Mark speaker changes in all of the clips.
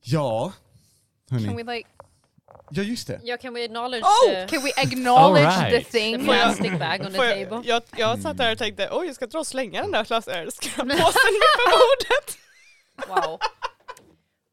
Speaker 1: Ja, hörni.
Speaker 2: Can we like,
Speaker 1: Ja just det.
Speaker 2: yeah, can we acknowledge
Speaker 3: Oh!
Speaker 2: the,
Speaker 3: Can we acknowledge
Speaker 4: All
Speaker 3: the
Speaker 4: right.
Speaker 2: the
Speaker 3: thing?
Speaker 5: Får jag-
Speaker 2: plastic bag on the
Speaker 5: Får jag,
Speaker 2: table?
Speaker 5: jag, jag
Speaker 1: Mm.
Speaker 5: satt där och tänkte, oj jag ska dra och slänga den där plastölskapåsen på bordet.
Speaker 2: Wow.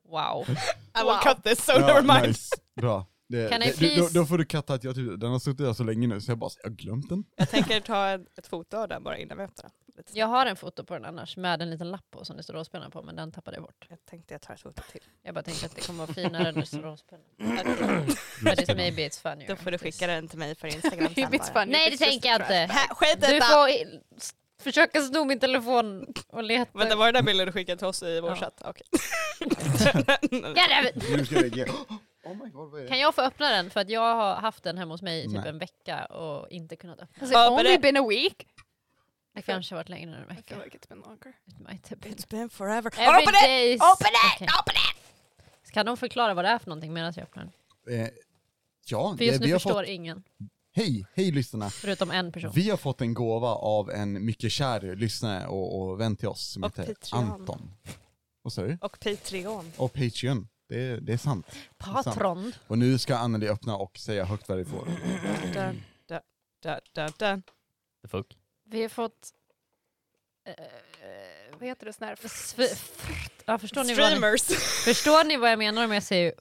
Speaker 2: Wow.
Speaker 5: I
Speaker 2: Wow.
Speaker 5: will cut this, so
Speaker 1: Ja,
Speaker 5: never mind.
Speaker 1: Nice. Bra. Det,
Speaker 2: Can I
Speaker 1: det, du, då,
Speaker 2: please-
Speaker 1: då får du katta att jag typ, den har suttit där så länge nu så jag bara, jag har glömt den.
Speaker 5: Jag tänker ta en, ett foto av den bara innan vi öppnar den. Lite snabbt.
Speaker 2: Jag har en foto på den annars med en liten lapp på som det står råspenna på men den tappade jag bort.
Speaker 5: Jag tänkte jag tar ett foto till.
Speaker 2: Jag bara tänkte att det kommer vara finare när det står råspenna. But- But it
Speaker 1: Mm.
Speaker 2: maybe it's funnier.
Speaker 5: Då får du skicka den till mig för Instagram sen
Speaker 3: It's
Speaker 5: bara.
Speaker 3: funny. It's
Speaker 2: Nej det
Speaker 3: just
Speaker 2: tänker jag
Speaker 3: trash.
Speaker 2: inte.
Speaker 5: Hä, Skit i
Speaker 2: Du
Speaker 5: detta!
Speaker 2: får i- s- försöka sno min telefon och leta.
Speaker 5: Vänta var det den bilden du skickade till oss i vår
Speaker 2: Ja.
Speaker 5: chatt? Okej.
Speaker 2: God damn it.
Speaker 1: Nu ska jag reagera. Oh my god, vad är det?
Speaker 2: Kan jag få öppna den? För att jag har haft den hemma hos mig i typ
Speaker 1: Nej.
Speaker 2: en vecka och inte kunnat öppna den.
Speaker 3: Has it
Speaker 5: Oh, but
Speaker 3: only
Speaker 5: it-
Speaker 3: been a week?
Speaker 2: Det kanske har varit längre än en
Speaker 3: I feel
Speaker 2: vecka.
Speaker 3: like it's been longer.
Speaker 2: It might have been.
Speaker 5: It's been forever.
Speaker 2: Every
Speaker 5: Open it!
Speaker 2: days.
Speaker 3: Open it!
Speaker 2: Okej.
Speaker 3: Open it!
Speaker 2: Kan de förklara vad det är för någonting medan jag öppnar den?
Speaker 1: Eh, ja,
Speaker 2: För just
Speaker 1: vi
Speaker 2: nu
Speaker 1: har
Speaker 2: förstår
Speaker 1: fått,
Speaker 2: ingen.
Speaker 1: hej, hej lyssnarna.
Speaker 2: Förutom en person.
Speaker 1: Vi har fått en gåva av en mycket kär lyssnare och, och vän till oss som
Speaker 5: Och
Speaker 1: heter
Speaker 5: Patreon.
Speaker 1: Anton. Vad sa du?
Speaker 5: Och Patreon.
Speaker 1: Och Patreon. Det, är- det är sant.
Speaker 2: Patron.
Speaker 1: Och nu ska Anneli öppna och säga högt vad det får.
Speaker 5: Dun, dun, dun, dun, dun.
Speaker 4: The fuck?
Speaker 2: Vi har fått... eh,
Speaker 3: Vad heter det sån här?
Speaker 2: sv- frukt. Ja, förstår, ni vad,
Speaker 5: Streamers.
Speaker 2: förstår ni vad jag menar om jag säger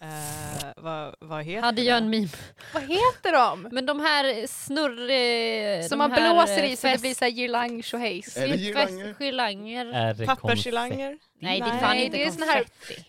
Speaker 5: Eh, vad, vad heter
Speaker 2: hade jag en meme?
Speaker 3: Vad heter de?
Speaker 2: Men de här snurr... eh, de
Speaker 3: Som man
Speaker 2: här,
Speaker 3: blåser
Speaker 2: eh,
Speaker 3: i så det
Speaker 2: fest-
Speaker 3: blir såhär girlang tjohejs.
Speaker 1: Är det
Speaker 2: fest-
Speaker 1: girlanger?
Speaker 2: girlanger.
Speaker 3: Mm.
Speaker 4: Är det
Speaker 5: Pappersgirlanger?
Speaker 2: Nej det är
Speaker 5: Nej,
Speaker 2: fan
Speaker 3: det
Speaker 2: inte
Speaker 3: är sån här-
Speaker 2: konfetti.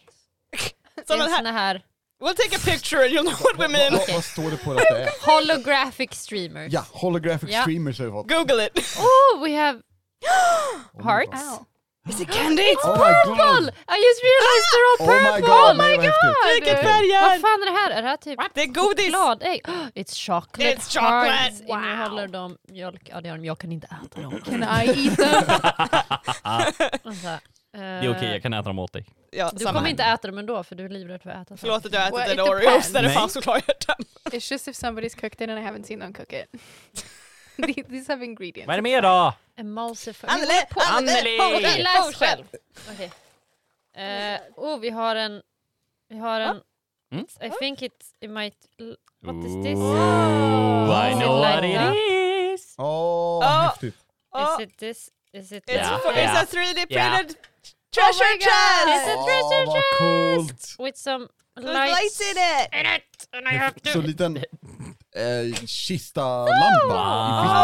Speaker 2: Det
Speaker 5: Sådana
Speaker 2: är
Speaker 5: här.
Speaker 2: såna här
Speaker 5: We'll take a picture and you'll know what we mean.
Speaker 1: Vad, vad står det på det att det är?
Speaker 2: holographic streamers.
Speaker 1: Ja, holographic
Speaker 2: Ja.
Speaker 1: streamers har vi fått.
Speaker 5: Google it.
Speaker 2: Oh we have...
Speaker 1: Oh my
Speaker 2: Hearts.
Speaker 1: god.
Speaker 3: Ow.
Speaker 5: Is it candy?
Speaker 1: Oh my god!
Speaker 2: I just realized they're all
Speaker 1: Oh my
Speaker 2: purple!
Speaker 1: god! nej, vad häftigt.
Speaker 5: Vilket
Speaker 2: Vad
Speaker 5: färg är?
Speaker 2: fan är det här? Är det här typ
Speaker 5: Det är godis!
Speaker 2: chokladägg? Oh, it's chocolate
Speaker 5: It's chocolate.
Speaker 2: hearts.
Speaker 3: Wow.
Speaker 2: Innehåller de mjölk? Ja det gör de, jag kan inte äta dem.
Speaker 3: Can I eat them?
Speaker 2: Alltså, eh,
Speaker 4: Det är okej, jag kan äta dem åt dig.
Speaker 5: Ja,
Speaker 2: Du
Speaker 5: samma.
Speaker 2: kommer inte äta dem ändå för du är livrädd för att äta
Speaker 5: Förlåt att
Speaker 2: saker.
Speaker 5: jag
Speaker 3: Well,
Speaker 5: ätit
Speaker 3: it
Speaker 5: en Oreos
Speaker 3: depends.
Speaker 5: där det
Speaker 4: Nej.
Speaker 5: fanns chokladhjärtan.
Speaker 3: It's just if somebody's cooked it and I haven't seen them cook it. The- These have ingredients. Oh
Speaker 4: Vad är det mer då?
Speaker 2: Emulsifier.
Speaker 5: Anneli!
Speaker 4: Anneli!
Speaker 2: Okej, läs
Speaker 5: Fortsätt.
Speaker 2: själv. Okej. Eh, oh, vi har en... Vi har en...
Speaker 4: Mm.
Speaker 2: I think it, it might... l- What is this?
Speaker 4: Ooh, I
Speaker 2: Is it
Speaker 4: know what
Speaker 2: like
Speaker 4: it
Speaker 2: that?
Speaker 4: is!
Speaker 1: Åh,
Speaker 5: Ja.
Speaker 1: häftigt.
Speaker 5: Oh,
Speaker 2: Is it this? Is it...
Speaker 5: it's,
Speaker 4: Ja.
Speaker 5: for,
Speaker 4: Ja.
Speaker 5: it's a 3D printed
Speaker 4: Ja.
Speaker 2: Oh
Speaker 5: treasure
Speaker 3: God.
Speaker 5: chest!
Speaker 2: It's a treasure
Speaker 1: Åh, vad coolt!
Speaker 2: With some
Speaker 5: There's
Speaker 2: lights,
Speaker 5: lights in it!
Speaker 2: in it! And I have to...
Speaker 1: Så liten eh, kista-lampa.
Speaker 4: Ah,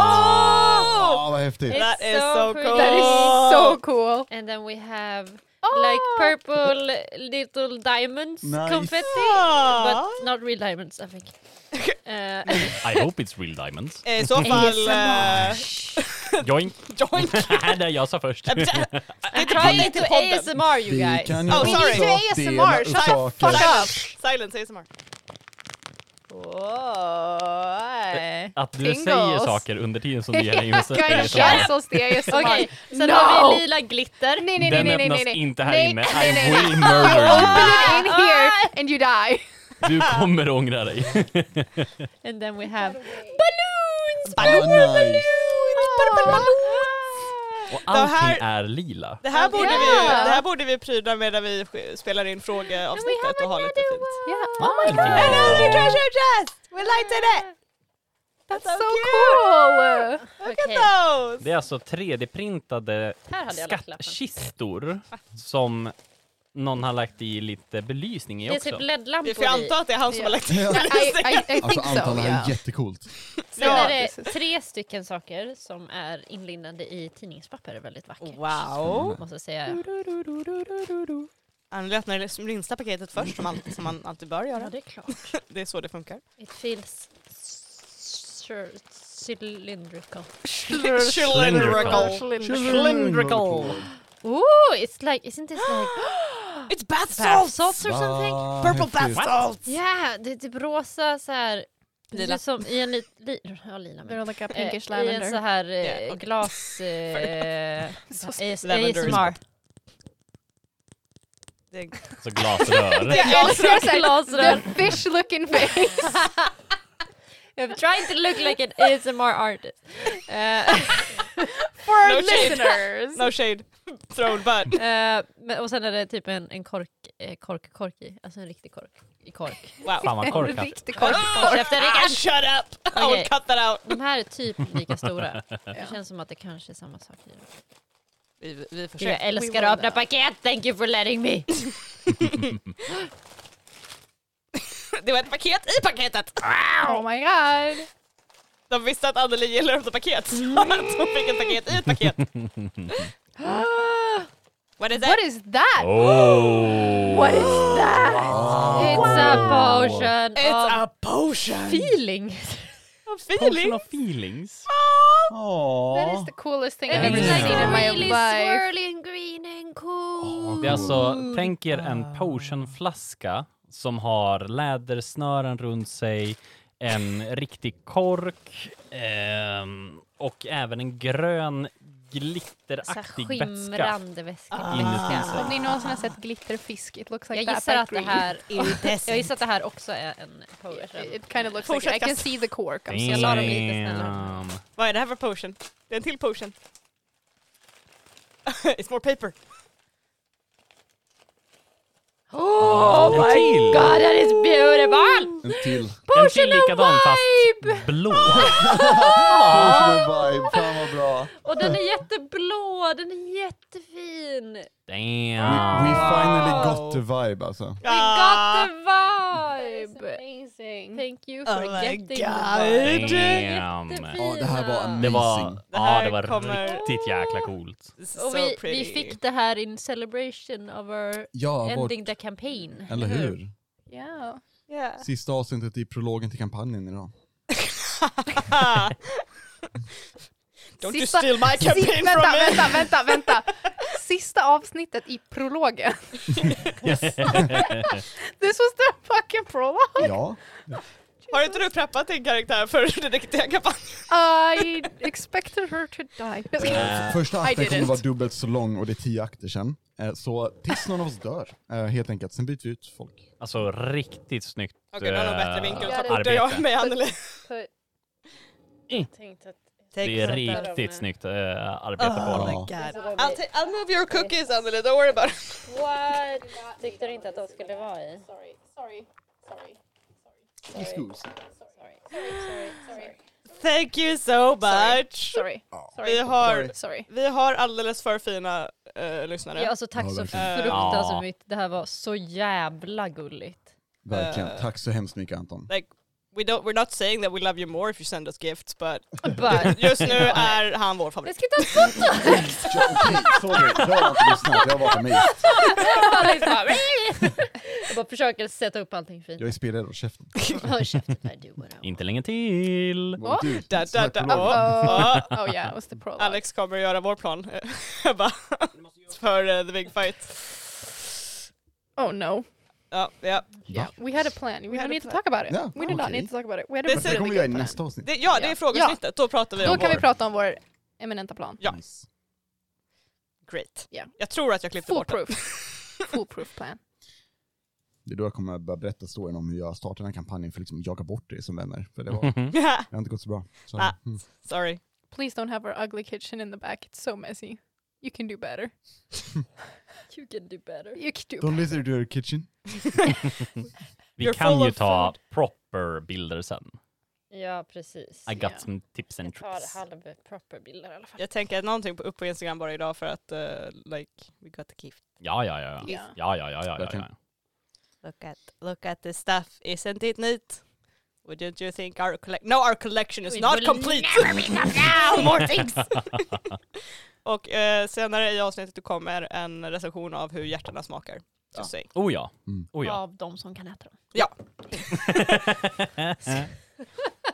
Speaker 5: Oh!
Speaker 1: Ja, vad häftigt.
Speaker 2: It's
Speaker 5: That is so
Speaker 2: pretty.
Speaker 5: cool!
Speaker 3: That is so cool.
Speaker 2: And then we have
Speaker 3: Oh.
Speaker 2: like purple little diamonds
Speaker 1: Nice.
Speaker 2: confetti.
Speaker 5: Ah.
Speaker 2: But not real diamonds, I think. Eh,
Speaker 4: I hope it's real diamonds.
Speaker 5: I så fall... eh,
Speaker 4: Joink!
Speaker 5: joint.
Speaker 4: Nej, jag sa först.
Speaker 2: I'm
Speaker 5: podden,
Speaker 2: trying
Speaker 5: inte
Speaker 2: to
Speaker 5: podden.
Speaker 2: ASMR you
Speaker 1: Vi
Speaker 2: guys.
Speaker 1: kan ju
Speaker 5: Oh,
Speaker 1: också
Speaker 5: sorry.
Speaker 1: dela
Speaker 3: ASMR,
Speaker 1: upp
Speaker 3: shut the
Speaker 1: saker. Alltså,
Speaker 3: fuck up.
Speaker 5: Silence ASMR.
Speaker 2: Oj.
Speaker 4: Att du
Speaker 3: Tingles.
Speaker 4: säger saker under tiden som du ger dig musik.
Speaker 3: Ska jag känslor det är som
Speaker 2: Okej, så
Speaker 3: No!
Speaker 2: då har vi lila glitter.
Speaker 3: Nej, nej, nej,
Speaker 4: Den
Speaker 3: nej, nej,
Speaker 4: öppnas
Speaker 3: nej.
Speaker 4: inte här
Speaker 3: nej,
Speaker 4: inne.
Speaker 3: Nej, nej, nej.
Speaker 4: I will murder you.
Speaker 3: Open it in here and you die.
Speaker 4: Du kommer ångra dig.
Speaker 2: And then we have balloons!
Speaker 1: Oh, nice.
Speaker 4: Och
Speaker 5: Det här-
Speaker 4: allting är lila.
Speaker 5: Det här, borde
Speaker 2: Ja.
Speaker 5: vi, det här borde vi pryda med när vi sk- spelar in frågeavsnittet och ha lite fint.
Speaker 2: Yeah.
Speaker 4: Oh my god!
Speaker 5: Another treasure chest! We light in it! That's so,
Speaker 3: So
Speaker 5: cute!
Speaker 3: cool!
Speaker 5: Look
Speaker 2: Okej.
Speaker 5: at those!
Speaker 4: Det är alltså 3D-printade
Speaker 2: Här hade jag lagt lappen.
Speaker 4: skattkistor som någon har lagt i lite belysning i
Speaker 2: Det är
Speaker 4: också.
Speaker 2: typ
Speaker 5: Vi
Speaker 2: LED-lampor
Speaker 5: får anta att det är han som har lagt in
Speaker 1: Ja.
Speaker 3: I, I, I
Speaker 1: Alltså
Speaker 3: think
Speaker 1: Anton, det
Speaker 3: so,
Speaker 1: här är
Speaker 3: yeah.
Speaker 1: jättecoolt.
Speaker 2: Sen
Speaker 5: Ja.
Speaker 2: är det tre stycken saker som är inlindade i tidningspapper. Väldigt vackert.
Speaker 5: Wow!
Speaker 2: Måste säga.
Speaker 5: Anneli öppnar det minsta liksom paketet först som, all, som man alltid bör
Speaker 2: Ja,
Speaker 5: göra.
Speaker 2: det är klart.
Speaker 5: Det är så det funkar.
Speaker 2: It feels cir- cylindrical.
Speaker 4: Cylindrical.
Speaker 2: Cylindrical. Ooh, it's like, isn't this like
Speaker 5: It's bath
Speaker 2: bath
Speaker 5: salts!
Speaker 2: salts or something?
Speaker 1: Vad
Speaker 5: Purple bath
Speaker 1: häftigt.
Speaker 5: salts!
Speaker 2: Yeah, det är typ rosa så här.
Speaker 5: Lila.
Speaker 2: Det är som i en li, li, ja, lila men.
Speaker 3: They're like a
Speaker 2: Eh,
Speaker 3: pinkish
Speaker 2: I en så
Speaker 3: lavender.
Speaker 2: här eh,
Speaker 5: Yeah, okay.
Speaker 2: glas... Eh,
Speaker 3: So
Speaker 2: AS-
Speaker 5: Lavender is
Speaker 2: ASMR.
Speaker 5: Det är
Speaker 4: Så glasrör.
Speaker 3: Jag
Speaker 2: Alltså,
Speaker 3: älskar så här, The
Speaker 2: Glasrör.
Speaker 3: fish looking face.
Speaker 2: I'm trying to look like an ASMR artist. Eh,
Speaker 3: For
Speaker 5: No shade.
Speaker 3: listeners.
Speaker 5: No shade. Thrown bad.
Speaker 2: Eh, men, och sen är det typ en, en kork, eh, kork, kork i. Alltså en riktig kork. I kork.
Speaker 5: Wow.
Speaker 4: Fan vad
Speaker 3: En
Speaker 4: korkat.
Speaker 3: riktig kork.
Speaker 2: Håll käften
Speaker 5: Ah,
Speaker 2: Rickard!
Speaker 5: shut up! I will
Speaker 2: Okej.
Speaker 5: cut that out.
Speaker 2: De här är typ lika stora. Det
Speaker 3: Ja.
Speaker 2: känns som att det kanske är samma sak. i dem.
Speaker 5: Vi, vi försöker.
Speaker 2: Jag älskar
Speaker 3: We will
Speaker 2: att öppna
Speaker 3: know.
Speaker 2: paket, thank you for letting me!
Speaker 5: Det var ett paket i paketet!
Speaker 3: Oh my god.
Speaker 5: De visste att Anneli gillar att öppna paket, så att hon fick ett paket i ett paket. What is
Speaker 3: What
Speaker 5: that?
Speaker 3: is that?
Speaker 4: Oh.
Speaker 3: What is that?
Speaker 2: It's a potion
Speaker 5: It's
Speaker 2: of
Speaker 5: a potion!
Speaker 2: feeling!
Speaker 5: Of
Speaker 4: Potion
Speaker 5: feeling!
Speaker 4: of feelings.
Speaker 3: That is
Speaker 1: Åh.
Speaker 3: the coolest thing I've
Speaker 2: And
Speaker 3: ever
Speaker 2: it's
Speaker 4: Yeah.
Speaker 2: like
Speaker 3: seen in my
Speaker 2: really
Speaker 3: life.
Speaker 2: swirling green and cool!
Speaker 4: Det är alltså, tänk er en potionflaska som har lädersnören runt sig, en riktig kork ehm, och även en grön
Speaker 2: Så här
Speaker 4: glitteraktig vätska.
Speaker 2: skimrande väska.
Speaker 4: Inuti sig.
Speaker 3: Om ni någonsin har sett glitterfisk, it looks like
Speaker 2: Jag
Speaker 3: that
Speaker 2: gissar
Speaker 3: but
Speaker 2: att det
Speaker 3: green.
Speaker 2: här, jag
Speaker 5: Iridescent.
Speaker 2: gissar att det här också är en potion.
Speaker 3: It, it kind of looks
Speaker 5: Fortsätt
Speaker 3: like it. I can
Speaker 5: kasta.
Speaker 3: see the cork. I'm
Speaker 2: jag
Speaker 3: so
Speaker 2: la
Speaker 3: sorry.
Speaker 2: dem lite snällare.
Speaker 4: Damn.
Speaker 5: Vad är det här för potion? Det är en till potion. It's more paper.
Speaker 2: Oh
Speaker 4: En till!
Speaker 2: god, that is beautiful!
Speaker 1: En till.
Speaker 4: En till likadan fast blå.
Speaker 2: Ah.
Speaker 1: Potion of vibe, fan vad bra.
Speaker 2: Och den är jätteblå, den är jättefin!
Speaker 1: We,
Speaker 4: Damn.
Speaker 1: we finally got the vibe alltså.
Speaker 2: We
Speaker 5: Ah,
Speaker 2: got the vibe!
Speaker 3: amazing.
Speaker 2: Thank you
Speaker 5: Oh
Speaker 2: for
Speaker 5: my
Speaker 2: getting the
Speaker 5: God.
Speaker 2: vibe. De är
Speaker 4: Damn.
Speaker 2: jättefina.
Speaker 1: Ja, det här var amazing.
Speaker 4: Det var,
Speaker 5: Det
Speaker 4: ja,
Speaker 5: här
Speaker 4: det var
Speaker 5: kommer-
Speaker 4: riktigt jäkla coolt.
Speaker 5: This is
Speaker 2: Och
Speaker 5: so
Speaker 2: vi,
Speaker 5: pretty.
Speaker 2: vi fick det här in celebration of our
Speaker 1: Ja, vårt,
Speaker 2: ending the campaign.
Speaker 1: eller hur?
Speaker 3: Yeah.
Speaker 5: Yeah.
Speaker 1: Sista avsnittet i prologen till kampanjen idag.
Speaker 5: Don't you
Speaker 3: Sista-
Speaker 5: steal my
Speaker 3: Si-
Speaker 5: campaign
Speaker 3: vänta,
Speaker 5: from me!
Speaker 3: vänta, vänta, vänta. Sista avsnittet i prologen. This was the fucking prologue.
Speaker 1: Ja.
Speaker 5: Har inte du preppat din karaktär för den riktiga kampanjen?
Speaker 3: I expected her to die.
Speaker 1: F- Första akten
Speaker 3: I
Speaker 1: kommer
Speaker 3: didn't.
Speaker 1: vara dubbelt så lång och det är tio akter sen. Eh, Så tills någon av oss dör, eh, helt enkelt. Sen byter vi ut folk.
Speaker 4: Alltså riktigt snyggt
Speaker 5: Okej, du har nog bättre vinkel.
Speaker 4: eh,
Speaker 5: Ta bort det jag
Speaker 4: arbete.
Speaker 5: med Anneli.
Speaker 4: Mm. Det är riktigt snyggt eh,
Speaker 5: Oh
Speaker 4: arbete
Speaker 5: Ah.
Speaker 4: på
Speaker 1: my
Speaker 4: honom.
Speaker 1: god.
Speaker 5: I'll, ta- I'll move your cookies Anneli, don't worry about it.
Speaker 2: What? Tyckte du inte att de skulle vara i?
Speaker 5: Thank you so much!
Speaker 3: Sorry,
Speaker 5: Vi, har,
Speaker 1: Sorry.
Speaker 3: sorry.
Speaker 5: vi har alldeles för fina eh, lyssnare.
Speaker 2: Ja, alltså tack
Speaker 1: Ja,
Speaker 2: så
Speaker 1: verkligen.
Speaker 4: Ja.
Speaker 2: fruktansvärt mycket. Det här var så jävla gulligt.
Speaker 1: Verkligen.
Speaker 5: Eh.
Speaker 1: Tack så hemskt mycket Anton.
Speaker 5: Like, we don't, we're not saying that we love you more if you send us gifts, but
Speaker 2: But,
Speaker 5: just nu är han vår
Speaker 2: jag
Speaker 5: favorit.
Speaker 2: ska ta ett foto!
Speaker 1: Ja, Okej, sorry. Jag har inte lyssnat. Jag var på mig.
Speaker 2: Jag bara försöker sätta upp allting fint.
Speaker 1: Jag är spelare och käften.
Speaker 2: Håll käften, I do what I want.
Speaker 4: Inte länge till.
Speaker 1: Vad du,
Speaker 5: Da,
Speaker 1: sån
Speaker 5: da,
Speaker 1: här
Speaker 5: da.
Speaker 1: prolog.
Speaker 5: Oh, oh.
Speaker 3: Oh yeah, it was the prologue.
Speaker 5: Alex kommer att göra vår plan. Bara för eh, the big fight.
Speaker 3: Oh no.
Speaker 5: Ja, ja.
Speaker 3: Yeah, we had a plan. We,
Speaker 5: We had
Speaker 3: don't
Speaker 5: a
Speaker 3: need to
Speaker 5: plan.
Speaker 3: talk about it.
Speaker 1: Ja,
Speaker 3: we do not
Speaker 1: okej.
Speaker 3: need to talk about it. We had a
Speaker 5: Det
Speaker 1: Men
Speaker 5: ser
Speaker 1: Det
Speaker 3: really
Speaker 1: kommer vi
Speaker 3: good
Speaker 1: göra i
Speaker 3: plan.
Speaker 1: nästa avsnitt.
Speaker 5: Det, ja, det är
Speaker 3: Ja.
Speaker 5: frågesnittet. Då pratar vi
Speaker 3: Då
Speaker 5: om
Speaker 3: kan vi
Speaker 5: vår...
Speaker 3: prata om vår eminenta plan.
Speaker 5: Ja.
Speaker 1: Nice.
Speaker 5: Great.
Speaker 3: Ja.
Speaker 5: Jag tror att jag klippte bort det.
Speaker 3: Foolproof. Foolproof plan.
Speaker 1: Det är då jag kommer börja berätta storyn om hur jag startade den här kampanjen för att liksom jaga bort er som vänner. För det var,
Speaker 4: Mhm.
Speaker 1: det har inte gått så bra. Så,
Speaker 5: Ah.
Speaker 1: mm.
Speaker 5: Sorry.
Speaker 3: Please don't have our ugly kitchen in the back. It's so messy. You can do better.
Speaker 2: You can do better.
Speaker 3: You can do
Speaker 1: Don't listen to your kitchen.
Speaker 4: Vi
Speaker 5: You're
Speaker 4: kan
Speaker 5: full
Speaker 4: ju
Speaker 5: of
Speaker 4: ta proper bilder sen.
Speaker 2: Ja, precis.
Speaker 4: I got
Speaker 3: Ja.
Speaker 4: some tips and
Speaker 2: Jag tar
Speaker 4: tricks.
Speaker 2: halv proper bilder i alla fall.
Speaker 5: Jag tänker att någonting på, upp på Instagram bara idag för att eh, like, we got the gift.
Speaker 4: Ja, ja, ja. ja.
Speaker 3: Ja.
Speaker 4: Ja, ja, ja, ja, ja, ja.
Speaker 1: Verkligen.
Speaker 5: Look at, look at the stuff, isn't it neat? Wouldn't you think our collection... No, our collection is
Speaker 2: We
Speaker 5: not
Speaker 2: will
Speaker 5: complete!
Speaker 2: never be enough now, more things!
Speaker 5: Och eh, senare i avsnittet kommer en recension av hur hjärtarna smakar.
Speaker 1: Ja.
Speaker 5: Just saying.
Speaker 4: Oh ja.
Speaker 1: Mm.
Speaker 4: Oh ja.
Speaker 2: Av de som kan äta dem.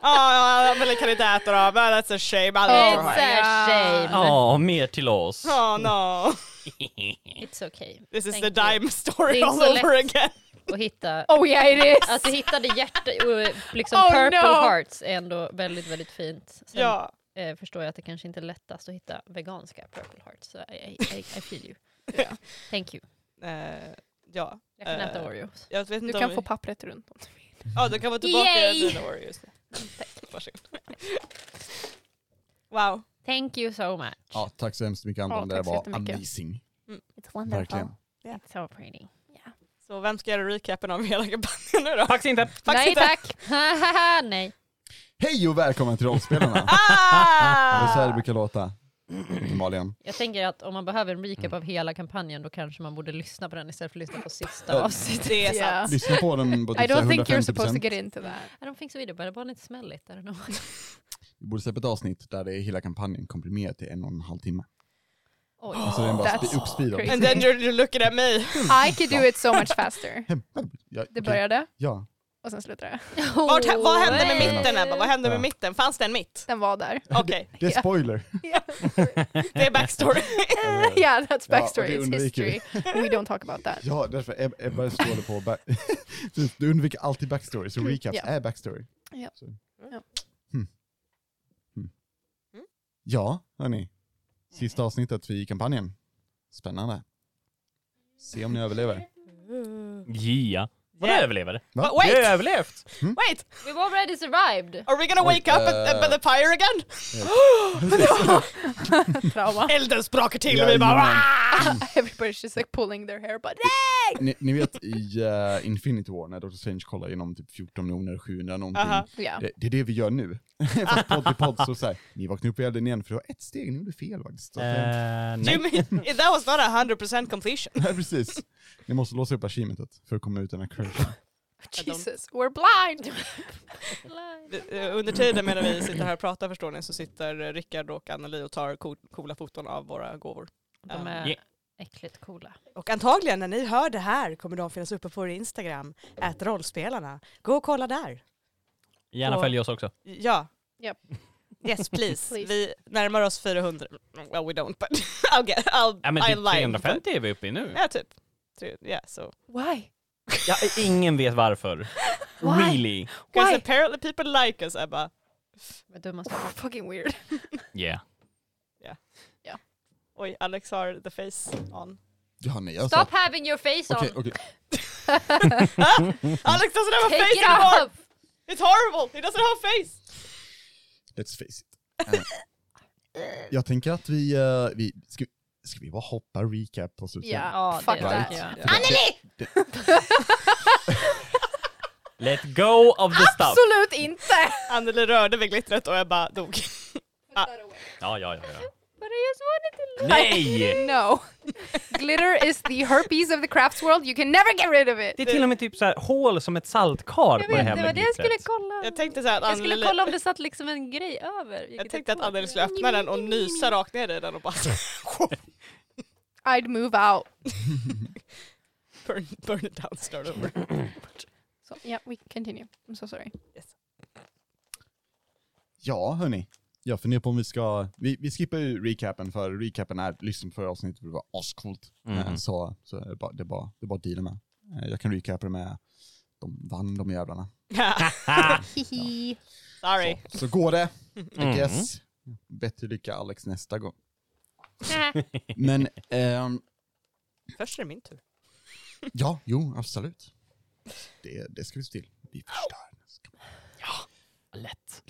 Speaker 5: Ah, ja, Anneli kan inte äta då, but that's a shame.
Speaker 3: Oh
Speaker 5: Anneli
Speaker 2: It's
Speaker 5: får ha
Speaker 2: a
Speaker 5: det.
Speaker 2: shame.
Speaker 4: Ja, mer till oss.
Speaker 5: Oh no!
Speaker 2: It's okay.
Speaker 5: This is
Speaker 2: Thank
Speaker 5: the
Speaker 2: you.
Speaker 5: dime
Speaker 2: Det
Speaker 5: story
Speaker 2: är
Speaker 5: all
Speaker 2: så lätt.
Speaker 5: over again.
Speaker 2: Och hitta,
Speaker 3: Oh yeah, it is.
Speaker 2: alltså hittade hjärta, och liksom
Speaker 3: Oh,
Speaker 2: purple
Speaker 3: no.
Speaker 2: hearts är ändå väldigt, väldigt fint. Sen
Speaker 5: Ja.
Speaker 2: eh, förstår jag att det kanske inte är lättast att hitta veganska purple hearts. Så I, I, I, I feel you.
Speaker 3: Ja.
Speaker 2: Thank you.
Speaker 5: Eh, ja.
Speaker 2: Jag kan äta
Speaker 5: Eh,
Speaker 2: Oreos.
Speaker 5: Jag vet
Speaker 3: Du
Speaker 5: inte
Speaker 3: kan
Speaker 5: om
Speaker 3: få
Speaker 5: vi-
Speaker 3: pappret runt om du vill.
Speaker 5: Ja, du kan vara tillbaka i
Speaker 2: Yay!
Speaker 5: dina år just nu. Varsågod. Wow.
Speaker 2: Thank you so much.
Speaker 1: Ja, tack så hemskt mycket Anton.
Speaker 3: Ja,
Speaker 1: det
Speaker 3: tack
Speaker 1: där
Speaker 3: så
Speaker 1: var
Speaker 3: jättemycket.
Speaker 1: amazing.
Speaker 3: It's wonderful.
Speaker 1: Verkligen.
Speaker 2: It's so pretty.
Speaker 5: Så vem ska göra recapen av hela kampanjen nu då?
Speaker 4: Faktiskt inte.
Speaker 5: Faktiskt
Speaker 2: Nej
Speaker 5: inte.
Speaker 2: tack! Nej.
Speaker 1: Hej och välkommen till Rollspelarna! det är så här det
Speaker 5: Ah!
Speaker 1: brukar låta. Uppenbarligen.
Speaker 2: Jag tänker att om man behöver en recap av hela kampanjen då kanske man borde lyssna på den istället för att lyssna på sista
Speaker 1: Ja.
Speaker 2: avsnittet.
Speaker 5: Det är sant.
Speaker 3: Yeah.
Speaker 1: Lyssna på den på
Speaker 3: I
Speaker 1: typ
Speaker 3: don't think you're
Speaker 1: 150
Speaker 3: supposed to
Speaker 1: procent.
Speaker 3: get into that.
Speaker 2: I don't think so either, but I want it smell it. I don't know.
Speaker 1: Vi borde släppa ett avsnitt där det är hela kampanjen komprimerat till en och en halv timme.
Speaker 2: Oj.
Speaker 1: Alltså den bara
Speaker 3: That's
Speaker 1: spe- uppspeedad.
Speaker 3: crazy.
Speaker 5: And then you're, you're looking at me.
Speaker 3: I could do it so much faster.
Speaker 1: Hem- hem. Ja,
Speaker 3: Det
Speaker 1: okej.
Speaker 3: började
Speaker 1: Ja.
Speaker 3: och sen slutade det.
Speaker 5: Vart, vad hände med
Speaker 1: Åh,
Speaker 5: mitten Ebba? Vad hände med
Speaker 1: Ja.
Speaker 5: mitten? Fanns det en mitt?
Speaker 3: Den var där.
Speaker 5: Okej,
Speaker 1: Det är spoiler.
Speaker 5: det är backstory.
Speaker 3: yeah, that's
Speaker 1: Ja, och
Speaker 3: backstory.
Speaker 1: det
Speaker 3: It's
Speaker 1: undviker vi.
Speaker 3: history. We don't talk about that.
Speaker 1: Ja, därför Eb- Ebba står på... Back- Precis, du undviker alltid backstory, så recaps
Speaker 3: Mm, Ja.
Speaker 1: är backstory.
Speaker 3: Ja.
Speaker 1: Så.
Speaker 3: Ja.
Speaker 1: Hmm. Hmm.
Speaker 5: Mm.
Speaker 1: Ja, hörni. Sista avsnittet i kampanjen. Spännande. Se om ni överlever.
Speaker 4: Ja. Vadå
Speaker 5: Yeah.
Speaker 4: överlevare?
Speaker 1: Va?
Speaker 5: But
Speaker 4: Vi har
Speaker 5: wait,
Speaker 4: överlevt!
Speaker 5: wait!
Speaker 1: Mm.
Speaker 2: We've already survived!
Speaker 5: Are we gonna wake up at, at, by the
Speaker 1: eh,
Speaker 5: fire again?
Speaker 3: Trauma.
Speaker 5: Elden sprakar till och vi bara...
Speaker 1: ah. Jajamän.
Speaker 5: "Ah!"
Speaker 3: Everybody's just like pulling their hair but
Speaker 1: Ni, ni vet i eh, Infinity War när Dr. Strange kollar genom typ 14 miljoner 700 någonting.
Speaker 5: Aha.
Speaker 3: Yeah.
Speaker 1: Det, det är det vi gör nu. Fast podd till podd så såhär, ni vaknade upp i elden igen för du har ett steg, ni gjorde fel faktiskt. Så att, eh,
Speaker 4: Eh, nej.
Speaker 5: Jimmy, that was not a 100% completion.
Speaker 1: Nej, precis. Ni måste låsa upp achievementet för att komma ut ur den här crushen.
Speaker 3: Jesus, we're blind!
Speaker 5: Eh, Under tiden medan vi sitter här och pratar förstår ni så sitter eh, Rickard och Anneli och tar co- coola foton av våra gåvor.
Speaker 2: De är
Speaker 4: Yeah.
Speaker 2: äckligt coola.
Speaker 5: Och antagligen när ni hör det här kommer de finnas uppe på vår Instagram, att rollspelarna. Gå och kolla där.
Speaker 4: Gärna följ oss också.
Speaker 5: Ja.
Speaker 3: Japp.
Speaker 5: Yes please.
Speaker 3: Please.
Speaker 5: Vi närmar oss 400. Well we don't but I'll get, I'll,
Speaker 4: Ja men
Speaker 5: I
Speaker 4: typ
Speaker 5: lied,
Speaker 4: 350 är vi uppe i
Speaker 5: but-
Speaker 4: nu.
Speaker 5: Ja typ. Tre- Ja so.
Speaker 3: Why?
Speaker 4: Ja, ingen vet varför. Really?
Speaker 5: Because
Speaker 3: Why?
Speaker 5: apparently people like us Ebba.
Speaker 2: De är dumma som fan.
Speaker 3: Fucking weird.
Speaker 4: Yeah.
Speaker 5: Oj, Alex har the face on.
Speaker 1: Ja, nej, jag
Speaker 2: Stop having your face
Speaker 1: Okej,
Speaker 2: on!
Speaker 1: okej.
Speaker 5: Alex doesn't have a
Speaker 2: Take
Speaker 5: face
Speaker 2: it
Speaker 5: anymore!
Speaker 2: off!
Speaker 5: It's horrible! He doesn't have a face!
Speaker 1: Let's face it. Eh, jag tänker att vi, eh, vi ska, ska vi bara hoppa recap på slutet?
Speaker 3: Yeah,
Speaker 2: Ja, det
Speaker 3: fuck
Speaker 1: tycker
Speaker 3: that.
Speaker 2: jag.
Speaker 1: För det-
Speaker 4: Let go of the stuff.
Speaker 3: Absolut inte!
Speaker 5: Anneli rörde vid glittret och jag bara dog.
Speaker 4: Ja, ja, ja. ja.
Speaker 2: But I just wanted to
Speaker 4: Nej!
Speaker 3: No. Glitter is the herpes of the crafts world. You can never get rid of it.
Speaker 4: Det är till och med typ så här hål som ett saltkar
Speaker 2: Jag
Speaker 4: på det
Speaker 2: vet,
Speaker 4: här
Speaker 2: det var det jag skulle
Speaker 4: blickret.
Speaker 2: kolla.
Speaker 5: Jag tänkte så här att
Speaker 2: Jag skulle
Speaker 5: Anneli...
Speaker 2: kolla om det satt liksom en grej över.
Speaker 5: Jag tänkte att Anneli skulle öppna den och nysa rakt ner i den och bara
Speaker 3: I'd move out.
Speaker 5: burn, burn it down, start over.
Speaker 3: So, yeah, we can continue. I'm so sorry.
Speaker 1: Ja, hörni. Jag funderar på om vi ska, vi, vi skippar ju recapen för recapen är, lyssna på förra avsnittet för det var ascoolt.
Speaker 5: Mm.
Speaker 4: Mhm.
Speaker 1: Eh, Så, så är det bara, det är bara, det är bara att deala med. Eh, Jag kan recapa det med, de vann de jävlarna.
Speaker 3: Hihi.
Speaker 5: Sorry.
Speaker 1: Så, så går det, I
Speaker 5: Mm.
Speaker 4: Mhm.
Speaker 1: guess. Bättre lycka Alex nästa gång.
Speaker 2: Nej.
Speaker 1: Men, ehm,
Speaker 5: Först är det min tur.
Speaker 1: Ja, jo, absolut. Det, det ska vi se till. Vi förstör.
Speaker 4: Lätt.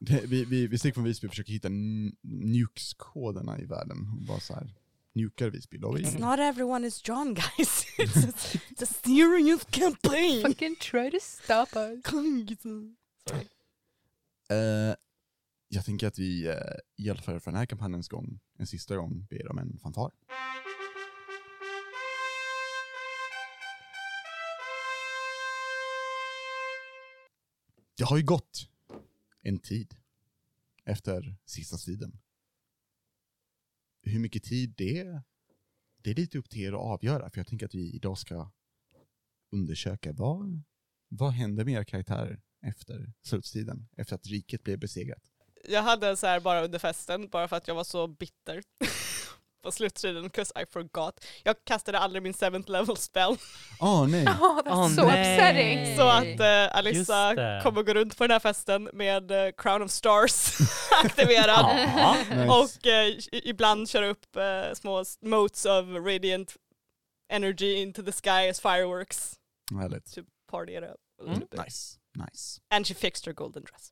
Speaker 1: Det, vi, vi, vi sticker från Visby och försöker hitta n- nukeskoderna i världen. Och bara så här, nukar Visby, då har vi
Speaker 5: It's
Speaker 1: ingen.
Speaker 5: not everyone is John guys. It's a, it's a serious campaign.
Speaker 3: Fucking try to stop us.
Speaker 1: Eh, jag tänker att vi eh, i alla fall för den här kampanjens gång, en sista gång, ber om en fanfar. Det har ju gått en tid efter sista striden. Hur mycket tid det det är lite upp till er att avgöra, för jag tänker att vi idag ska undersöka vad, vad händer med era karaktärer efter slutstriden, efter att riket blev besegrat.
Speaker 5: Jag hade en så här bara under festen, bara för att jag var så bitter. På slutstriden, 'cause I forgot. Jag kastade aldrig min seventh level spell.
Speaker 1: Åh Ah, nej!
Speaker 3: Oh, that's
Speaker 4: Åh,
Speaker 3: so upsetting.
Speaker 2: nej.
Speaker 5: Så att eh, Alyssa
Speaker 4: Just det.
Speaker 5: kommer gå runt på den här festen med eh, Crown of Stars aktiverad.
Speaker 4: Ja.
Speaker 1: Nice.
Speaker 5: Och eh, i- ibland köra upp eh, små s- motes of radiant energy into the sky as fireworks.
Speaker 1: Härligt.
Speaker 5: Party it up. a
Speaker 4: Mm.
Speaker 5: little bit.
Speaker 1: Nice. nice.
Speaker 5: And she fixed her golden dress.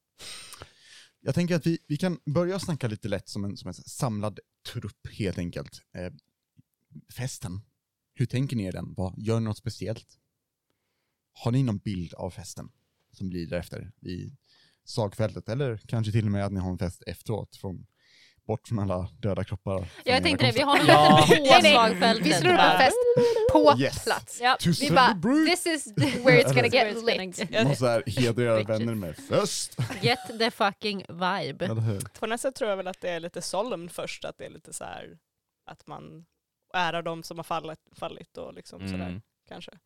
Speaker 1: Jag tänker att vi, vi kan börja snacka lite lätt som en, som en samlad trupp helt enkelt. Eh, festen? Hur tänker ni er den? Vad, gör ni något speciellt? Har ni någon bild av festen som blir därefter i slagfältet? Eller kanske till och med att ni har en fest efteråt, från, bort från alla döda kroppar?
Speaker 2: Jag tänkte det, vi har något
Speaker 4: Ja.
Speaker 3: Nej,
Speaker 2: på
Speaker 3: nej.
Speaker 2: slagfältet.
Speaker 3: Vi slår upp en
Speaker 2: bara.
Speaker 3: fest på
Speaker 1: Yes.
Speaker 3: plats.
Speaker 2: Ja.
Speaker 1: To
Speaker 3: Vi bara,
Speaker 1: celebrate!
Speaker 3: this is where it's gonna get lit.
Speaker 5: Jag-
Speaker 1: Man så här hedrar era
Speaker 2: Riktigt.
Speaker 1: vänner med fest.
Speaker 2: Get the fucking vibe.
Speaker 1: Eller hur?
Speaker 5: På nästa tror jag väl att det är lite solemn först, att det är lite så här att man ärar de som har fallit, fallit och liksom sådär
Speaker 4: Mm.
Speaker 5: kanske.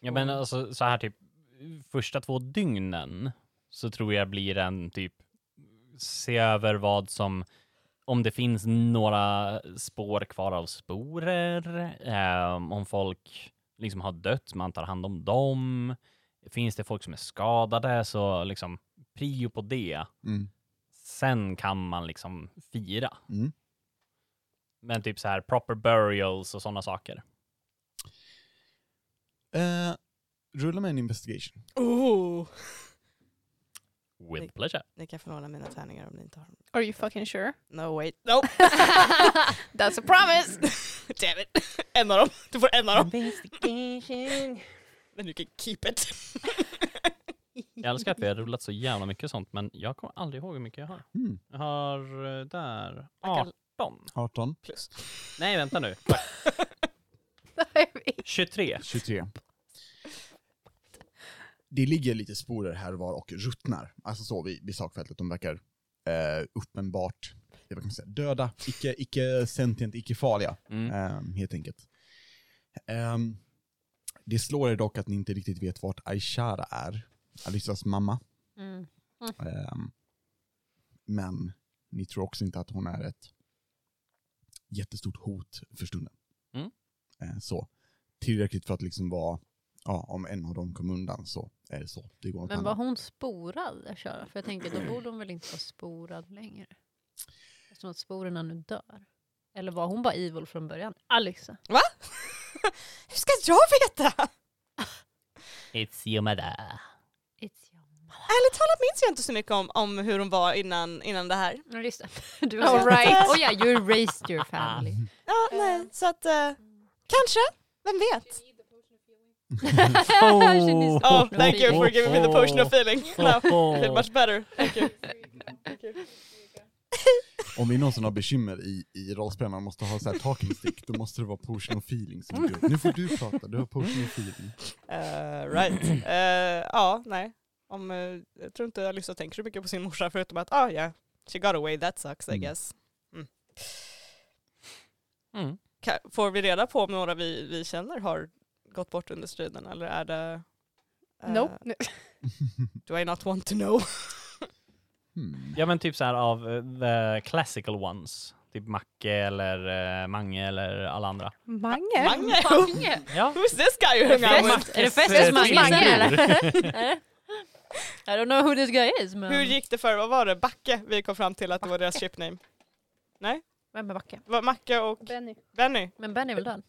Speaker 4: Ja men alltså så här typ första två dygnen så tror jag blir en typ se över vad som om det finns några spår kvar av sporer, ehm, om folk liksom har dött, man tar hand om dem. Finns det folk som är skadade så liksom prio på det.
Speaker 1: Mm.
Speaker 4: Sen kan man liksom fira.
Speaker 1: Mm.
Speaker 4: Men typ så här proper burials och sådana saker.
Speaker 1: Eh, rulla med en investigation.
Speaker 5: Oh.
Speaker 4: With pleasure.
Speaker 5: Ni kan få låna mina tärningar om ni inte har dem.
Speaker 3: Are you fucking sure?
Speaker 5: No wait. Nope.
Speaker 3: That's a promise!
Speaker 5: Damn it. En av dem. Du får en av dem. Men du kan keep it.
Speaker 4: Jag älskar att vi har rullat så jävla mycket sånt, men jag kommer aldrig ihåg hur mycket jag har.
Speaker 1: Mm.
Speaker 4: Jag har eh, där
Speaker 5: Jag kan-
Speaker 4: 18.
Speaker 1: 18,
Speaker 5: Plus.
Speaker 4: Nej, vänta nu. 23.
Speaker 1: 23. Det ligger lite sporer här och var och ruttnar. Alltså så vid, vid sakfältet. De verkar eh, uppenbart eh, vad kan man säga, döda, icke, icke sentient, icke farliga.
Speaker 4: Mm.
Speaker 1: Ehm, helt enkelt. Ehm, det slår er dock att ni inte riktigt vet vart Aishara är, Alissas mamma.
Speaker 2: Mm.
Speaker 1: Ehm, men ni tror också inte att hon är ett jättestort hot för stunden.
Speaker 4: Mm.
Speaker 1: Eh, så tillräckligt för att liksom vara, ja, om en av dem kom undan så är det så. Det går att
Speaker 2: Men
Speaker 1: handla.
Speaker 2: var hon sporad att köra? För jag tänker, då borde hon väl inte vara sporad längre? Eftersom att sporerna nu dör. Eller var hon bara evil från början? Alexa.
Speaker 5: Va? Hur ska jag veta?
Speaker 4: It's Yomada.
Speaker 2: It's you.
Speaker 5: Ärligt talat minns jag inte så mycket om, om hur hon var innan, innan det här.
Speaker 2: Ja, just det. Du
Speaker 3: All right.
Speaker 2: Oh yeah, you raised your family.
Speaker 5: Ja, nej. Så att eh, kanske. Vem vet?
Speaker 2: She needs to know
Speaker 5: Oh, thank you for
Speaker 2: people.
Speaker 5: giving me the potion of feeling.
Speaker 4: Oh.
Speaker 5: Now I feel much better.
Speaker 1: Om det är någon som har bekymmer i, i rollspel, man måste ha så här talking stick, då måste det vara potion och feeling som du. Nu får du prata, du har potion och feeling.
Speaker 5: Eh, right. Eh, ja, nej. Om, eh, jag tror inte Alyssa tänker så mycket på sin morsa förutom att ah, yeah, she got away, that sucks I
Speaker 1: Mm.
Speaker 5: guess. Mm.
Speaker 4: Mm.
Speaker 5: Ka- får vi reda på om några vi, vi känner har gått bort under striden eller är det... eh,
Speaker 3: Nope.
Speaker 5: Do I not want to know?
Speaker 1: Hmm.
Speaker 4: Ja, men typ så här av eh, the classical ones. Typ Macke eller eh, Mange eller alla andra.
Speaker 3: Mange?
Speaker 5: Mange?
Speaker 2: Mange.
Speaker 4: Ja.
Speaker 5: Who's this guy you hung
Speaker 2: Är det
Speaker 5: out
Speaker 2: fest-
Speaker 5: with?
Speaker 2: är det fest
Speaker 4: eh,
Speaker 2: hos Mange
Speaker 4: tvilling.
Speaker 2: sen, eller? I don't know who this guy is, men...
Speaker 5: Hur gick det för, vad var det, Backe vi kom fram till att det var deras shipname?
Speaker 2: Vem är Backe?
Speaker 5: Det var Macke och
Speaker 3: Benny.
Speaker 5: Benny.
Speaker 2: Men Ben är väl död?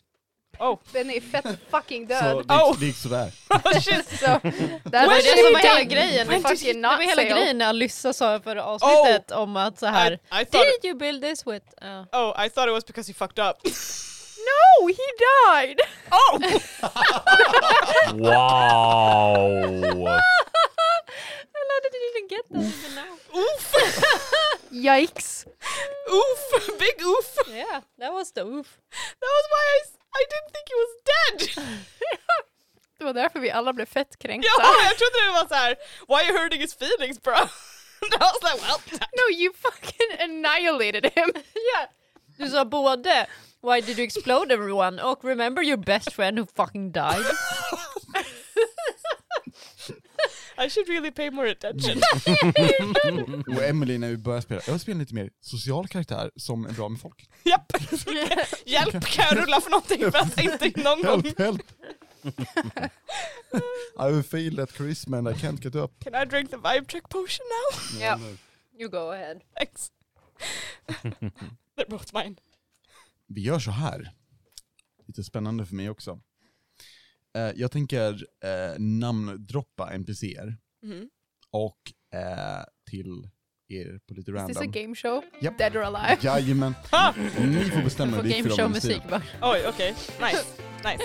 Speaker 3: Benny är fett fucking
Speaker 1: Så
Speaker 3: död.
Speaker 1: det,
Speaker 5: Oh.
Speaker 1: det gick sådär.
Speaker 5: Oh, shit.
Speaker 3: Så, det här
Speaker 5: When
Speaker 3: var
Speaker 5: did
Speaker 3: det som
Speaker 5: you
Speaker 3: var hela
Speaker 5: date?
Speaker 3: grejen.
Speaker 5: When did
Speaker 3: Fucking
Speaker 2: Det var
Speaker 3: not
Speaker 2: hela
Speaker 3: sale.
Speaker 2: grejen när Alyssa sa förra avsnittet om att så här...
Speaker 5: Oh! I, I thought
Speaker 2: Did you build this with... uh, Ja.
Speaker 5: Oh, I thought it was because he fucked up.
Speaker 3: No, he died!
Speaker 5: Oh!
Speaker 4: Wow!
Speaker 2: Eller did you even get that even now?
Speaker 5: Oof!
Speaker 3: Yikes.
Speaker 5: Oof! Big oof!
Speaker 2: Yeah, that was the oof.
Speaker 5: That was why I, s- I didn't think he was dead!
Speaker 3: Det var därför vi alla blev fett kränkta.
Speaker 5: ja, jag trodde det var så här. why are you hurting his feelings bro? And I was like, well,
Speaker 3: No, you fucking annihilated him.
Speaker 2: Yeah. Du sa både Why did you explode everyone? och Remember your best friend who fucking died?
Speaker 5: I should really pay more attention.
Speaker 3: Mm.
Speaker 1: Och Emily när vi började spela, jag spelar lite mer social karaktär som är bra med folk.
Speaker 5: Japp! Hjälp, kan jag rulla för någonting? För att inte någon gång...
Speaker 1: Help, help! I will fail at charisma and I can't get up.
Speaker 5: Can I drink the vibe check potion now?
Speaker 2: Ja. You go ahead.
Speaker 5: Thanks. They're both mine.
Speaker 1: Vi gör så här. Lite spännande för mig också. Eh, jag tänker eh, namndroppa NPCer
Speaker 5: Mhm.
Speaker 1: och eh, till er på lite
Speaker 3: Is this a
Speaker 1: random.
Speaker 3: game show?
Speaker 1: Japp.
Speaker 3: Dead or alive?
Speaker 1: Jajamän.
Speaker 5: Ha!
Speaker 1: Ni får bestämma
Speaker 2: Får
Speaker 1: vilket av dem ni
Speaker 2: gameshow-musik
Speaker 1: styr.
Speaker 2: bara.
Speaker 5: Oj, okej. Nice. Nice.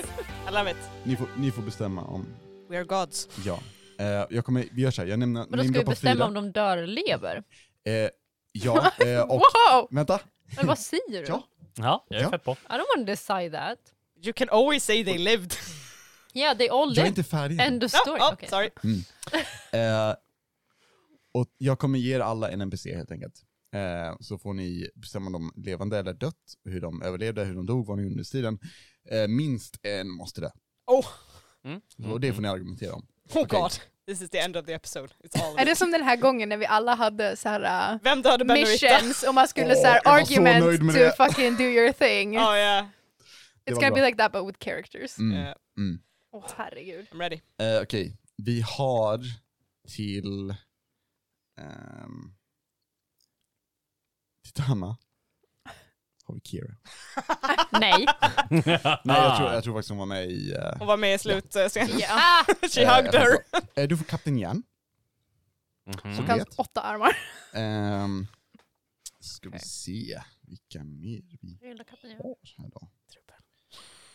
Speaker 5: I love it.
Speaker 1: Ni får, ni får bestämma om,
Speaker 5: We are gods.
Speaker 1: ja. Eh, jag kommer, vi gör så här, jag nämner
Speaker 2: Men då ska vi bestämma om de dör eller lever?
Speaker 1: Eh, ja, eh, och
Speaker 3: Wow!
Speaker 1: vänta.
Speaker 2: Men vad säger du?
Speaker 1: Ja.
Speaker 4: Ja, jag är
Speaker 1: Ja.
Speaker 4: fett på.
Speaker 2: I don't want to decide that.
Speaker 5: You can always say they lived.
Speaker 2: Yeah, they all
Speaker 1: Jag är
Speaker 2: did.
Speaker 1: inte färdig. än.
Speaker 2: End of
Speaker 5: No,
Speaker 2: story.
Speaker 5: oh,
Speaker 2: Okej.
Speaker 5: Sorry.
Speaker 1: Eh, och jag kommer ge er alla en NPC helt enkelt. Eh, så får ni bestämma om de levande eller dött, hur de överlevde, hur de dog, vad ni gjorde under tiden. Eh, minst en måste det.
Speaker 5: Oh,
Speaker 4: Mm.
Speaker 1: Och det får ni argumentera om.
Speaker 5: oh
Speaker 1: Okej.
Speaker 5: god. This is the end of the episode. It's all of
Speaker 3: Är det
Speaker 5: it.
Speaker 3: som den här gången när vi alla hade så här uh,
Speaker 5: Vem dödade Benedicta?
Speaker 3: missions och man skulle
Speaker 1: Åh,
Speaker 3: så här
Speaker 1: jag var så
Speaker 3: argument
Speaker 1: nöjd med
Speaker 3: to
Speaker 1: det.
Speaker 3: fucking do your thing.
Speaker 5: Oh yeah.
Speaker 1: Det
Speaker 3: It's
Speaker 1: var
Speaker 3: gonna
Speaker 1: bra.
Speaker 3: be like that but with characters. Åh
Speaker 1: Mm.
Speaker 5: yeah.
Speaker 1: Mm.
Speaker 3: herregud.
Speaker 5: Eh, I'm ready.
Speaker 1: Eh, Okej, vi har till... ehm, till Hanna. Har vi Kira?
Speaker 2: Nej.
Speaker 5: Ah.
Speaker 1: Nej, jag, tror, jag tror faktiskt hon var med i... eh,
Speaker 5: Hon var med i slutscenen.
Speaker 3: Yeah.
Speaker 2: Ah,
Speaker 5: She
Speaker 1: eh,
Speaker 5: hugged her. Mm.
Speaker 1: eh, du får Kapten Jan.
Speaker 4: Mhm.
Speaker 1: Så kan-
Speaker 3: Hans
Speaker 1: Vet.
Speaker 3: åtta armar.
Speaker 1: Ehm, ska vi
Speaker 2: Okej.
Speaker 1: se vilka mer vi har här då.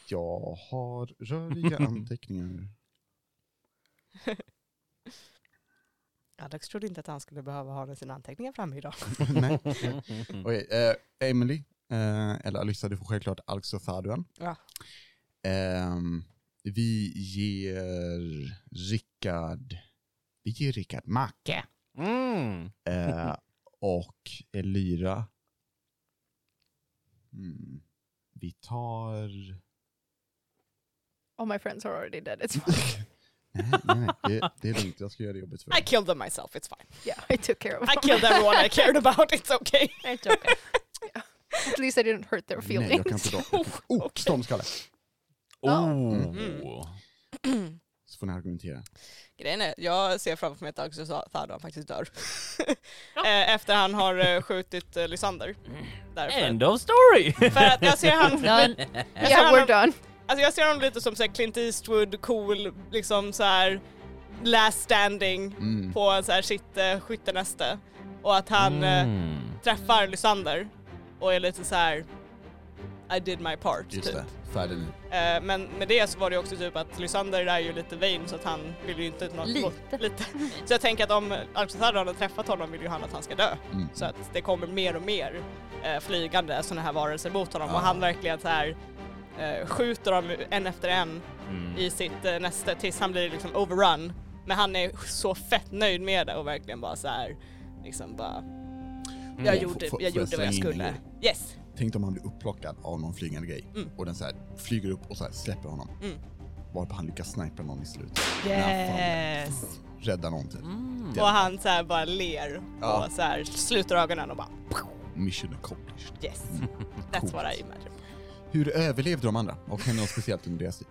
Speaker 1: Jag har röriga anteckningar.
Speaker 5: Alex trodde inte att han skulle behöva ha sina anteckningar framme idag.
Speaker 1: Nej. Okej, eh, Emily, eh, eller Alyssa, du får självklart Alxo Thaduen.
Speaker 5: Ja.
Speaker 1: Ehm, vi ger Rickard, vi ger Rickard Macke.
Speaker 4: Mm.
Speaker 1: Eh, och Elira. Mm. Vi tar...
Speaker 3: All my friends are already dead. It's fine.
Speaker 1: nej, nej, nej. Det, det är lugnt. Jag ska göra det jobbet för
Speaker 5: I killed them myself, it's fine.
Speaker 3: Yeah, I took care of
Speaker 5: I
Speaker 3: them.
Speaker 5: killed everyone I cared about, it's okay.
Speaker 2: it's okay.
Speaker 3: At least I didn't hurt their
Speaker 1: dig. Nej, jag kan
Speaker 3: feelings.
Speaker 1: inte dra. Jag kan- Oh, stormskalle! Mm.
Speaker 4: Oh.
Speaker 1: Så får ni argumentera.
Speaker 5: Grejen är, jag ser framför mig att Alex sa att han faktiskt dör. Eh, Efter han har eh, skjutit eh, Lysander. Därför.
Speaker 4: End of story!
Speaker 5: För att jag ser han,
Speaker 2: Done.
Speaker 5: jag ser
Speaker 3: yeah, we're
Speaker 5: honom,
Speaker 3: done.
Speaker 5: alltså jag ser honom lite som så här Clint Eastwood, cool, liksom så här last standing
Speaker 1: Mm.
Speaker 5: på en så här sitt eh, skyttenäste. Och att han eh,
Speaker 4: Mm.
Speaker 5: träffar Lysander och är lite så här. I did my part.
Speaker 1: Just
Speaker 5: typ.
Speaker 1: det, färdig nu.
Speaker 5: Eh, Men med det så var det också typ att Lysander är ju lite vain så att han vill ju inte... nå-
Speaker 2: Lite.
Speaker 5: lite. Så jag tänker att om Alcazar hade träffat honom vill ju han att han ska dö.
Speaker 1: Mm.
Speaker 5: Så att det kommer mer och mer eh, flygande sådana här varelser mot honom
Speaker 1: Ja.
Speaker 5: och han verkligen så här eh, skjuter dem en efter en
Speaker 4: Mm.
Speaker 5: i sitt eh, näste tills han blir liksom overrun. Men han är så fett nöjd med det och verkligen bara så här liksom bara jag
Speaker 1: Mm.
Speaker 5: gjorde,
Speaker 1: Får- får
Speaker 5: jag
Speaker 1: jag
Speaker 5: gjorde vad jag
Speaker 1: slänga in en
Speaker 5: skulle. Yes!
Speaker 1: Tänk om han blir upplockad av någon flygande grej
Speaker 5: Mm.
Speaker 1: och den så här flyger upp och så här släpper honom.
Speaker 5: Mm.
Speaker 1: Varpå han lyckas snipa någon i slut.
Speaker 5: Yes!
Speaker 1: Rädda någon typ.
Speaker 4: Mm.
Speaker 5: Och han så här bara ler
Speaker 1: Ja.
Speaker 5: och så här sluter ögonen och bara
Speaker 1: Mission accomplished.
Speaker 5: yes. That's what I imagine.
Speaker 1: Hur överlevde de andra? Och hände något speciellt under deras tid?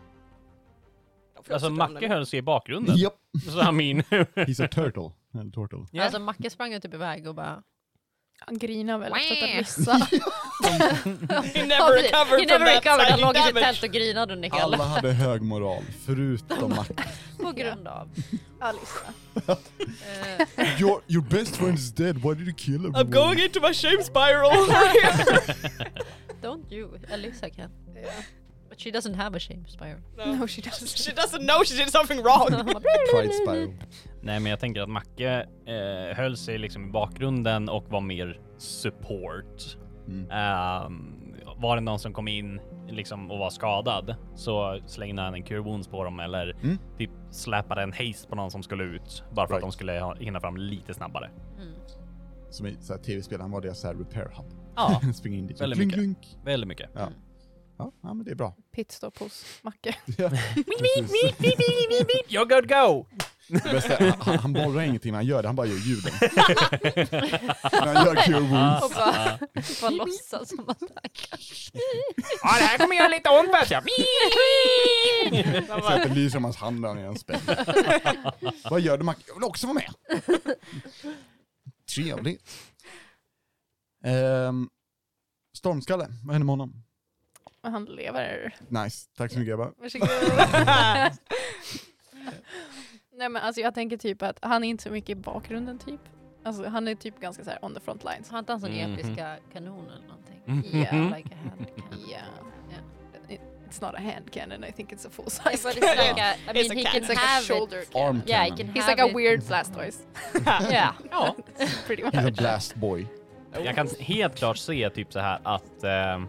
Speaker 5: De får
Speaker 4: Alltså
Speaker 5: också dra
Speaker 4: Macke
Speaker 5: den.
Speaker 4: höll sig i bakgrunden.
Speaker 1: Japp.
Speaker 4: Så han min.
Speaker 1: He's a turtle. Eller turtle.
Speaker 4: Ja.
Speaker 2: Alltså Macke sprang ju typ iväg och bara...
Speaker 3: Han grinar väl
Speaker 2: efter att
Speaker 3: efter
Speaker 2: ha
Speaker 3: att ryssa.
Speaker 5: He never recovered
Speaker 2: He never
Speaker 5: from
Speaker 2: recovered.
Speaker 5: that
Speaker 2: Han
Speaker 5: psychic
Speaker 2: låg i sitt
Speaker 5: damage.
Speaker 2: tält och grinade under hela.
Speaker 1: Alla hade hög moral, förutom Macke.
Speaker 2: På grund av...
Speaker 3: Alissa.
Speaker 2: eh,
Speaker 1: Your, your best friend is dead, why did you kill everyone?
Speaker 5: I'm going into my shame spiral.
Speaker 2: don't you. Alyssa can. But she doesn't have a shame spiral.
Speaker 3: No she doesn't.
Speaker 5: She doesn't know she did something wrong.
Speaker 1: Pride spiral.
Speaker 4: Nej men jag tänker att Macke eh, höll sig liksom i bakgrunden och var mer support.
Speaker 1: Mm.
Speaker 4: Ehm, var det någon som kom in liksom och var skadad så slängde han en cure wounds på dem eller
Speaker 1: Mm.
Speaker 4: typ släpade en haste på någon som skulle ut bara för att
Speaker 1: Right.
Speaker 4: de skulle ha- hinna fram lite snabbare.
Speaker 2: Mm.
Speaker 1: Som i så här tv-spel, han var deras så här repair hub.
Speaker 4: Ja,
Speaker 1: Spring in dit.
Speaker 4: Väldigt
Speaker 1: Klunk,
Speaker 4: mycket.
Speaker 1: klunk.
Speaker 4: väldigt mycket.
Speaker 1: Ja. Mm. Ja, ja, men det är bra.
Speaker 3: Pitstop hos Macke.
Speaker 1: Ja, precis.
Speaker 4: You're good go!
Speaker 1: Det bästa är, han, han borrar ingenting när han gör det, han bara gör ljuden. när han gör cure wounds.
Speaker 2: Och
Speaker 3: Ah.
Speaker 2: bara, bara låtsas som att han kan.
Speaker 4: Ja, det här kommer göra lite ont vet jag.
Speaker 5: De
Speaker 1: Så att
Speaker 5: bara,
Speaker 1: det lyser om hans hand när han gör en spel. Vad gör du Mac? Jag vill också vara med. Trevligt. Ehm, stormskalle, vad händer med honom?
Speaker 3: Men han lever.
Speaker 1: Nice, tack så mycket grabbar.
Speaker 3: Varsågod. Nej men alltså jag tänker typ att han är inte så mycket i bakgrunden typ. Alltså, han är typ ganska så här on the front lines.
Speaker 2: Har inte han sån
Speaker 4: Mhm.
Speaker 2: episka kanon eller någonting?
Speaker 3: Mhm.
Speaker 4: Mm.
Speaker 3: Ja.
Speaker 2: Like a hand cannon.
Speaker 3: Yeah.
Speaker 2: Yeah.
Speaker 3: It's not a hand cannon, I think it's a full
Speaker 2: Yeah,
Speaker 3: size
Speaker 2: but it's
Speaker 3: cannon.
Speaker 2: like a, I mean,
Speaker 5: a
Speaker 2: he
Speaker 5: cannon.
Speaker 2: can
Speaker 3: It's like a
Speaker 2: have it.
Speaker 3: shoulder
Speaker 1: Arm
Speaker 3: cannon.
Speaker 2: Yeah, he
Speaker 1: cannon.
Speaker 2: can have
Speaker 3: He's like a
Speaker 2: it.
Speaker 3: weird blastoise,
Speaker 2: Yeah.
Speaker 4: Ja,
Speaker 3: pretty
Speaker 1: He's a
Speaker 3: much.
Speaker 1: blast boy.
Speaker 4: jag kan helt klart se typ så här att eh,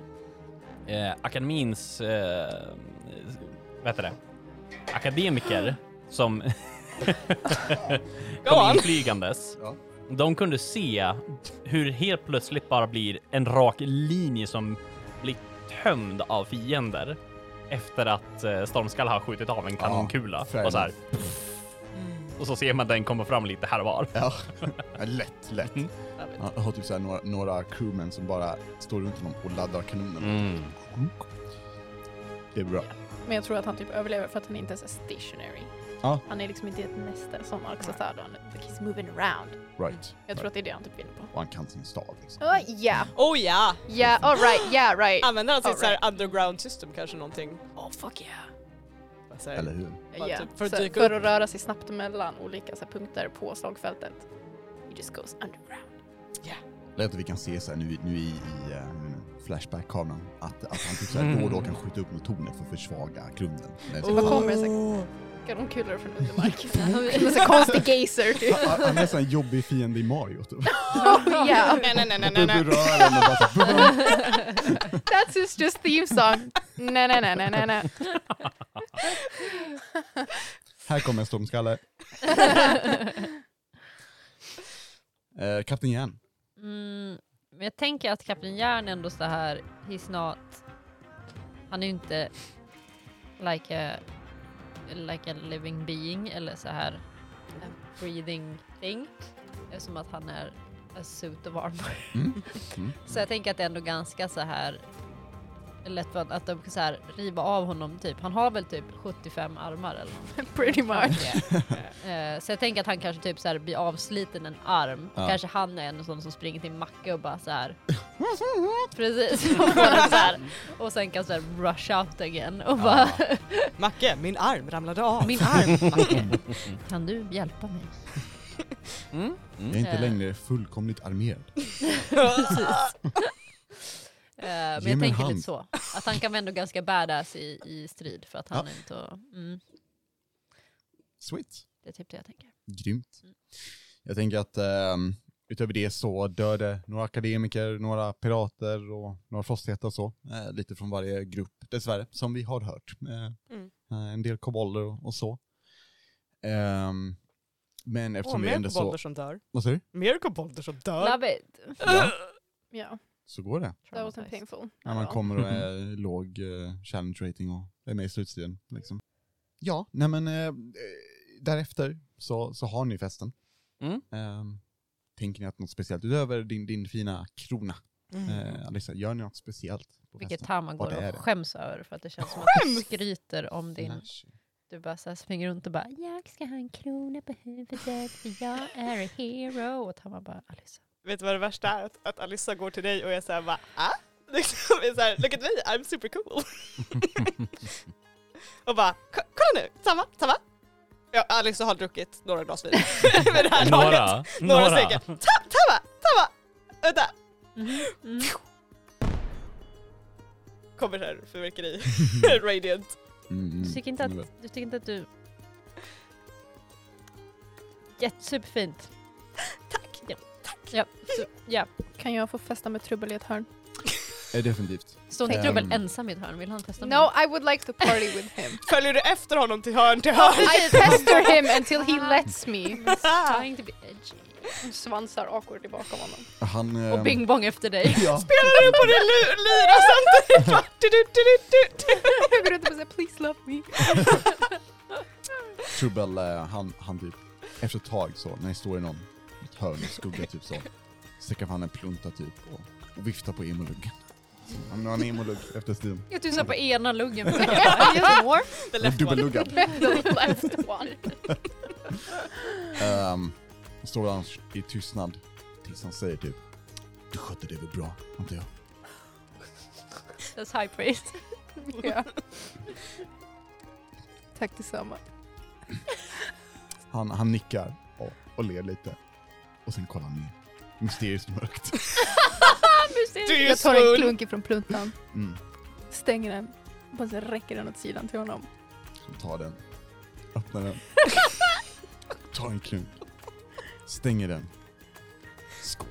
Speaker 4: eh, akademins, eh, vad heter det, akademiker som
Speaker 5: Go on.
Speaker 4: kom inflygandes,
Speaker 1: Ja.
Speaker 4: de kunde se hur helt plötsligt bara blir en rak linje som blir tömd av fiender efter att eh, Stormskall har skjutit av en kanonkula
Speaker 1: fair
Speaker 4: och så här.
Speaker 1: enough.
Speaker 5: Mm.
Speaker 4: Och så ser man den komma fram lite här och var.
Speaker 1: Ja. Ja, lätt, lätt.
Speaker 4: Mm.
Speaker 1: Han har typ så här några, några crewmen som bara står runt honom och laddar kanonerna.
Speaker 4: Mm.
Speaker 5: Mm.
Speaker 1: Det är bra.
Speaker 3: Men jag tror att han typ överlever för att han inte ens är stationary.
Speaker 1: Ja.
Speaker 3: Han är liksom inte i ett näste som Arxatado. Han är- He's moving around.
Speaker 1: Right.
Speaker 3: Jag tror
Speaker 1: right.
Speaker 3: att det är det han typ vinner på.
Speaker 1: Och han kan sin stav liksom.
Speaker 3: Oh, yeah,
Speaker 5: Oh ja!
Speaker 3: yeah, alright, yeah, right.
Speaker 5: Använder han sitt
Speaker 3: All
Speaker 5: så här underground system kanske någonting?
Speaker 3: Oh fuck yeah.
Speaker 5: Vad säger
Speaker 1: Eller hur?
Speaker 5: Bara
Speaker 3: yeah.
Speaker 5: typ för att
Speaker 3: så,
Speaker 5: dyka
Speaker 3: för att röra sig snabbt mellan olika så här, punkter på slagfältet. He just goes underground.
Speaker 1: Lätt att vi kan se så här nu, nu i, i ehm, Flashback-kameran att, att han typ så här då och då kan skjuta upp mot tornet för att försvaga grunden. Men så-
Speaker 3: Vad kommer det
Speaker 5: Oh.
Speaker 3: sig? Kanonkulor från undermarken.
Speaker 2: Ja.
Speaker 3: Det är så konstig gazer typ.
Speaker 1: Han- Han är så en jobbig fiende i Mario typ.
Speaker 3: Oh yeah,
Speaker 5: Nej, nej, nej, nej,
Speaker 1: Upp
Speaker 5: nej,
Speaker 1: i
Speaker 5: nej.
Speaker 1: rören och bara så här, boom.
Speaker 3: that's his just theme song. Nej, nej, nej, nej, nej, nej.
Speaker 1: Här kommer en stormskalle. Eh, Kapten Järn.
Speaker 2: Mm, men jag tänker att Kapten Järn ändå så här, he's not... Han är ju inte like a, like a living being eller så här a breathing thing. Eftersom att han är a suit of armor.
Speaker 1: Mm. Mm.
Speaker 2: Så jag tänker att det är ändå ganska så här lätt för att de kan så här riva av honom typ. Han har väl typ 75 armar eller något.
Speaker 3: Pretty much.
Speaker 2: Eh, Så jag tänker att han kanske typ så här blir avsliten en arm.
Speaker 1: Ja.
Speaker 2: Kanske han är en sån som springer till Macke och bara så här.
Speaker 5: Mm.
Speaker 2: Precis. Och, får den så här. och sen kan så här rush out again och bara
Speaker 5: Macke, min arm ramlade av.
Speaker 2: Min arm Macke, kan du hjälpa mig?
Speaker 1: Jag är inte
Speaker 2: Eh.
Speaker 1: längre fullkomligt armerad.
Speaker 2: Precis. Eh, Men
Speaker 1: Ge mig en
Speaker 2: jag tänker
Speaker 1: hand.
Speaker 2: lite så. Att han kan vara ändå ganska badass i, i strid för att han
Speaker 1: Ja.
Speaker 2: är inte... Mm,
Speaker 1: Sweet.
Speaker 2: det är typ det jag tänker.
Speaker 1: Grymt.
Speaker 5: Mm.
Speaker 1: Jag tänker att ehm, utöver det så dör det några akademiker, några pirater och några frosthättar och så. Eh, lite från varje grupp dessvärre, som vi har hört. Eh,
Speaker 5: Mm.
Speaker 1: eh, en del kobolder och, och så. Ehm, men
Speaker 5: Åh,
Speaker 1: eftersom vi
Speaker 5: mer
Speaker 1: ändå så...
Speaker 5: kobolder som dör.
Speaker 1: Vad säger du?
Speaker 5: Mer kobolder som dör.
Speaker 2: Love it!
Speaker 1: Ja,
Speaker 3: Yeah,
Speaker 1: så går det.
Speaker 3: that wasn't painful.
Speaker 1: När man kommer och är låg eh, challenge rating och är med i slutstriden. Liksom. Ja, nej men eh, eh, därefter så, så har ni festen.
Speaker 4: Mm.
Speaker 1: Ehm, tänker ni att något speciellt, utöver din, din fina krona,
Speaker 5: Mm.
Speaker 1: eh, Alissa, gör ni något speciellt på
Speaker 2: Vilket
Speaker 1: festen?
Speaker 2: Tama
Speaker 1: Vad
Speaker 2: går
Speaker 1: är
Speaker 2: och
Speaker 1: det?
Speaker 2: skäms över för att det känns som att du
Speaker 5: Skäms!
Speaker 2: skryter om din...
Speaker 1: Flash.
Speaker 2: Du bara så här springer runt och bara “Jag ska ha en krona på huvudet för jag är a hero” och Tama bara “Alissa”.
Speaker 5: Vet du vad det värsta är? Att, att Alissa går till dig och jag säger bara ah? Liksom, är så här, look at me, I'm super cool. och bara, "Ko- kolla nu, samma, samma. Ja, Alissa har druckit några glas vin. Med det här laget.
Speaker 4: Några,
Speaker 5: Några stycken. Ta- Tamma, Tamma! Vänta!
Speaker 2: Mm.
Speaker 5: Kommer här fyrverkeri. Radiant.
Speaker 1: Mm, mm,
Speaker 2: Du, tycker inte
Speaker 1: mm.
Speaker 2: att, du tycker inte att du... Jättesuperfint. Tack! Ja. Ja, så, ja.
Speaker 3: Kan jag få festa med trubbel i ett hörn?
Speaker 1: Eh, definitivt.
Speaker 2: Står inte
Speaker 1: Ehm.
Speaker 2: Trubbel ensam i ett hörn? Vill han testa med?
Speaker 3: No, I would like to party with him.
Speaker 5: Följer du efter honom till hörn till hörn?
Speaker 3: I pester him until he lets me.
Speaker 2: He's trying to be edgy.
Speaker 3: Svansar awkward bakom honom.
Speaker 1: Han... ehm,
Speaker 2: Och bing bong efter dig.
Speaker 1: Ja,
Speaker 5: Spelar du på din lu- lyra samtidigt? Va? Du, du, du, du, du, du.
Speaker 3: Jag går runt och säger please love me.
Speaker 1: Trubbel, eh, han, han typ, efter ett tag så, när ni står i någon, ett hörn i skugga typ så, sträcker han en plunta typ och, och viftar på emoluggen. Han har en emolugg efter striden.
Speaker 2: Jag tussar på ena luggen.
Speaker 5: The left one.
Speaker 1: Dubbelluggad.
Speaker 3: The left one.
Speaker 1: Um, står han i tystnad tills han säger typ Du skötte det väl bra, antar jag?
Speaker 2: That's high praise.
Speaker 3: Ja. Tack detsamma.
Speaker 1: Han, han nickar och, och ler lite. Och sen kollar han ner. Mysteriskt mörkt.
Speaker 5: Du är
Speaker 3: Jag tar en
Speaker 5: full.
Speaker 3: klunk ifrån pluntan,
Speaker 1: Mm.
Speaker 3: stänger den, och sen räcker den åt sidan till honom.
Speaker 1: Så tar den. Öppnar den. Tar en klunk. Stänger den. Skål.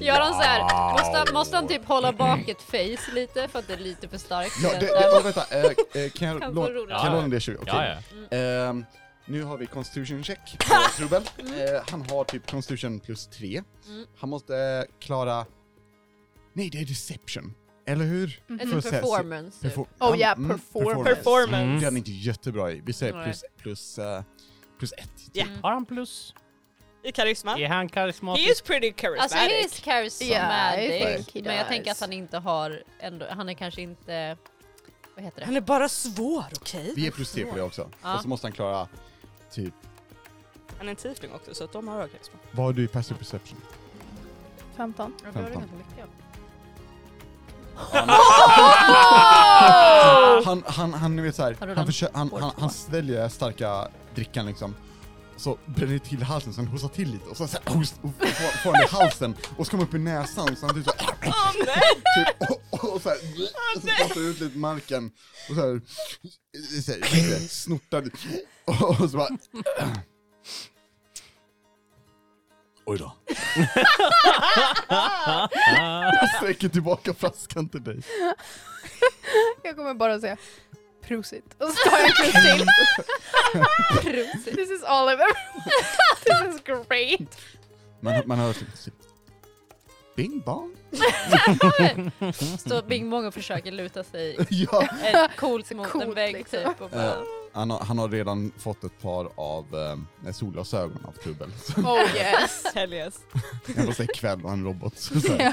Speaker 2: Gör han så här,
Speaker 1: Wow.
Speaker 2: måste, måste han typ hålla bak ett face lite för att det är lite för starkt?
Speaker 1: Ja, det, det, oh, vänta. Eh, eh, kan jag
Speaker 2: Kan
Speaker 1: låna
Speaker 2: få roligt. Mm.
Speaker 1: kan jag låna det 20? Okej.
Speaker 4: Ja, ja.
Speaker 1: Ehm, nu har vi Constitution check på Trubel. Eh, han har typ Constitution plus 3.
Speaker 2: Mm.
Speaker 1: Han måste eh, klara... Nej, det är Deception. Eller hur?
Speaker 3: Mm.
Speaker 2: Eller
Speaker 1: För att säga-
Speaker 2: performance typ.
Speaker 1: Perfor-
Speaker 3: Oh
Speaker 1: han-
Speaker 3: yeah,
Speaker 1: mm,
Speaker 3: performance.
Speaker 1: Det är
Speaker 5: Performance.
Speaker 1: han inte jättebra i. Vi säger
Speaker 2: Nej.
Speaker 1: plus, plus, eh, plus ett.
Speaker 5: Ja.
Speaker 2: Mm.
Speaker 4: Har han plus?
Speaker 5: I karisma.
Speaker 4: Är han
Speaker 5: He
Speaker 4: karismatisk?
Speaker 5: is pretty charismatic.
Speaker 2: Alltså he is
Speaker 3: Yeah, I
Speaker 2: charismatic,
Speaker 3: think he
Speaker 2: men jag
Speaker 3: does.
Speaker 2: tänker att han inte har, ändå, han är kanske inte, vad heter det?
Speaker 5: Han är bara svår, okej?
Speaker 1: Vi ger plus 3 på det också.
Speaker 2: Ja.
Speaker 1: Och så måste han klara typ...
Speaker 5: Han är en tiefling också, så att de har hög karisma.
Speaker 1: Vad har du i passive perception?
Speaker 3: 15.
Speaker 2: Jag
Speaker 1: behöver femton.
Speaker 2: Oh!
Speaker 1: Han, han, han, ni vet så här,
Speaker 2: Har du
Speaker 1: han,
Speaker 2: den?
Speaker 1: försö- han,
Speaker 2: År
Speaker 1: han,
Speaker 2: två.
Speaker 1: han sväljer starka drickan liksom. Så bränner det till halsen, sen hostar till lite och så, så här, host, och får, får han i halsen och så kommer upp i näsan så han typ så här,
Speaker 5: Åh nej!
Speaker 1: typ, och, och, och så här, och så spottar ut lite marken och så här, så här lite snortar lite. och, och så bara... Oj då. Sträcker tillbaka flaskan till dig.
Speaker 3: Jag kommer bara säga prosit. Och så tar jag en klunk till. prosit. This is all I've ever... This is great.
Speaker 1: Man, man hör typ... Bing bong.
Speaker 2: Står Bing Bong och försöker luta sig
Speaker 1: ja.
Speaker 2: eh, coolt mot en
Speaker 3: Coolt,
Speaker 2: vägg
Speaker 3: liksom.
Speaker 2: typ och bara,
Speaker 1: Eh, Han har, han har redan fått ett par av eh, solglasögon av Trubbel. Så
Speaker 3: Oh yes.
Speaker 5: Hell yes.
Speaker 1: Jag måste säga kväll och en robot. Så, så här.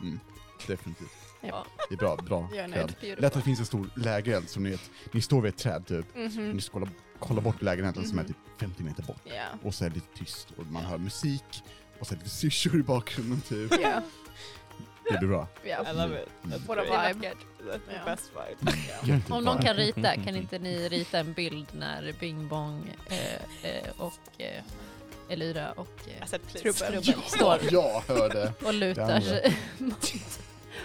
Speaker 1: Mm, definitivt.
Speaker 3: Ja.
Speaker 1: Det är bra, bra
Speaker 3: Jag är
Speaker 1: kväll.
Speaker 3: nöjd.
Speaker 1: Lätt att det finns en stor lägereld som ni vet, ni står vid ett träd typ, och
Speaker 3: Mhm.
Speaker 1: ni ska kolla, kolla bort lägerelden som är
Speaker 3: Mhm.
Speaker 1: typ 50 meter bort.
Speaker 3: Ja.
Speaker 1: Och så är det lite tyst och man hör musik och så är det lite syrsor i bakgrunden typ.
Speaker 3: Ja.
Speaker 1: Det blir bra.
Speaker 5: I
Speaker 3: Ja.
Speaker 5: love it.
Speaker 1: Mm.
Speaker 5: That's
Speaker 3: What a
Speaker 5: great.
Speaker 3: vibe.
Speaker 5: That's the
Speaker 3: Ja.
Speaker 5: best vibe.
Speaker 1: Jättebra.
Speaker 2: om någon kan rita, kan inte ni rita en bild när Bing Bong eh, eh, och eh, Elyra och eh,
Speaker 5: I said please.
Speaker 3: Trubbel.
Speaker 2: Trubbel
Speaker 1: Ja,
Speaker 2: står
Speaker 1: jag hörde.
Speaker 2: och
Speaker 1: Det
Speaker 2: lutar
Speaker 1: andra.
Speaker 2: sig mot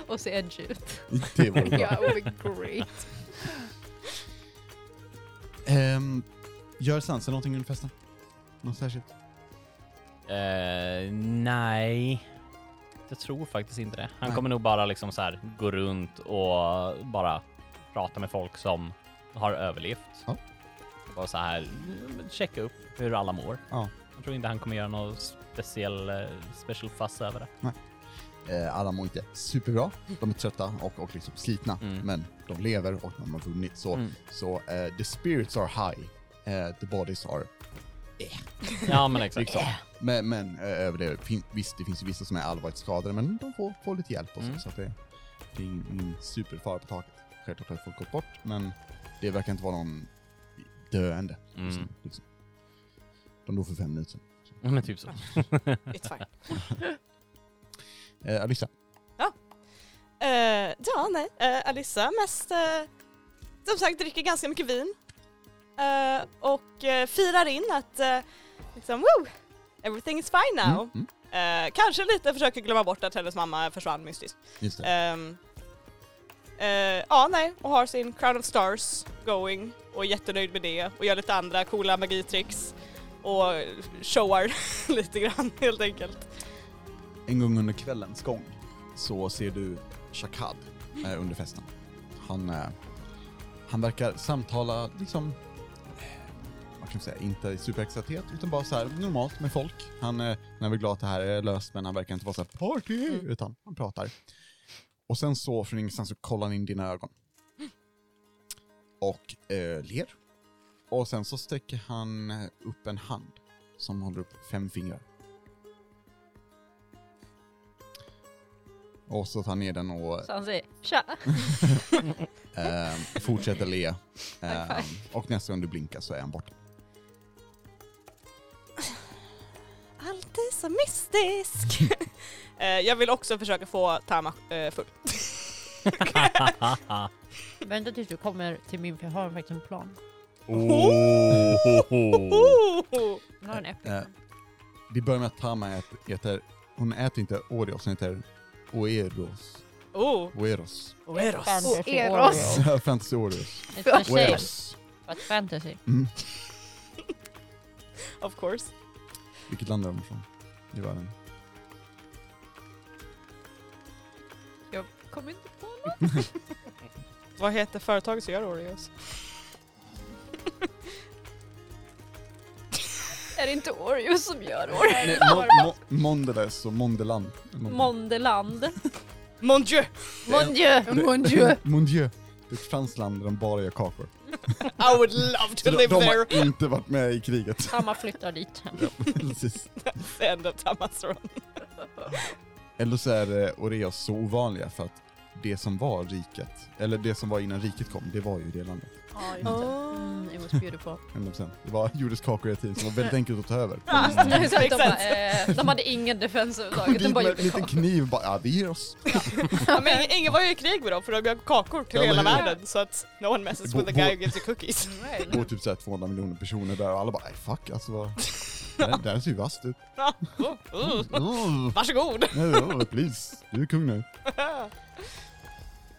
Speaker 2: och ser edgy ut.
Speaker 1: Det var bra.
Speaker 3: Ja, it would be great.
Speaker 1: Ehm, gör Sansa någonting under festen? Något särskilt?
Speaker 4: Eh, nej. Jag tror faktiskt inte det. Han
Speaker 1: Nej.
Speaker 4: kommer nog bara liksom så här gå runt och bara prata med folk som har överlevt.
Speaker 1: Ja.
Speaker 4: Bara så här mm, checka upp hur alla mår.
Speaker 1: Ja.
Speaker 4: Jag tror inte han kommer göra något speciell eh, special fuss över det.
Speaker 1: Eh, alla mår inte superbra. De är trötta och, och liksom slitna.
Speaker 4: Mm.
Speaker 1: Men de lever och de har vunnit. Så,
Speaker 4: Mm.
Speaker 1: så eh, the spirits are high. Eh, the bodies are...
Speaker 4: Ja, men exakt.
Speaker 1: Liksom. Men, men eh, över det, fin- visst det finns ju vissa som är allvarligt skadade men de får, får lite hjälp och så.
Speaker 4: Mm.
Speaker 1: Så att det, det är ingen, ingen superfara på taket. Självklart har folk gått bort men det verkar inte vara någon döende.
Speaker 4: Mm.
Speaker 1: Liksom, liksom. De dog för fem minuter sedan.
Speaker 4: Ja, Men typ så.
Speaker 5: It's fine.
Speaker 1: Eh, Alissa,
Speaker 5: Eh, ja, nej. Eh, Alissa mest, eh, som sagt, dricker ganska mycket vin. Eh, och eh, firar in att, eh, liksom, woo! Everything is fine now.
Speaker 1: Mm, mm,
Speaker 5: Eh, kanske lite försöker glömma bort att hennes mamma försvann mystiskt.
Speaker 1: just det.
Speaker 5: Ehm, eh, ja, nej, och har sin Crown of Stars going och är jättenöjd med det och gör lite andra coola magitricks och showar lite grann helt enkelt.
Speaker 1: En gång under kvällens gång så ser du Shakad eh, under festen. Han, eh, han verkar samtala liksom, eh, vad kan man säga, inte superexalterat utan bara så här normalt med folk. Han, eh, han är väl glad att det här är löst men han verkar inte vara så här party
Speaker 5: Mm.
Speaker 1: utan han pratar. Och sen så från ingenstans så kollar han in dina ögon. Och eh, ler. Och sen så sträcker han eh, upp en hand som håller upp fem fingrar. Och så tar han ner den och eh,
Speaker 2: Så han säger tja!
Speaker 1: Ehm, fortsätter le. Ehm,
Speaker 2: High
Speaker 1: och nästa gång du blinkar så är han borta.
Speaker 5: Allt är så mystisk. Eh, jag vill också försöka få Tama eh, full.
Speaker 2: Vänta tills du kommer till min, för jag har faktiskt en plan.
Speaker 5: Oh.
Speaker 2: Hon har en äppel.
Speaker 1: Eh, vi börjar med att Tama äter, äter hon äter inte Oreos, hon äter Oeros.
Speaker 5: Oh.
Speaker 1: Oeros.
Speaker 3: Fantasy
Speaker 2: Fantasy
Speaker 3: Eros.
Speaker 1: Fantasy Oreos.
Speaker 2: It's a shame,
Speaker 1: Oeros.
Speaker 2: but fantasy.
Speaker 1: Mm.
Speaker 5: Of course.
Speaker 1: Vilket land är de ifrån i världen?
Speaker 2: Jag kommer inte på något.
Speaker 5: Vad heter företaget som gör Oreos?
Speaker 2: Är det inte Oreos som gör Oreos?
Speaker 1: Nej, Mo- Mo- Mondeles och Mondeland.
Speaker 2: Mondeland.
Speaker 5: Mon Dieu!
Speaker 2: Mon Dieu.
Speaker 3: Mon Dieu.
Speaker 1: Mon Dieu. Det är ett franskt land där de bara gör kakor.
Speaker 5: I would love to
Speaker 1: Så de,
Speaker 5: live
Speaker 1: de
Speaker 5: there!
Speaker 1: har inte varit med i kriget.
Speaker 2: Samma flyttar dit.
Speaker 1: Precis.
Speaker 5: Send up Amazon.
Speaker 1: Eller så är eh, Oreos så ovanliga för att det som var riket, eller det som var innan riket kom, det var ju det landet.
Speaker 2: Ja, just det. Mm,
Speaker 5: Oh.
Speaker 2: it was beautiful.
Speaker 1: 100%. Det var, gjordes kakor hela tiden som var väldigt enkelt att ta över.
Speaker 2: Nej, så att de,
Speaker 5: Makes
Speaker 2: bara,
Speaker 5: sense.
Speaker 2: eh, de hade ingen defens överhuvudtaget, de
Speaker 1: Dit
Speaker 2: bara
Speaker 1: med en
Speaker 2: gjorde
Speaker 1: liten
Speaker 2: kakor.
Speaker 1: kniv bara, ja vi ger oss.
Speaker 5: Ja, men ing- ingen var ju i krig med dem för de gör kakor till
Speaker 1: Ja,
Speaker 5: hela
Speaker 1: men-
Speaker 5: världen så att no one messes
Speaker 1: Bo-
Speaker 5: with the guy who
Speaker 1: bo-
Speaker 5: gives you cookies.
Speaker 1: Det bor typ såhär 200 miljoner personer där och alla bara, nej fuck alltså vad... Det här- det här ser ju vasst ut.
Speaker 5: Oh, oh.
Speaker 1: Oh,
Speaker 5: Varsågod!
Speaker 1: nej, oh, please, du är kung nu.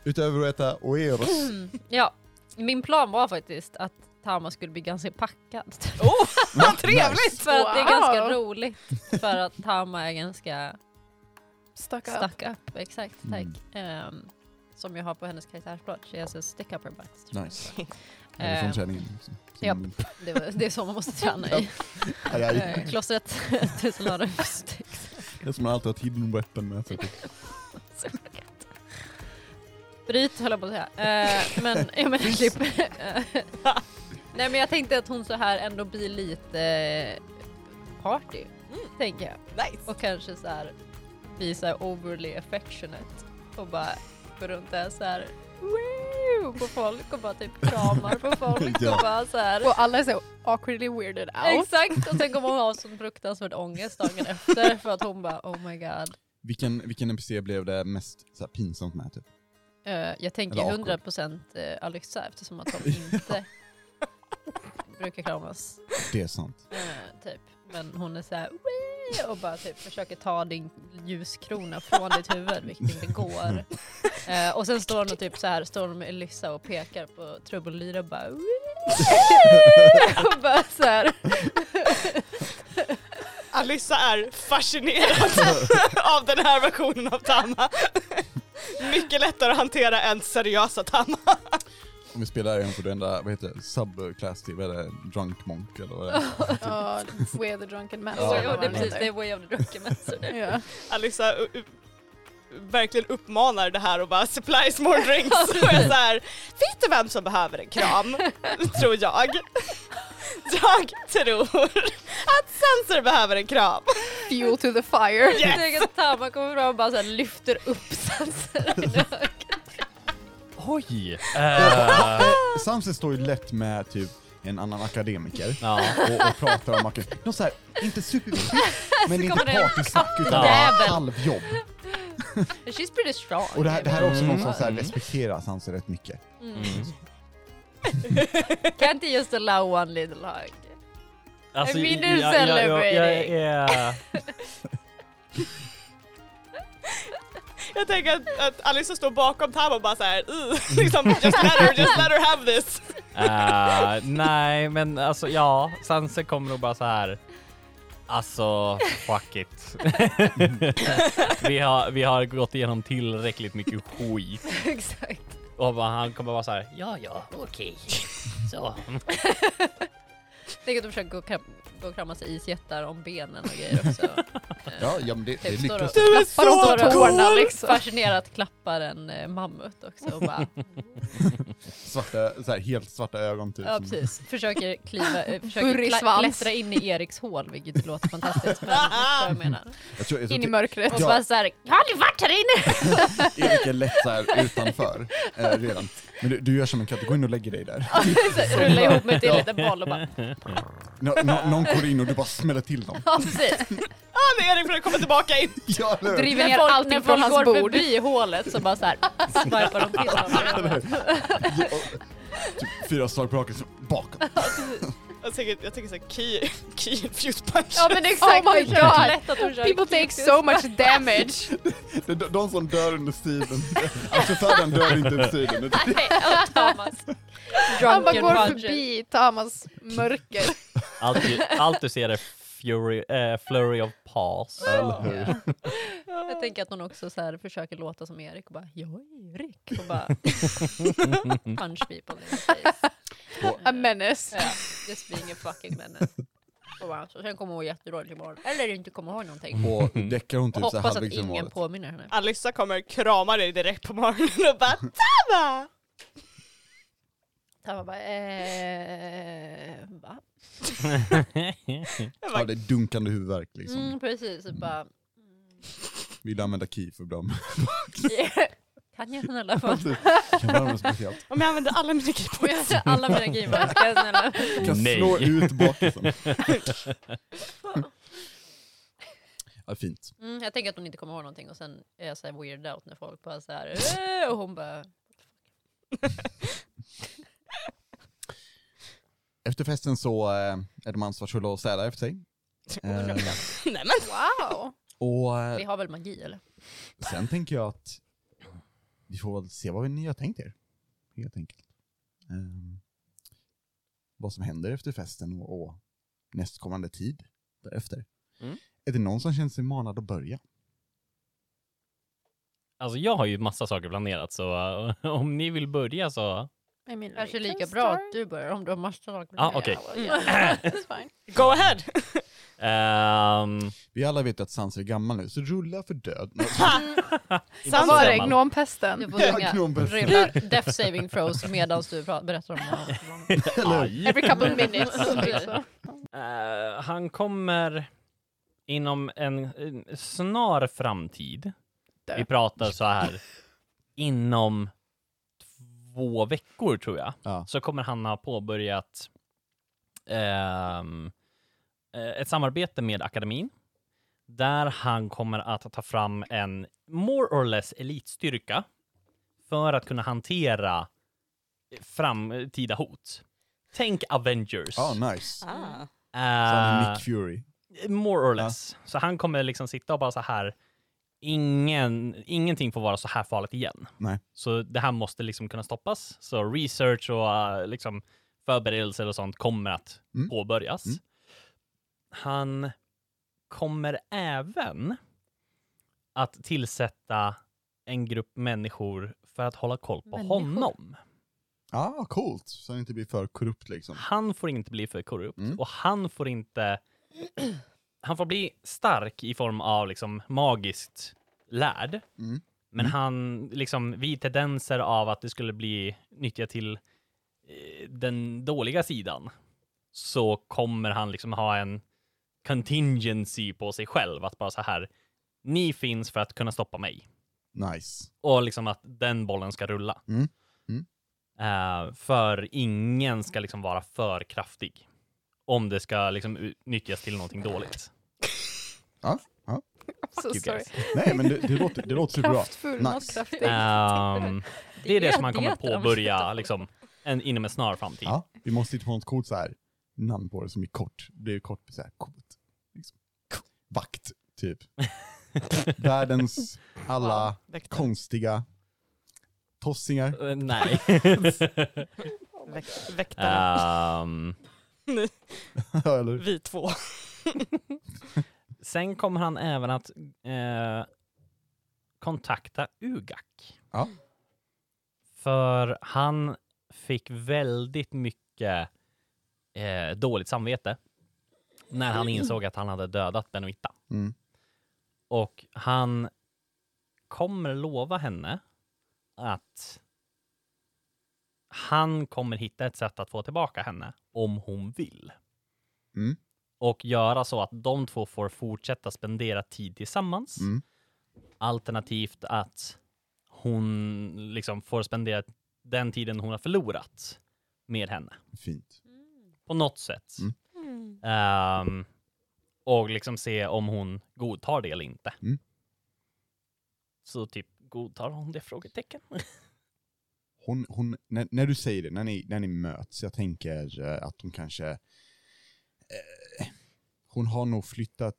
Speaker 1: Utöver att äta Oeros.
Speaker 2: Mm. Ja, min plan var faktiskt att Tama skulle bli ganska packad.
Speaker 5: Oh, vad
Speaker 1: Nice.
Speaker 5: trevligt!
Speaker 2: För att det är
Speaker 3: Wow.
Speaker 2: ganska roligt. För att Tama är ganska
Speaker 3: Stuck up.
Speaker 2: stuck up. Exakt, tack. Ehm, som jag har på hennes karaktärsblad. She has a stick up her butt.
Speaker 1: Nice. Eller från
Speaker 2: Eh,
Speaker 1: kärringen. också. Som-
Speaker 2: japp. Det, var, det är så man måste träna i
Speaker 1: Aj, aj.
Speaker 2: eh, klostret. Tusen lot of sticks.
Speaker 1: Det är som man alltid har ett hidden weapon med sig. typ.
Speaker 2: Bryt höll jag på att säga. Eh, men jag menar klipp. Eh, Nej men jag tänkte att hon så här ändå blir lite eh, party. Tänker jag.
Speaker 5: Nice!
Speaker 2: Och kanske så här bli så här overly affectionate och bara gå runt där så här "Woo!" på folk och bara typ kramar på folk
Speaker 1: Ja.
Speaker 2: och bara så här.
Speaker 3: Och alla är så awkwardly weirded out.
Speaker 2: Exakt och sen kommer hon ha sån fruktansvärd ångest dagen efter för att hon bara oh my god.
Speaker 1: Vilken, vilken NPC blev det mest så här, pinsamt med typ?
Speaker 2: Eh, jag tänker
Speaker 1: Eller
Speaker 2: 100% eh, Alexa eftersom att hon inte brukar kramas.
Speaker 1: Det är sant.
Speaker 2: eh, typ. Men hon är så här "Woo!" och bara typ försöker ta din ljuskrona från ditt huvud vilket inte går. Eh, och sen står hon och typ så här, står hon med Elissa och pekar på trubbellyra och bara "Woo!" och bara så här.
Speaker 5: Alissa är fascinerad av den här versionen av Tama. Mycket lättare att hantera än seriösa Tama.
Speaker 1: Om vi spelar igen får du ändra, vad heter det, subclass till, vad är det, drunk monk eller vad är det?
Speaker 3: Ja, we're the drunken man.
Speaker 1: Ja,
Speaker 2: Så,
Speaker 1: ja,
Speaker 2: jo, det är precis, det är
Speaker 3: Ja.
Speaker 2: way of the drunken master.
Speaker 3: Ja.
Speaker 5: Alissa u- u- uh, verkligen uppmanar det här och bara supplies more drinks. Och är så här, vet du vem som behöver en kram? Tror jag. Jag tror att Sensor behöver en kram.
Speaker 3: Fuel to the fire.
Speaker 2: Jag tänker att Tama kommer fram och bara så här lyfter upp sansen.
Speaker 4: Oj! Eh,
Speaker 1: Samson står ju lätt med typ en annan akademiker
Speaker 4: ja.
Speaker 1: och, och pratar om akademiker. De såhär, inte superviktigt, men inte
Speaker 2: kommer det en
Speaker 1: partysnack utan
Speaker 2: kattjävel.
Speaker 1: halvjobb.
Speaker 2: She's pretty strong.
Speaker 1: Och det här, det här är också någon som så här
Speaker 4: Mm.
Speaker 1: respekterar Samson rätt mycket.
Speaker 2: Can't you just allow one little hug?
Speaker 4: Alltså,
Speaker 2: I mean,
Speaker 4: jag-
Speaker 2: you're
Speaker 4: jag- jag- Jag
Speaker 2: celebrating.
Speaker 4: är...
Speaker 5: Jag tänker att, att Alissa står bakom Tam och bara såhär, liksom, just let her, just let her have this.
Speaker 4: Eh, nej, men alltså ja, Sanse kommer nog bara så här. Alltså, fuck it. vi, har, vi har gått igenom tillräckligt mycket skit.
Speaker 2: Exakt.
Speaker 4: Och bara, han kommer bara så här. ja ja, okej. Så.
Speaker 2: Tänk att de försöker gå och, kram, gå och krama sig isjättar om benen och grejer också.
Speaker 1: Ja, ja men det, det
Speaker 2: Typ står
Speaker 1: lyckas.
Speaker 2: och-
Speaker 5: Du är
Speaker 2: Bara de står
Speaker 5: så
Speaker 2: och
Speaker 5: cool!
Speaker 2: liksom. fascinerat klappar en eh, mammut också och bara,
Speaker 1: Svarta, så här, helt svarta ögon typ.
Speaker 2: ja
Speaker 1: som-
Speaker 2: precis, försöker kliva, eh, försöker kla,
Speaker 3: Burrisvans.
Speaker 2: klättra in i Eriks hål vilket låter fantastiskt men jag förstår vad jag menar.
Speaker 1: Jag tror, typ jag tror
Speaker 3: In i
Speaker 1: till-
Speaker 3: mörkret.
Speaker 2: Och
Speaker 1: Ja.
Speaker 2: så bara såhär, har du varit här inne?
Speaker 1: Erik är lätt såhär utanför eh, redan. Men du, du gör som en katt, du går in och lägger dig där.
Speaker 2: Så Rullar ihop mig till en liten boll och bara,
Speaker 1: Nå, nå, någon går in och du bara smäller till dem.
Speaker 2: ja precis.
Speaker 5: Ja, ah, nu är det för att komma tillbaka in.
Speaker 1: Ja, eller hur?
Speaker 3: Driver
Speaker 2: När
Speaker 3: ner
Speaker 2: folk, när
Speaker 3: allting från
Speaker 2: folk
Speaker 3: hans
Speaker 2: går
Speaker 3: bord.
Speaker 2: förbi hålet så bara såhär, swipar de till honom.
Speaker 1: Ja, och- typ Fyra slag på raken, så bakåt.
Speaker 5: Jag tänker, jag tänker såhär key, key infused punch.
Speaker 2: Ja men exakt,
Speaker 3: Oh my
Speaker 2: det är så
Speaker 3: God.
Speaker 2: lätt att hon kör
Speaker 3: People take so much damage.
Speaker 1: Det är de- de som dör under striden. Astrofaden Alltså, dör inte under striden.
Speaker 2: Nej, och Thomas.
Speaker 3: Han bara
Speaker 2: Drunken
Speaker 3: går
Speaker 2: Roger.
Speaker 3: förbi Tamas mörker.
Speaker 4: Allt, du- allt du ser är fury, eh, flurry of paws.
Speaker 1: Eller hur?
Speaker 2: Ja. Jag tänker att hon också så här försöker låta som Erik och bara “Jag är Erik” och bara punch people in the face.
Speaker 3: A menace.
Speaker 2: Ja, just being a fucking menace. Och bara, så sen kommer hon jättedåligt imorgon, eller inte kommer ihåg någonting.
Speaker 1: Och däckar hon Mm, typ så här
Speaker 2: Hoppas att
Speaker 1: halvvägs genom
Speaker 2: ingen
Speaker 1: målet.
Speaker 2: påminner henne.
Speaker 5: Alyssa kommer krama dig direkt på morgonen och bara Tama!
Speaker 2: Tama bara eh, va?
Speaker 5: Jag
Speaker 1: Ja,
Speaker 5: bara,
Speaker 1: det är dunkande huvudvärk liksom.
Speaker 2: Mm, precis, och bara
Speaker 1: Vill du använda ki för dem?
Speaker 2: kan jag snälla få
Speaker 1: Alltså, kan vara något speciellt.
Speaker 5: om jag använder alla
Speaker 2: Får
Speaker 5: mina keypoints.
Speaker 2: jag se alla mina grejer? Ska jag snälla
Speaker 1: Kan
Speaker 4: Nej.
Speaker 1: slå ut bakifrån. ja, fint.
Speaker 2: Mm, jag tänker att hon inte kommer ihåg någonting och sen är jag så här weird out när folk bara så här "Äh", och hon bara
Speaker 1: Efter festen så eh, är de ansvarsfulla och städar efter sig. Eh,
Speaker 5: Nej men
Speaker 3: Wow.
Speaker 1: och eh,
Speaker 2: vi har väl magi eller?
Speaker 1: sen tänker jag att vi får väl se vad ni har tänkt er. Helt enkelt. Eh, vad som händer efter festen och, och nästkommande tid därefter.
Speaker 4: Mm.
Speaker 1: Är det någon som känner sig manad att börja?
Speaker 4: Alltså jag har ju massa saker planerat så eh, om ni vill börja så...
Speaker 3: I mean,
Speaker 2: Kanske lika bra att du börjar om du har massa saker
Speaker 4: Ja, Ah, okej.
Speaker 3: That's fine.
Speaker 5: go ahead!
Speaker 4: Ehm,
Speaker 1: Vi alla vet att Sans är gammal nu, så rulla för död.
Speaker 4: inte
Speaker 3: Vad var
Speaker 4: så
Speaker 3: det?
Speaker 4: gammal.
Speaker 2: Du
Speaker 3: Gnompesten?
Speaker 2: får
Speaker 1: Jag kan
Speaker 2: ringa,
Speaker 1: nog börja.
Speaker 2: rulla death saving throws medan du pra- berättar om det.
Speaker 4: Aj.
Speaker 3: Every couple of minutes. liksom.
Speaker 4: Eh, han kommer inom en, en snar framtid.
Speaker 3: Dö.
Speaker 4: Vi pratar så här inom två veckor tror jag.
Speaker 1: Ja.
Speaker 4: Så kommer han ha påbörjat ehm, eh, ett samarbete med akademin där han kommer att ta fram en more or less elitstyrka för att kunna hantera framtida hot. Tänk Avengers.
Speaker 1: Ja, nice.
Speaker 5: Ah.
Speaker 1: Så han är
Speaker 4: Eh,
Speaker 1: Nick Fury.
Speaker 4: More or less. Så han kommer liksom sitta och bara så här, ingen, ingenting får vara så här farligt igen.
Speaker 1: Nej.
Speaker 4: Så det här måste liksom kunna stoppas. Så research och eh, liksom förberedelser och sånt kommer att
Speaker 1: Mm.
Speaker 4: påbörjas.
Speaker 1: Mm.
Speaker 4: Han kommer även att tillsätta en grupp människor för att hålla koll på
Speaker 2: Människor?
Speaker 4: honom.
Speaker 1: Ja, ah, coolt. Så han inte blir för korrupt liksom.
Speaker 4: Han får inte bli för korrupt
Speaker 1: Mm.
Speaker 4: och han får inte... Han får bli stark i form av liksom magiskt lärd.
Speaker 1: Mm.
Speaker 4: Men
Speaker 1: Mm.
Speaker 4: han, liksom vid tendenser av att det skulle bli nyttjat till eh, den dåliga sidan så kommer han liksom ha en contingency på sig själv att bara så här. Ni finns för att kunna stoppa mig
Speaker 1: Nice.
Speaker 4: och liksom att den bollen ska rulla.
Speaker 1: Mm. Mm.
Speaker 4: Eh, för ingen ska liksom vara för kraftig om det ska liksom utnyttjas till någonting dåligt.
Speaker 3: So
Speaker 4: you
Speaker 3: Oh, sorry.
Speaker 4: guys.
Speaker 1: Nej, men det, det låter, det låter superbra.
Speaker 3: Kraftfull,
Speaker 1: Nice.
Speaker 3: något kraftigt.
Speaker 4: Ehm, det är det som man kommer
Speaker 2: heter de.
Speaker 4: påbörja liksom, en, inom en snar framtid.
Speaker 1: Ja, vi måste hitta på något coolt så här namn på det som är kort. Det är kort, så här coolt. Liksom. Vakt, typ. Världens alla konstiga tossingar.
Speaker 4: Eh, nej.
Speaker 5: Väkt, väktarna.
Speaker 4: Ehm,
Speaker 1: Eller?
Speaker 5: Vi två.
Speaker 4: sen kommer han även att eh, kontakta Ugak.
Speaker 1: Ja.
Speaker 4: För han fick väldigt mycket eh, dåligt samvete när han insåg att han hade dödat Benoitta.
Speaker 1: Mm.
Speaker 4: Och han kommer lova henne att han kommer hitta ett sätt att få tillbaka henne om hon vill.
Speaker 1: Mm.
Speaker 4: Och göra så att de två får fortsätta spendera tid tillsammans.
Speaker 1: Mm.
Speaker 4: Alternativt att hon liksom får spendera den tiden hon har förlorat med henne
Speaker 1: Fint.
Speaker 4: på något sätt.
Speaker 1: Mm.
Speaker 4: Ehm, och liksom se om hon godtar det eller inte.
Speaker 1: Mm.
Speaker 4: Så typ godtar hon det frågetecken.
Speaker 1: Hon, hon, när, när du säger det, när ni, när ni möts, jag tänker eh, att hon kanske... Eh, hon har nog flyttat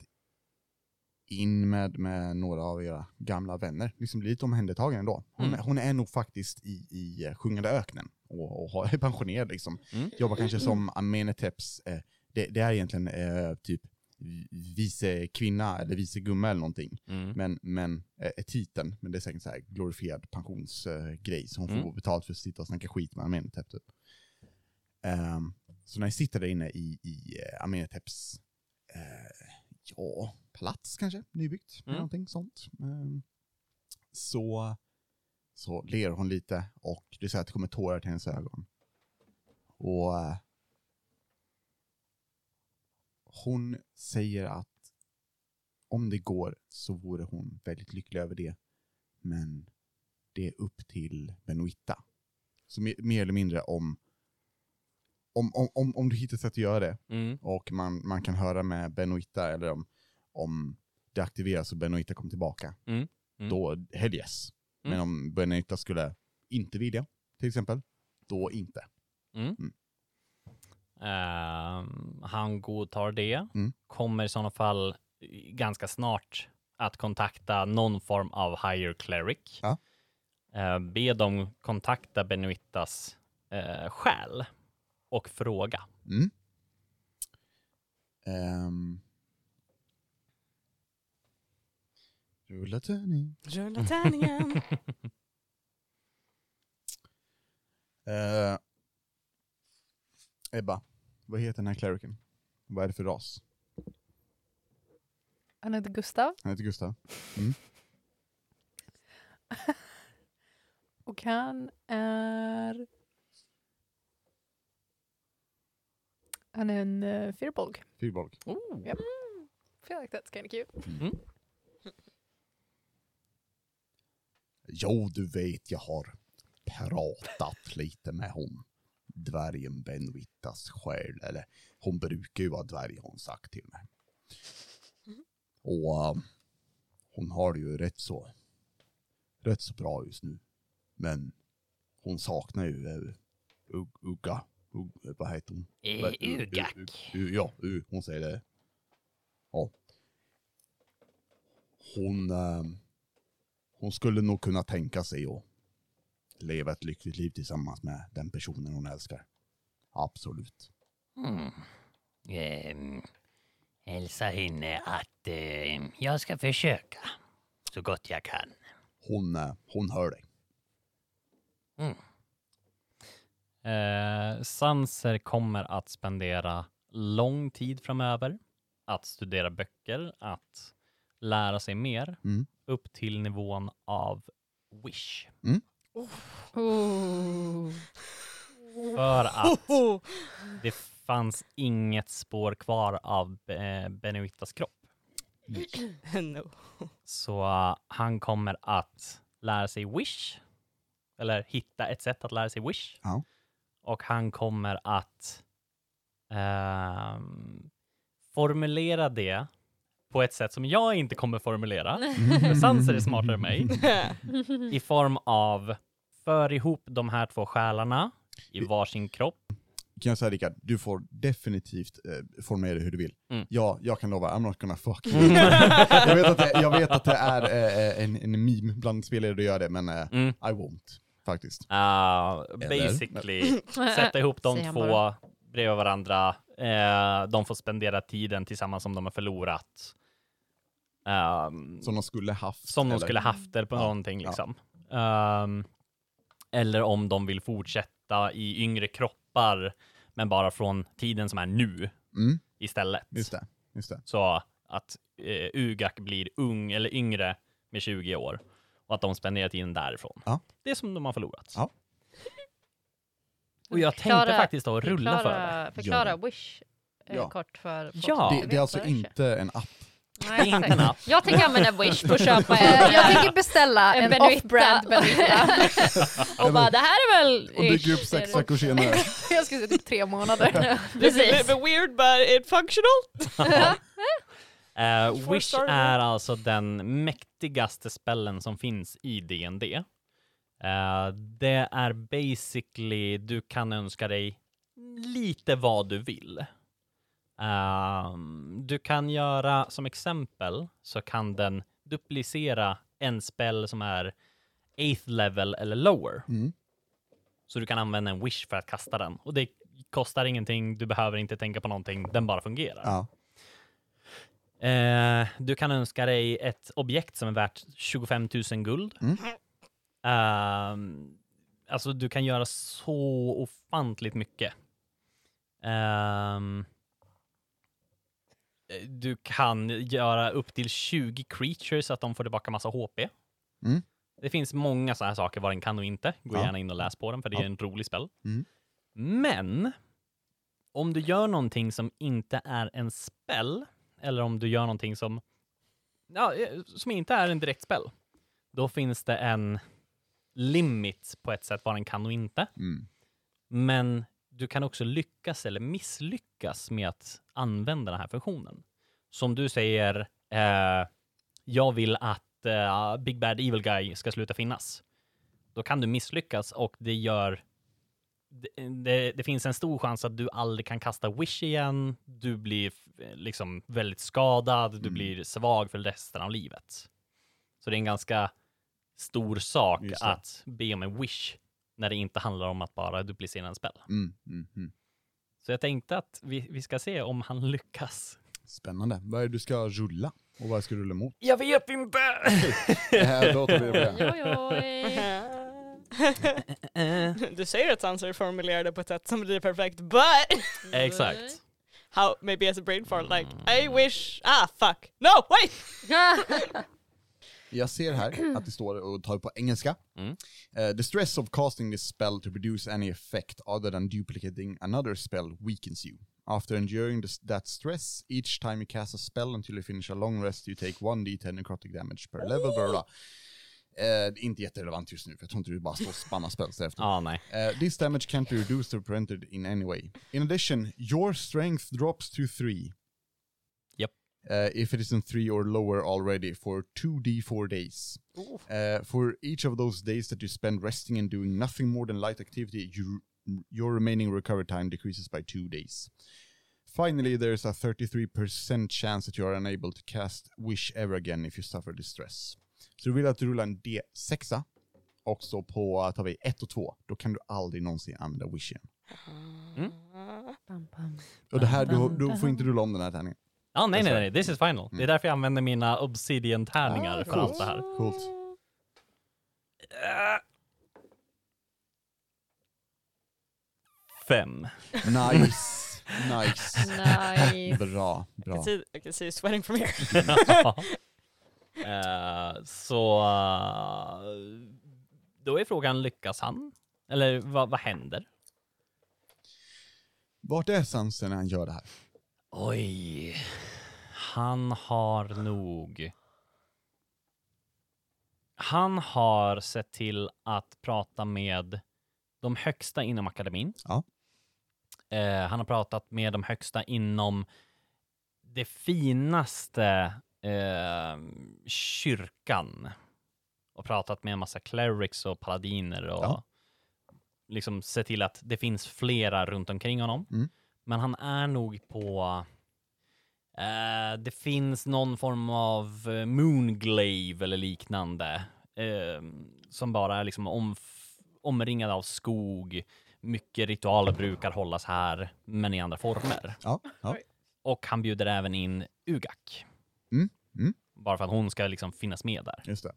Speaker 1: in med, med några av era gamla vänner. Liksom blivit omhändertagen ändå. Hon,
Speaker 4: Mm.
Speaker 1: hon är nog faktiskt i, i eh, Sjungande öknen och, och har- är pensionerad liksom.
Speaker 4: Mm.
Speaker 1: Jobbar kanske som Ameneteps, eh, det, det är egentligen eh, typ vice kvinna eller vice gumma eller någonting.
Speaker 4: Mm.
Speaker 1: Men, men eh, är titeln, men det är säkert så här glorifierad pensionsgrej, så hon får
Speaker 4: Mm.
Speaker 1: mm. betalt för att sitta och snacka skit med Amenetep. Typ. Ehm, så när jag sitter där inne i, i eh, Ameneteps, eh, ja, palats kanske, nybyggt, eller
Speaker 4: Mm.
Speaker 1: någonting sånt. Ehm, så, så ler hon lite och det är så här att det kommer tårar till hennes ögon. Och eh, hon säger att om det går så vore hon väldigt lycklig över det. Men det är upp till Benoitta. Så mer, mer eller mindre om om, om, om om du hittar ett sätt att göra det
Speaker 4: Mm.
Speaker 1: och man, man kan höra med Benoitta eller om, om det aktiveras och Benoitta kommer tillbaka,
Speaker 4: Mm. Mm.
Speaker 1: då hell yes. Men
Speaker 4: Mm.
Speaker 1: om Benoitta skulle inte vilja, till exempel, då inte.
Speaker 4: Ehm, han godtar det.
Speaker 1: Mm.
Speaker 4: Kommer i sådana fall ganska snart att kontakta någon form av higher cleric.
Speaker 1: Ja.
Speaker 4: Eh, be dem kontakta Benoittas uh, själ och fråga.
Speaker 1: Mm. Ehm. Rulla tärning.
Speaker 5: Rulla tärningen.
Speaker 1: Eh, Ebba, vad heter den här clericen? Vad är det för ras?
Speaker 3: Han heter Gustav
Speaker 1: Han heter Gustav.
Speaker 3: och han är... Han är en uh, firbolg.
Speaker 1: Fyrbolk.
Speaker 4: Oh.
Speaker 3: Ja. Feel like that's kind of cute.
Speaker 4: Mm.
Speaker 1: Jo, du vet jag har pratat lite med hon. Dvärgen Benvittas själ. Eller hon brukar ju vara dvärg har hon sagt till mig. Och eh, hon har det ju rätt så, rätt så bra just nu. Men hon saknar ju eh, Ug, Ugga. Ug, vad heter hon?
Speaker 4: Eh,
Speaker 1: Vad- u- u-
Speaker 4: Ugak.
Speaker 1: uh, u- u- Ja, u, hon säger det. Ja. Hon, ehm, hon skulle nog kunna tänka sig att leva ett lyckligt liv tillsammans med den personen hon älskar. Absolut.
Speaker 6: Mm. Ehm, hälsa henne att
Speaker 4: eh,
Speaker 6: ehm, jag ska försöka så gott jag kan.
Speaker 1: Hon, eh, hon hör dig.
Speaker 4: Eh, Sanser kommer att spendera lång tid framöver att studera böcker, att lära sig mer
Speaker 1: Mm.
Speaker 4: upp till nivån av wish.
Speaker 2: Ooh.
Speaker 4: För att det fanns inget spår kvar av eh, Benoittas kropp.
Speaker 5: no.
Speaker 4: Så eh, han kommer att lära sig Wish, eller hitta ett sätt att lära sig Wish.
Speaker 1: Ja.
Speaker 4: Och han kommer att ehm, formulera det på ett sätt som jag inte kommer formulera, för Sanser är smartare än mig, i form av för ihop de här två själarna i varsin kropp.
Speaker 1: Kan jag säga Rickard, du får definitivt eh, formulera det hur du vill.
Speaker 4: Mm.
Speaker 1: Ja, jag kan lova, I'm not gonna fuck you. jag, vet att det, jag vet att det är eh, en, en meme bland spelare du gör det, men eh,
Speaker 4: Mm.
Speaker 1: I won't. Faktiskt.
Speaker 4: Ja,
Speaker 1: Eller?
Speaker 4: basically sätta ihop de
Speaker 2: Säger han
Speaker 4: två
Speaker 2: bara.
Speaker 4: bredvid varandra. Eh, de får spendera tiden tillsammans som de har förlorat. Ehm,
Speaker 1: Som de skulle haft.
Speaker 4: som de
Speaker 1: eller?
Speaker 4: skulle haft det på
Speaker 1: Ja,
Speaker 4: någonting
Speaker 1: ja.
Speaker 4: liksom. Ehm, eller om de vill fortsätta i yngre kroppar, men bara från tiden som är nu
Speaker 1: Mm,
Speaker 4: istället.
Speaker 1: just det. Just det.
Speaker 4: Alltså, Så att eh, Ugak blir ung eller yngre med 20 år och att de spenderar tiden därifrån.
Speaker 1: Ja.
Speaker 4: Det är som de har förlorat.
Speaker 1: Ja.
Speaker 4: Och jag
Speaker 2: Förklara-
Speaker 4: tänkte faktiskt då rulla för det.
Speaker 2: Förklara, förklara
Speaker 1: Gör
Speaker 2: Wish eh,
Speaker 1: Ja.
Speaker 2: kort för folk
Speaker 4: Ja.
Speaker 2: som
Speaker 1: Det, det
Speaker 2: vet
Speaker 1: är alltså
Speaker 2: vad Wish är.
Speaker 1: inte en app.
Speaker 2: Nej,
Speaker 4: Det är inte
Speaker 2: exakt.
Speaker 4: en app.
Speaker 2: Jag tänker använda Wish på att köpa
Speaker 3: Eh,
Speaker 2: en,
Speaker 3: jag tänker beställa en,
Speaker 2: en Benoitta.
Speaker 3: off-brand Benoitta.
Speaker 2: och bara det här är väl
Speaker 1: Och dyker upp
Speaker 2: Wish,
Speaker 1: sex
Speaker 2: ser du.
Speaker 1: veckor senare.
Speaker 3: jag ska säga typ tre månader.
Speaker 5: It's a
Speaker 2: Precis.
Speaker 5: bit weird but it functional.
Speaker 4: Eh,
Speaker 5: Får
Speaker 4: Wish
Speaker 5: starta.
Speaker 4: är alltså den mäktigaste spellen som finns i D&D. Eh, det är basically, du kan önska dig lite vad du vill. Ehm, du kan göra, som exempel, så kan den duplicera en spell som är 8th level eller lower.
Speaker 1: Mm.
Speaker 4: Så du kan använda en wish för att kasta den. Och det kostar ingenting, du behöver inte tänka på någonting, den bara fungerar.
Speaker 1: Ja.
Speaker 4: Eh, du kan önska dig ett objekt som är värt 25 000 guld.
Speaker 1: Mm.
Speaker 4: Ehm, alltså du kan göra så ofantligt mycket. Ehm, eh, du kan göra upp till 20 creatures så att de får tillbaka massa HP.
Speaker 1: Mm.
Speaker 4: Det finns många sådana här saker vad den kan och inte. Gå
Speaker 1: Ja.
Speaker 4: gärna in och läs på den för det är
Speaker 1: Ja.
Speaker 4: en rolig spel.
Speaker 1: Mm.
Speaker 4: Men om du gör någonting som inte är en spell eller om du gör någonting som, ja, eh, som inte är en direkt spell, då finns det en limit på ett sätt vad den kan och inte.
Speaker 1: Mm.
Speaker 4: Men du kan också lyckas eller misslyckas med att använda den här funktionen. Som du säger, eh, jag vill att eh, Big Bad Evil Guy ska sluta finnas. Då kan du misslyckas och det gör... Det, det, det finns en stor chans att du aldrig kan kasta Wish igen. Du blir eh, liksom väldigt skadad, du
Speaker 1: Mm.
Speaker 4: blir svag för resten av livet. Så det är en ganska stor sak
Speaker 1: Just det.
Speaker 4: att be om en Wish när det inte handlar om att bara duplicera en spel.
Speaker 1: Mm. Mm. Mm.
Speaker 4: Så jag tänkte att vi, vi ska se om han lyckas.
Speaker 1: Spännande. Vad är det du ska rulla? Och vad ska du rulla mot?
Speaker 4: Jag vet inte!
Speaker 1: Eh, då tar vi det på det.
Speaker 2: Oj, oj. Eh.
Speaker 5: du säger att Sanser formulerade på ett sätt som blir perfekt, but
Speaker 4: Exakt.
Speaker 5: how maybe as a brain fart like
Speaker 1: Mm.
Speaker 5: I wish, ah fuck, no wait!
Speaker 1: Jag ser här att det står, och tar på engelska.
Speaker 4: Mm.
Speaker 1: Eh, the stress of casting this spell to produce any effect other than duplicating another spell weakens you. After enduring this, that stress, each time you cast a spell until you finish a long rest you take 1d10 necrotic damage per level. Blah, blah, blah. Eh, det är inte jätterelevant just nu, för jag tror inte du bara står och spammar spells efter.
Speaker 4: Ja, Ah, nej.
Speaker 1: Uh, this damage can't be reduced or prevented in any way. In addition, your strength drops to 3.
Speaker 4: Yep.
Speaker 1: Uh, if it isn't 3 or lower already for 2d4 days. Uh, for each of those days that you spend resting and doing nothing more than light activity, you, your remaining recovery time decreases by 2 days. Finally, there's a 33% chance that you are unable to cast Wish ever again if you suffer distress. Så du vill att du rullar en D6 och så på, tar vi 1 och 2, då kan du aldrig någonsin använda Wish igen. Mm.
Speaker 2: Bam, bam.
Speaker 1: Och det här, du, du får inte rulla om den här tärningen.
Speaker 4: Ja, Ah, nej, nej,
Speaker 1: That's
Speaker 4: nej. This is final. Det är Mm. därför jag använder mina obsidian-tärningar
Speaker 1: Ah,
Speaker 4: för allt det här.
Speaker 1: Coolt.
Speaker 4: Fem.
Speaker 1: Nice. Nice.
Speaker 2: Nice.
Speaker 1: Bra, bra.
Speaker 5: See, I can see you sweating from here.
Speaker 4: Eh, så eh, då är frågan, lyckas han? Eller vad, vad händer?
Speaker 1: Vart är Sansen när han gör det här?
Speaker 4: Oj. Han har nog... Han har sett till att prata med de högsta inom akademin.
Speaker 1: Ja.
Speaker 4: Eh, han har pratat med de högsta inom det finaste eh, kyrkan. Och pratat med en massa clerics och paladiner och
Speaker 1: Ja.
Speaker 4: liksom sett till att det finns flera runt omkring honom.
Speaker 1: Mm.
Speaker 4: Men han är nog på... Eh, det finns någon form av eh, moonglaive eller liknande eh, som bara är liksom omf- omringad av skog. Mycket ritualer brukar hållas här, men i andra former.
Speaker 1: Ja, ja.
Speaker 4: Och han bjuder även in Ugak.
Speaker 1: Mm, mm.
Speaker 4: Bara för att hon ska liksom finnas med där.
Speaker 1: just det.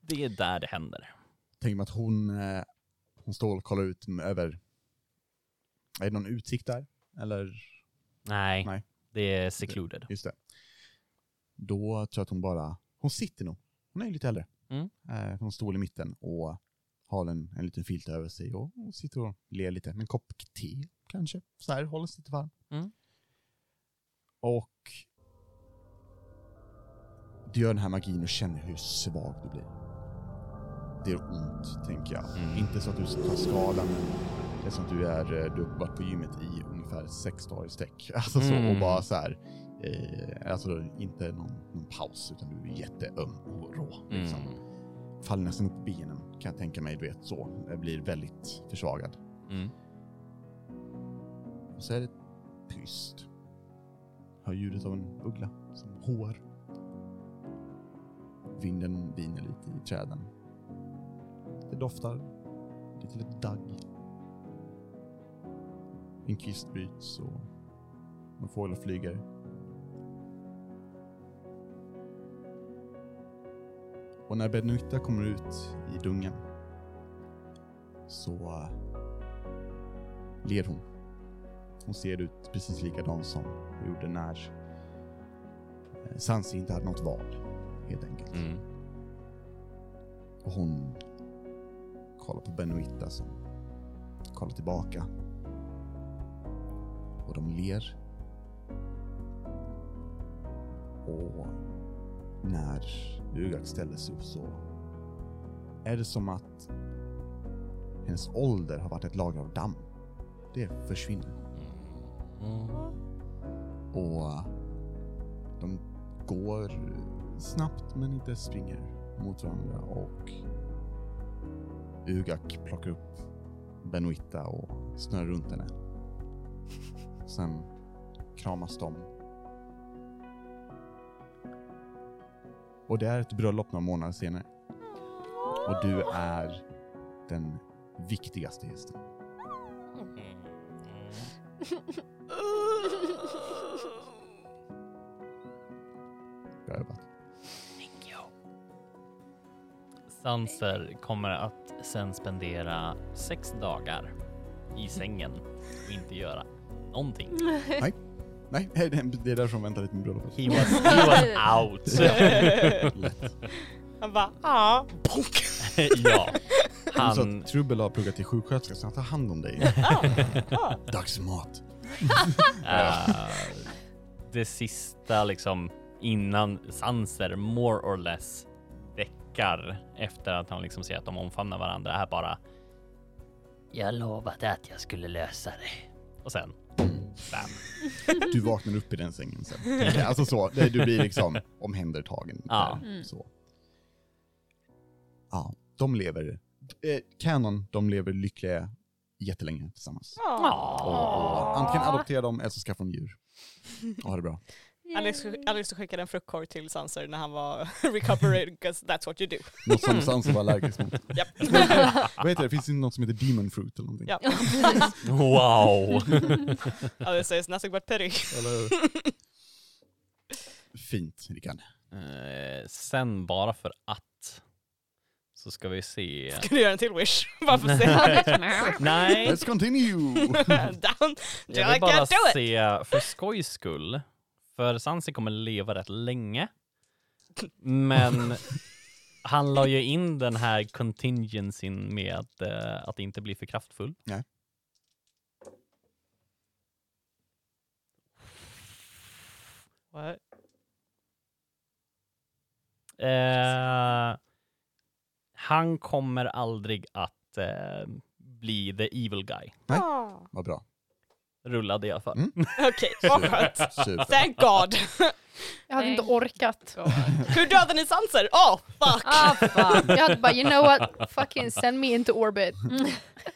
Speaker 4: Det är där det händer.
Speaker 1: Tänk mig att hon, eh, hon står och kollar ut m- över... Är det någon utsikt där? Eller?
Speaker 4: Nej,
Speaker 1: Nej.
Speaker 4: det är secluded.
Speaker 1: Just det. Då tror jag att hon bara... Hon sitter nog. Hon är ju lite äldre.
Speaker 4: Mm.
Speaker 1: Eh, hon står i mitten och har en, en liten filt över sig och, och sitter och ler lite med en kopp te kanske. Så här, håller sig lite varm.
Speaker 4: Mm.
Speaker 1: Och du gör den här magin och känner hur svag du blir. Det gör ont, tänker jag.
Speaker 4: Mm.
Speaker 1: Inte så att du ska skada, men det är som att du, är, eh, du har varit på gymmet i ungefär sex dagar i sträck. Alltså så,
Speaker 4: Mm.
Speaker 1: och bara så här. Eh, alltså inte någon, någon paus, utan du är jätteöm och rå. Liksom.
Speaker 4: Mm.
Speaker 1: faller nästan upp på benen kan jag tänka mig, du vet så. Jag blir väldigt försvagad.
Speaker 4: Mm.
Speaker 1: Och så är det tyst. Hör ljudet av en uggla som hår. Vinden viner lite i träden. Det doftar lite lite dagg. En kvist byts och en fågel flyger. Och när Benita kommer ut i dungen så eh, ler hon. Hon ser ut precis likadan som hon gjorde när eh, Sansi inte hade något val, helt enkelt.
Speaker 4: Mm.
Speaker 1: Och hon kollar på Benoitta som kollar tillbaka. Och de ler. Och när Ugak ställer sig upp så är det som att hennes ålder har varit ett lager av damm. Det försvinner.
Speaker 4: mm.
Speaker 1: Och de går snabbt men inte springer mot varandra och Ugak plockar upp Benoitta och snurrar runt henne. Sen kramas de. Och det är ett bröllop några månader senare. Och du är den viktigaste gästen. Jag har övat.
Speaker 4: Sanser kommer att sen spendera sex dagar i sängen och inte göra någonting.
Speaker 1: Nej, det är- det är därför de väntar lite med bröllopet.
Speaker 4: He was, he was out.
Speaker 5: Han bara, "Ah, ja.
Speaker 4: ja,
Speaker 1: Han... Så
Speaker 4: han...
Speaker 1: att Trubbel har pluggat till sjuksköterska så han tar hand om dig. Dags för mat.
Speaker 4: eh, det sista liksom innan Sanser more or less däckar efter att han liksom ser att de omfamnar varandra är bara
Speaker 6: Jag lovade att jag skulle lösa det.
Speaker 4: och sen bam.
Speaker 1: Du vaknar upp i den sängen sen. tänker jag. Alltså så, det- du blir liksom omhändertagen.
Speaker 4: Ja.
Speaker 1: där, Så. Ja, de lever, eh, Canon, de lever lyckliga jättelänge tillsammans. Och, och, antingen adoptera dem eller så skaffa dem djur. Och ha det bra.
Speaker 5: Alex, Alex skickade en fruktkorg till Sanser när han var recovering, 'cause that's what you do.
Speaker 1: Något som Sansa var allergisk mot.
Speaker 5: Japp.
Speaker 1: Vad heter det? Finns det något som heter demon fruit eller någonting?
Speaker 5: Ja.
Speaker 4: Wow!
Speaker 5: Alex says nothing but pity.
Speaker 1: Fint, Rickard.
Speaker 4: Eh, sen bara för att så ska vi se.
Speaker 5: Ska du göra en till wish? Bara för att se.
Speaker 4: Nej,
Speaker 1: Let's continue!
Speaker 5: Down.
Speaker 4: jag
Speaker 5: I
Speaker 4: vill bara
Speaker 5: can't do it.
Speaker 4: se för skojs skull. För Sansi kommer leva rätt länge. Men han la ju in den här contingencyn med att, eh, att inte bli för kraftfull.
Speaker 1: Nej.
Speaker 4: What? Eh, han kommer aldrig att eh, bli the evil guy.
Speaker 1: Nej.
Speaker 5: Ah.
Speaker 1: Vad bra.
Speaker 4: Rullade jag för.
Speaker 1: Mm.
Speaker 5: Okej, vad skönt.
Speaker 1: Super.
Speaker 5: Thank God.
Speaker 3: Jag hade inte orkat.
Speaker 5: Hur dödade ni Sanser? Oh, fuck.
Speaker 2: Ah, fan.
Speaker 3: Jag hade bara, you know what, fucking send me into orbit.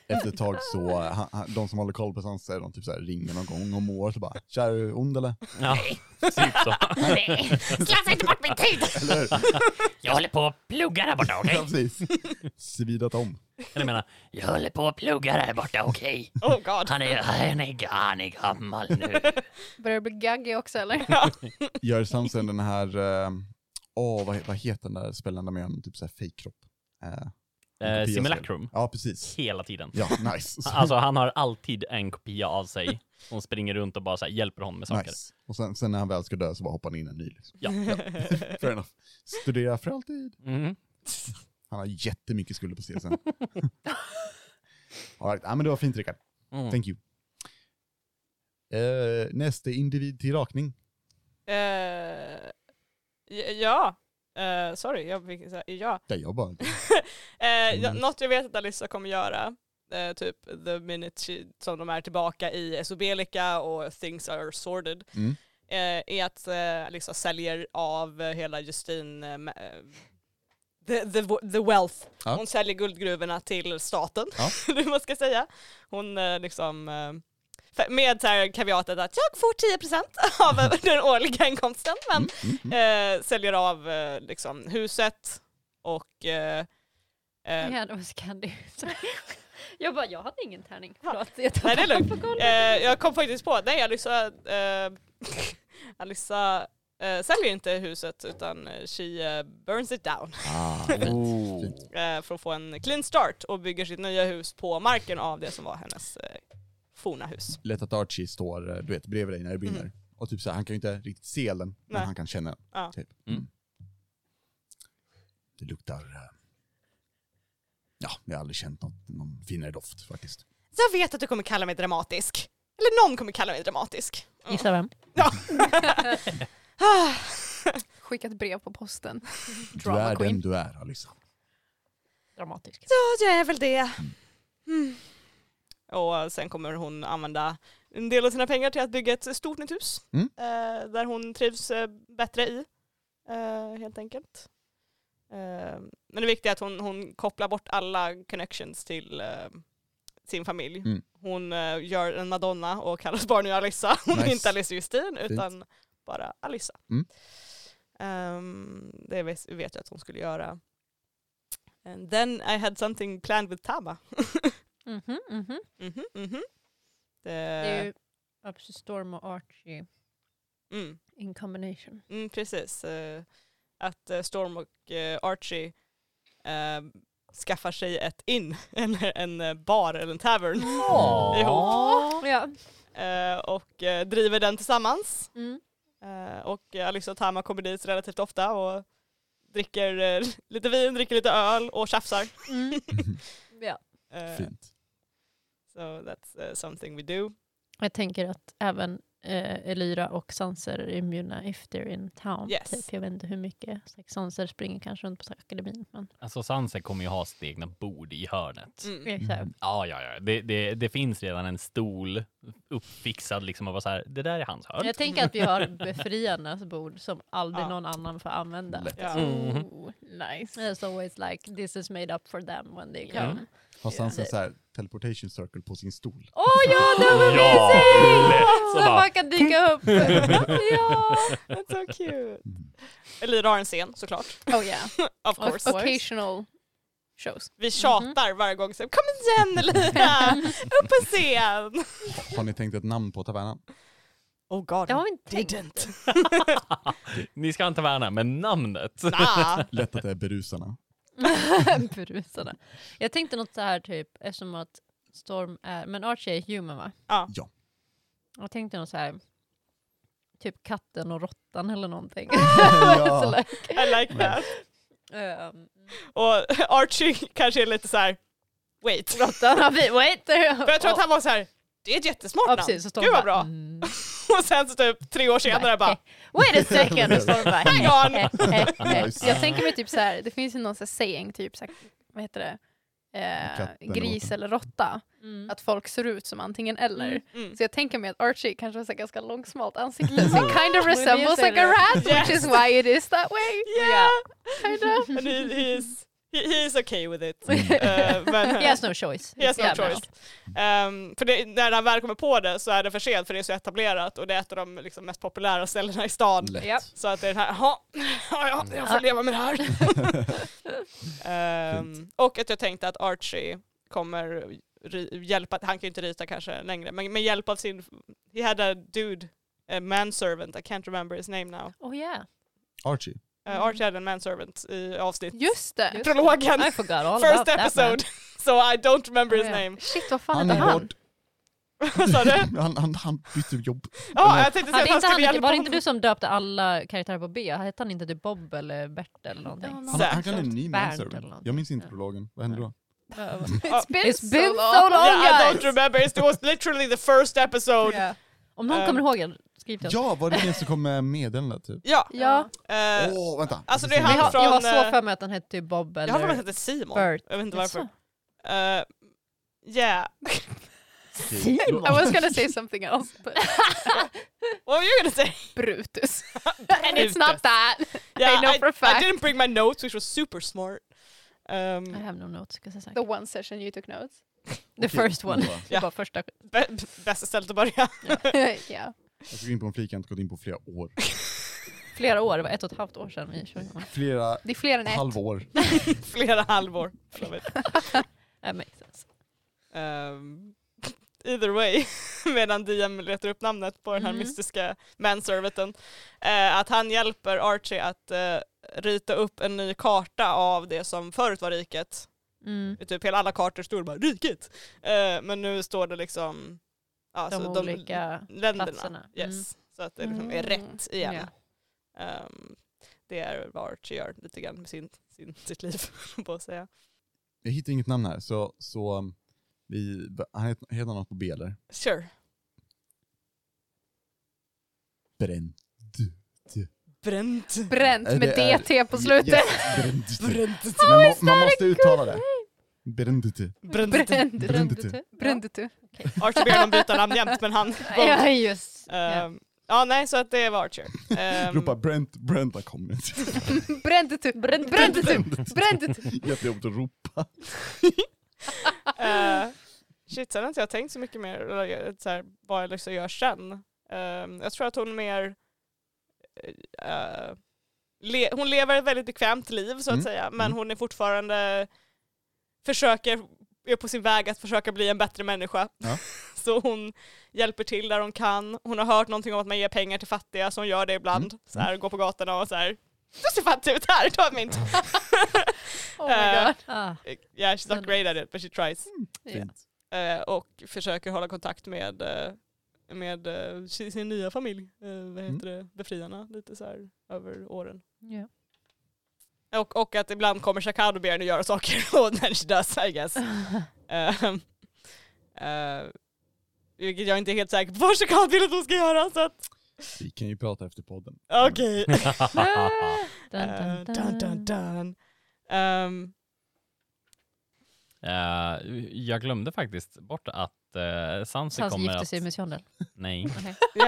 Speaker 1: Efter ett tag så, han, han, de som håller koll på Sansa, de typ så här ringer någon gång om året och bara “Tja, är du ond eller?”
Speaker 4: Ja, typ så.
Speaker 6: Nej, slösa inte bort min tid!
Speaker 1: Eller hur?
Speaker 6: Jag håller på att plugga där borta, okej?
Speaker 1: Ja, precis. Svidat om.
Speaker 4: Eller jag menar,
Speaker 6: Jag håller på att plugga där borta, okej?
Speaker 5: Oh God.
Speaker 6: Han, är, han, är, han är gammal
Speaker 4: Eh,
Speaker 6: nu.
Speaker 3: Börjar du bli gaggig också eller?
Speaker 1: Gör Sansa den här, eh, åh vad, he- vad heter den där spelaren där man gör en typ så här fejkkropp? Eh,
Speaker 4: eh, simulacrum.
Speaker 1: Ja, precis.
Speaker 4: Hela tiden.
Speaker 1: Ja, nice. Så-
Speaker 4: Alltså han har alltid en kopia av sig. Hon springer runt och bara så här, hjälper honom med saker.
Speaker 1: nice. Och sen, sen när han väl ska dö så bara hoppar han in en ny. Liksom.
Speaker 4: Ja.
Speaker 1: Fair enough. Studera för alltid.
Speaker 4: Mm.
Speaker 1: Han har jättemycket skulder på CSN. All right. ja, men det var fint Rickard.
Speaker 4: Mm.
Speaker 1: Thank you. Eh, nästa individ till rakning.
Speaker 5: Eh, j- ja. Eh, sorry, jag fick säga ja.
Speaker 1: Där jag bara...
Speaker 5: Eh, ja,
Speaker 1: Mm.
Speaker 5: något jag vet att Alissa kommer göra, eh, typ the minute she, som de är tillbaka i Esobelica och things are sorted,
Speaker 1: Mm.
Speaker 5: eh, är att eh, Alissa säljer av eh, hela Justine eh, ma- eh, the, the, the wealth.
Speaker 1: Ja.
Speaker 5: Hon säljer guldgruvorna till staten,
Speaker 1: Ja.
Speaker 5: eller vad man ska säga. Hon eh, liksom, eh, för- med så här kaviatet att jag får 10% av eh, den årliga inkomsten, men
Speaker 1: Mm, mm.
Speaker 5: eh, säljer av eh, liksom, huset och eh, eh,
Speaker 2: Ja, det var Scandi. Jag bara, jag hade ingen tärning.
Speaker 5: Ja.
Speaker 2: Förlåt, jag
Speaker 5: Nej det
Speaker 2: tappade
Speaker 5: är lugnt.
Speaker 2: på golvet.
Speaker 5: Eh, jag kom faktiskt på, nej Alyssa, eh, Alyssa eh, säljer inte huset utan eh, she eh, burns it down
Speaker 1: Ah, fint.
Speaker 5: eh, för att få en clean start och bygger sitt nya hus på marken av det som var hennes eh, forna hus.
Speaker 1: Lätt att Archie står eh, du vet, bredvid dig när det brinner.
Speaker 5: Mm.
Speaker 1: Och typ så här, han kan ju inte riktigt se elden, men
Speaker 5: Nej.
Speaker 1: han kan känna den.
Speaker 5: Ja.
Speaker 1: Typ.
Speaker 4: Mm.
Speaker 1: Mm. Det luktar... eh, Ja, jag har aldrig känt något, någon finare doft faktiskt.
Speaker 5: Jag vet att du kommer kalla mig dramatisk. Eller någon kommer kalla mig dramatisk.
Speaker 2: Gissa vem?
Speaker 5: Ja. Ah,
Speaker 3: Skicka ett brev på posten.
Speaker 1: Du är
Speaker 2: Drama
Speaker 1: den
Speaker 2: queen.
Speaker 1: du är, Alyssa.
Speaker 2: Dramatisk.
Speaker 5: ja, jag är väl det. Mm. Och sen kommer hon använda en del av sina pengar till att bygga ett stort nytt hus.
Speaker 1: Mm.
Speaker 5: Eh, där hon trivs eh, bättre i. Eh, helt enkelt. Eh, men det viktiga är att hon, hon kopplar bort alla connections till eh, sin familj.
Speaker 1: Mm.
Speaker 5: Hon eh, gör en Madonna och kallas bara nu Alissa. Hon är
Speaker 1: Nice.
Speaker 5: inte Alice Justin utan bara Alissa.
Speaker 1: Mm.
Speaker 5: Ehm, det vet vet jag att hon skulle göra. And then I had something planned with Taba.
Speaker 2: Mhm, mhm.
Speaker 5: Mhm, mhm. Det,
Speaker 2: Det är ju Upsi Storm och Archie
Speaker 5: mm,
Speaker 2: in combination.
Speaker 5: mm, precis. Eh, att eh, Storm och eh, Archie eh, skaffar sig ett inn, en, en eh, bar eller en tavern ihop.
Speaker 2: Ja.
Speaker 5: Eh, och eh, driver den tillsammans.
Speaker 2: Mm.
Speaker 5: Eh, och eh, Alyssa och Tama kommer dit relativt ofta och dricker eh, lite vin, dricker lite öl och tjafsar.
Speaker 2: Mm. ja.
Speaker 5: Eh,
Speaker 1: Fint.
Speaker 5: so that's eh, something we do.
Speaker 2: Jag tänker att även eh, Elyra och Sanser är immuna if they're in town.
Speaker 5: Yes.
Speaker 2: Typ. Jag vet inte hur mycket. Så Sanser springer kanske runt på så här akademin. Men,
Speaker 4: Alltså Sanse kommer ju ha sitt egna bord i hörnet.
Speaker 5: Mm.
Speaker 2: Eh, exakt.
Speaker 4: Ja, ja, ja. Det, det, det finns redan en stol uppfixad liksom och bara så här, det där är hans hörn.
Speaker 2: Jag tänker att vi har befriarnas bord som aldrig
Speaker 5: Ja.
Speaker 2: någon annan får använda.
Speaker 1: Lätt.
Speaker 5: Ja.
Speaker 4: Mhm.
Speaker 2: Ooh, nice. It's always like this is made up for them when they
Speaker 5: Ja.
Speaker 2: come.
Speaker 1: Har Sansa så här teleportation circle på sin stol?
Speaker 2: Åh Oh ja, det var
Speaker 4: Ja, lätt.
Speaker 2: mysigt!
Speaker 4: Så
Speaker 2: Så
Speaker 4: bara-
Speaker 2: man kan dyka upp. ja.
Speaker 5: That's so cute. Elira har en scen såklart,
Speaker 2: Oh yeah.
Speaker 5: of
Speaker 2: Och
Speaker 5: course. Mm-hmm.
Speaker 2: Occasional shows.
Speaker 5: Vi tjatar varje gång, så, kom igen Elira, upp på scen!
Speaker 1: Har ni tänkt ett namn på tavernan?
Speaker 5: Oh god,
Speaker 2: Det har vi inte tänkt.
Speaker 5: didn't.
Speaker 4: Ni ska inte värna, men namnet.
Speaker 5: Nah.
Speaker 1: Lätt att det är berusarna.
Speaker 2: Berusade. Jag tänkte något så här typ, eftersom att Storm är, men Archie är human va?
Speaker 5: Ja.
Speaker 1: Ja.
Speaker 2: Jag tänkte något så här, typ katten och råttan eller någonting. Så
Speaker 1: ja.
Speaker 2: like,
Speaker 5: I like that.
Speaker 2: ehm,
Speaker 5: Och Archie kanske är lite så här, wait. För
Speaker 2: råttan har vi, wait.
Speaker 5: jag tror att han var så här, det är ett jättesmart
Speaker 2: Ja,
Speaker 5: namn.
Speaker 2: precis, så Storm
Speaker 5: Gud vad
Speaker 2: bara,
Speaker 5: bra.
Speaker 2: mm.
Speaker 5: Och sen så typ tre år senare bara,
Speaker 2: Wait a second! Och Storm bara,
Speaker 5: Hang on.
Speaker 2: eh, eh, eh.
Speaker 1: Nice.
Speaker 3: Jag tänker mig typ så här, det finns ju någon så här saying, typ så här, vad heter det?
Speaker 1: Katten
Speaker 3: Eh,
Speaker 1: och
Speaker 3: gris
Speaker 1: råtta.
Speaker 3: eller råtta.
Speaker 2: Mm.
Speaker 3: Att folk ser ut som antingen eller.
Speaker 2: Mm.
Speaker 5: mm.
Speaker 3: Så jag tänker mig att Archie kanske har så här ganska långsmalt ansikte. Så it kind
Speaker 2: Ja,
Speaker 3: of resembles
Speaker 2: det är
Speaker 3: like a
Speaker 2: det.
Speaker 3: rat,
Speaker 5: Yes.
Speaker 3: which is why it is that way.
Speaker 5: yeah.
Speaker 3: Kind of.
Speaker 5: And he, he's, he, he's okay with it.
Speaker 1: Mm.
Speaker 5: Eh, men,
Speaker 2: He has no choice.
Speaker 5: He has no
Speaker 2: Yeah,
Speaker 5: choice. Ehm, för det, när han väl kommer på det så är det för sent för det är så etablerat och det är ett av de liksom, mest populära ställena i stan.
Speaker 1: Lätt.
Speaker 2: Ja.
Speaker 5: Så att det är den här, "Jaha, ja, ja, jag får leva med det här. Ehm, och att jag tänkte att Archie kommer ri- hjälpa, han kan ju inte rita kanske längre, men med hjälp av sin, he had a dude, a manservant, I can't remember his name now.
Speaker 2: Oh yeah.
Speaker 1: Archie.
Speaker 5: Eh,
Speaker 2: Mm.
Speaker 5: Archie hade en manservant i avsnitt,
Speaker 3: Just det.
Speaker 2: Just
Speaker 5: prologen,
Speaker 2: I forgot all about that,
Speaker 5: first
Speaker 2: man. Oh,
Speaker 5: episode. so I don't remember his
Speaker 2: Ja, ja.
Speaker 5: name.
Speaker 3: Shit, vad fan
Speaker 1: Han
Speaker 3: hette
Speaker 1: är
Speaker 3: han?
Speaker 1: bort.
Speaker 5: Vad sa du?
Speaker 1: Han, han, han bytte jobb.
Speaker 5: Ja, jag tänkte säga
Speaker 2: Hade
Speaker 5: att han
Speaker 2: inte
Speaker 5: skulle
Speaker 2: han,
Speaker 5: hjälpa
Speaker 2: var det inte du
Speaker 5: honom.
Speaker 2: som döpte alla karaktärer på B? Hette han inte typ Bob eller Bert eller någonting?
Speaker 1: Han, han kan en ny
Speaker 2: Bernt eller
Speaker 1: manservant.
Speaker 2: någonting.
Speaker 1: Jag minns inte
Speaker 2: Ja.
Speaker 1: prologen. Vad hände då?
Speaker 3: It's been,
Speaker 2: It's
Speaker 3: so
Speaker 2: been
Speaker 3: long.
Speaker 2: so long
Speaker 5: Yeah, I
Speaker 2: guys!
Speaker 5: don't remember, it was literally the first episode.
Speaker 3: Ja.
Speaker 2: Om någon
Speaker 5: Ehm,
Speaker 2: kommer ihåg den, skriv
Speaker 5: Typ.
Speaker 2: till oss.
Speaker 1: Ja, var det den som kom med meddelandet typ?
Speaker 5: Ja,
Speaker 3: Ja.
Speaker 1: Åh,
Speaker 2: Oh,
Speaker 5: eh,
Speaker 1: vänta.
Speaker 5: alltså det är
Speaker 2: jag,
Speaker 5: han
Speaker 2: har,
Speaker 5: från...
Speaker 2: jag har så
Speaker 5: eh,
Speaker 2: för mig att han hette typ Bob eller...
Speaker 5: Jag har för mig att han heter Simon.
Speaker 2: Bert.
Speaker 5: Jag vet inte
Speaker 2: Jaså?
Speaker 5: varför. Uh, yeah.
Speaker 2: Simon!
Speaker 3: I was gonna say something else, but
Speaker 5: What were you gonna say?
Speaker 3: Brutus. and it's not that. I know
Speaker 5: I,
Speaker 3: for a
Speaker 5: I
Speaker 3: fact.
Speaker 5: didn't bring my notes, which was super smart. Um,
Speaker 2: I have no notes because I sagt.
Speaker 3: The one session you took notes.
Speaker 2: The first one.
Speaker 1: Nora,
Speaker 2: Det var första.
Speaker 5: bä- bästa stället att börja.
Speaker 3: yeah.
Speaker 1: Jag ska gå in på en flik jag inte gått in på flera år.
Speaker 2: Flera år, det var ett och ett halvt år sedan vi körde.
Speaker 5: Mm.
Speaker 2: igång.
Speaker 1: Flera
Speaker 3: Det är fler än ett.
Speaker 1: halvår.
Speaker 5: Flera halvår. I love it.
Speaker 2: That makes sense.
Speaker 5: Um, either way, medan Diem letar upp namnet på den här
Speaker 2: Mhm.
Speaker 5: mystiska manserveten, eh, att han hjälper Archie att eh, rita upp en ny karta av det som förut var riket.
Speaker 2: Mm.
Speaker 5: Typ hela alla kartor stod bara riket, eh, men nu står det liksom ja,
Speaker 2: De
Speaker 5: så
Speaker 2: olika
Speaker 5: länderna.
Speaker 2: platserna.
Speaker 5: Yes.
Speaker 2: Mm.
Speaker 5: Så att det liksom är
Speaker 3: Mm.
Speaker 5: rätt igen. Ehm, det är vad Archie gör lite grann med sin, sin, sitt liv, på att säga.
Speaker 1: Jag hittar inget namn här, så, så um, vi, han heter, heter något på B eller?
Speaker 5: Sure.
Speaker 1: Bränd.
Speaker 5: Bränt.
Speaker 3: Bränt
Speaker 1: Nej,
Speaker 3: med
Speaker 1: det är-
Speaker 3: DT på slutet.
Speaker 1: Yes, bränd.
Speaker 5: Bränt.
Speaker 1: Men man, man måste uttala det. Bränd.
Speaker 5: Bränt.
Speaker 3: Bränt.
Speaker 1: Brände du?
Speaker 2: Brände du?
Speaker 3: Brände du?
Speaker 5: Archer ber honom byta namn jämt men han...
Speaker 2: Ja, just.
Speaker 3: Eh,
Speaker 5: Ehm, ja nej så att det var Archer. Ehm,
Speaker 1: Ropa Brent, Brent har kommit.
Speaker 3: Brände du? Brände du? Brände du?
Speaker 1: Jättejobbigt att ropa.
Speaker 5: eh, shit sen har inte jag tänkt så mycket mer eller, eh, så här, vad Alexa gör sen. Ehm, jag tror att hon mer... eh, le- hon lever ett väldigt bekvämt liv så att
Speaker 1: Mm.
Speaker 5: säga men
Speaker 1: Mm.
Speaker 5: hon är fortfarande... Försöker, är på sin väg att försöka bli en bättre människa.
Speaker 1: Ja.
Speaker 5: Så hon hjälper till där hon kan. Hon har hört någonting om att man ger pengar till fattiga så hon gör det ibland.
Speaker 1: Mm.
Speaker 5: Så här, går på gatorna och så här. Du ser fattig ut här, ta min.
Speaker 3: Oh my god.
Speaker 2: Ah,
Speaker 5: Yeah, she's not
Speaker 2: Men-
Speaker 5: great at it, but she tries.
Speaker 2: ja.
Speaker 5: Eh, och försöker hålla kontakt med, eh, med eh, sin sin nya familj, eh, vad heter
Speaker 2: Mm.
Speaker 5: det, befriarna, lite så här över åren.
Speaker 2: Ja.
Speaker 5: Och, och att ibland kommer Shakad och ber henne göra saker, och then she does I guess. Ehm, eh, vilket jag inte är helt säker på vad Shakad vill att hon ska göra, så att
Speaker 1: Vi kan ju prata efter podden.
Speaker 5: okej.
Speaker 6: Ah.
Speaker 2: Dun,
Speaker 5: Eh,
Speaker 2: Mm. dun,
Speaker 5: dun,
Speaker 2: dun.
Speaker 5: dun, dun. Ehm,
Speaker 4: Eh, jag glömde faktiskt bort att uh, Sansi
Speaker 2: Sans
Speaker 4: kommer
Speaker 2: gifte
Speaker 4: att...
Speaker 2: sig med Sjöndel.
Speaker 4: Nej.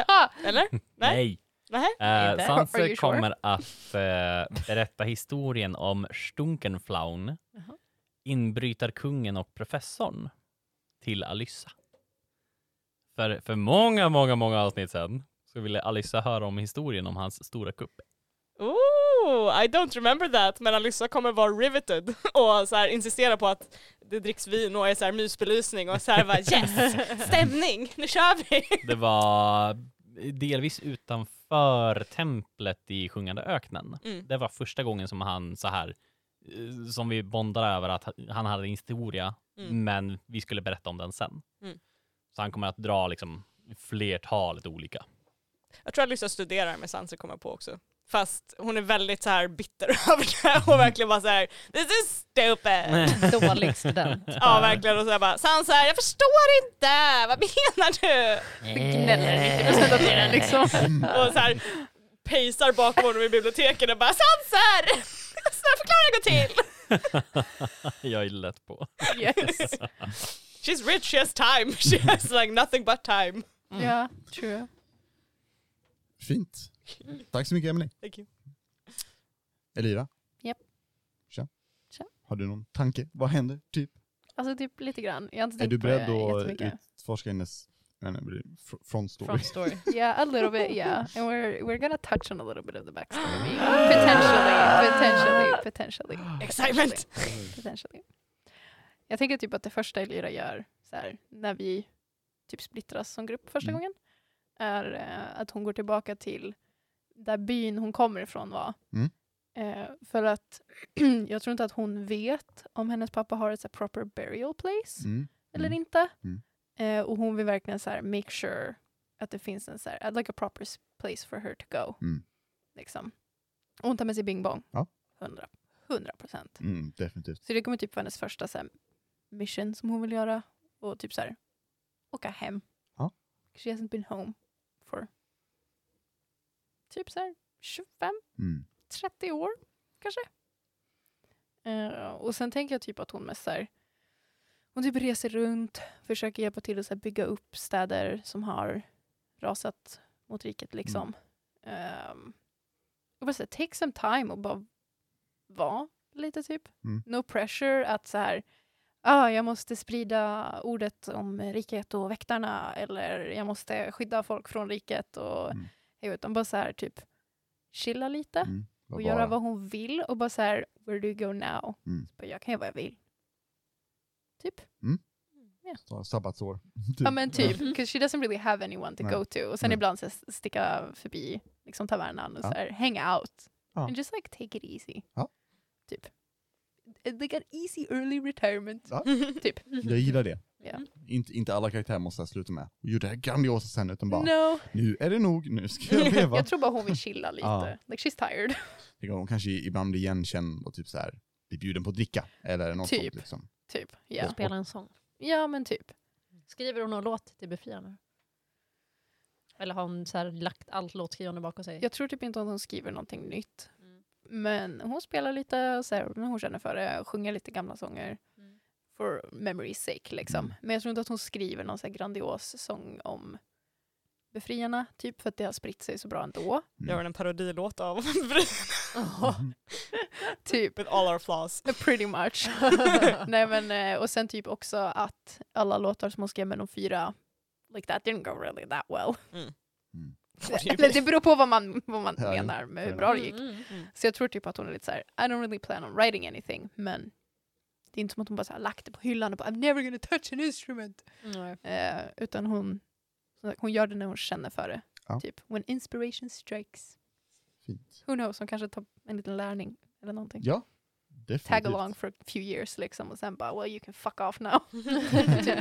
Speaker 5: eller? Nej. Nej.
Speaker 4: Eh,
Speaker 2: Inte. Are
Speaker 4: Sanse
Speaker 2: you sure?
Speaker 4: kommer att eh, berätta historien om Stunkenflaun,
Speaker 2: Jaha.
Speaker 4: inbrytarkungen och professorn till Alyssa. För, för många, många, många avsnitt sedan så ville Alyssa höra om historien om hans stora kupp.
Speaker 5: Ooh, I don't remember that. Men Alyssa kommer vara riveted och så här insistera på att det dricks vin och är så här mysbelysning och så här bara yes, stämning, nu kör vi!
Speaker 4: Det var delvis utanför templet i Sjungande öknen.
Speaker 5: Mm.
Speaker 4: Det var första gången som han så här, eh, som vi bondade över att han hade en historia,
Speaker 5: Mm.
Speaker 4: men vi skulle berätta om den sen.
Speaker 5: Mm.
Speaker 4: Så han kommer att dra liksom flertalet olika.
Speaker 5: Jag tror Alyssa studerar med Sansa kommer jag på också. Fast hon är väldigt så här bitter över det och verkligen bara så här this is stupid.
Speaker 2: Dålig student.
Speaker 5: Ja verkligen och så här bara Sansa jag förstår inte, vad menar du?
Speaker 2: Gnäller lite på sina datorer, liksom.
Speaker 5: Och så här pejsar bakom honom i biblioteket och bara Sansa! Snälla förklara hur det går till!
Speaker 4: Jag är lätt på.
Speaker 3: Yes.
Speaker 5: She's rich, she has time. She has like nothing but time.
Speaker 3: Ja, true.
Speaker 1: Fint. Tack så mycket Emily.
Speaker 5: Thank you.
Speaker 1: Elira?
Speaker 2: Japp.
Speaker 1: Tja.
Speaker 2: Tja.
Speaker 1: Har du någon tanke? Vad händer? Typ?
Speaker 3: Alltså typ lite grann. Jag har inte
Speaker 1: Är
Speaker 3: tänkt
Speaker 1: du beredd
Speaker 3: på det
Speaker 1: att
Speaker 3: jättemycket.
Speaker 1: utforska hennes nej, nej, fr- front story?
Speaker 2: From story.
Speaker 3: Yeah, a little bit, yeah. And we're, we're gonna touch on a little bit of the backstory. Potentially, potentially, potentially.
Speaker 5: Excitement!
Speaker 3: potentially. Jag tänker typ att det första Elira gör så här, när vi typ splittras som grupp första
Speaker 1: Mm.
Speaker 3: gången är eh, att hon går tillbaka till där byn hon kommer ifrån var.
Speaker 1: Mm.
Speaker 3: Eh, för att jag tror inte att hon vet om hennes pappa har ett så här, proper burial place
Speaker 1: Mm.
Speaker 3: eller inte.
Speaker 1: Mm.
Speaker 3: Eh, och hon vill verkligen så här, make sure att det finns en så här, I'd like a proper s- place for her to go.
Speaker 1: Mm.
Speaker 3: Liksom. Och hon tar med sig Bing Bong.
Speaker 1: Ja.
Speaker 3: 100 100 procent.
Speaker 1: Mm, definitivt.
Speaker 3: Så det kommer typ vara hennes första så här, mission som hon vill göra. Och typ så här, åka hem.
Speaker 1: Ja.
Speaker 3: She hasn't been home for typ så här 25,
Speaker 1: Mm.
Speaker 3: 30 år kanske. Eh, och sen tänker jag typ att hon mest så här, Hon typ reser runt, försöker hjälpa till att så här, bygga upp städer som har rasat mot riket. liksom.
Speaker 1: Mm.
Speaker 3: Ehm, och bara så här, take some time och bara vara lite typ.
Speaker 1: Mm.
Speaker 3: No pressure att så här, ah, jag måste sprida ordet om riket och väktarna eller jag måste skydda folk från riket. Och,
Speaker 1: Mm.
Speaker 3: jag vet, utan bara så här typ chilla lite
Speaker 1: Mm.
Speaker 3: och
Speaker 1: Vad
Speaker 3: göra
Speaker 1: bara-
Speaker 3: vad hon vill och bara så här, where do you go now?
Speaker 1: Mm.
Speaker 3: Så bara, jag kan göra vad jag vill. Typ.
Speaker 1: ta Sabbatsår.
Speaker 3: Ja men typ,
Speaker 2: Mm.
Speaker 3: because she doesn't really have anyone to
Speaker 1: Nej.
Speaker 3: go to. Och sen
Speaker 1: Nej.
Speaker 3: ibland så s- sticka förbi liksom tavernan och
Speaker 1: Ja.
Speaker 3: så här, hang out.
Speaker 1: Ja.
Speaker 3: And just like take it easy.
Speaker 1: Ja.
Speaker 3: Typ. Eh, Like an easy early retirement.
Speaker 1: Ja.
Speaker 3: Typ.
Speaker 1: Jag gillar det.
Speaker 3: Ja.
Speaker 1: Inte, inte alla karaktärer måste sluta med och gjorde det här grandiosa sen utan bara
Speaker 3: No.
Speaker 1: nu är det nog, nu ska jag leva.
Speaker 3: Jag tror bara hon vill chilla lite.
Speaker 1: Ja.
Speaker 3: Like she's tired.
Speaker 1: Tänk om Hon kanske ibland blir igenkänd och typ så här blir bjuden på att dricka eller något
Speaker 3: Typ.
Speaker 1: sånt liksom.
Speaker 3: typ. Ja.
Speaker 2: Spela en sång.
Speaker 3: ja men typ.
Speaker 2: Skriver hon någon låt till befriarna? Eller har hon så här lagt allt låtskrivande bakom sig?
Speaker 3: Jag tror typ inte att hon skriver någonting nytt.
Speaker 2: Mm.
Speaker 3: Men hon spelar lite och så här, när hon känner för det, sjunger lite gamla sånger.
Speaker 2: Mm.
Speaker 3: For memory's sake liksom.
Speaker 1: Mm.
Speaker 3: Men jag tror inte att hon skriver någon så här grandios sång om befriarna, typ för att det har spritt sig så bra ändå.
Speaker 1: Mm.
Speaker 5: Gör en parodilåt av
Speaker 3: typ,
Speaker 5: With all our flaws.
Speaker 3: pretty much. Nej men, eh, och sen typ också att alla låtar som hon skrev med de fyra, like that didn't go really that well. Eller det beror på vad man, vad man
Speaker 1: Ja, jo.
Speaker 3: menar med hur bra det gick.
Speaker 2: Mm, mm.
Speaker 3: Så jag tror typ att hon är lite så här, I don't really plan on writing anything, men det är inte som att hon bara så här lagt det på hyllan och bara I'm never gonna touch an instrument.
Speaker 2: Mm.
Speaker 3: Eh, utan hon, hon gör det när hon känner för det.
Speaker 1: Ja.
Speaker 3: Typ, when inspiration strikes.
Speaker 1: Fint.
Speaker 3: Who knows, hon kanske tar en liten lärning eller någonting.
Speaker 1: Ja, definitivt.
Speaker 3: Tag along for a few years liksom och sen bara well you can fuck off now. typ.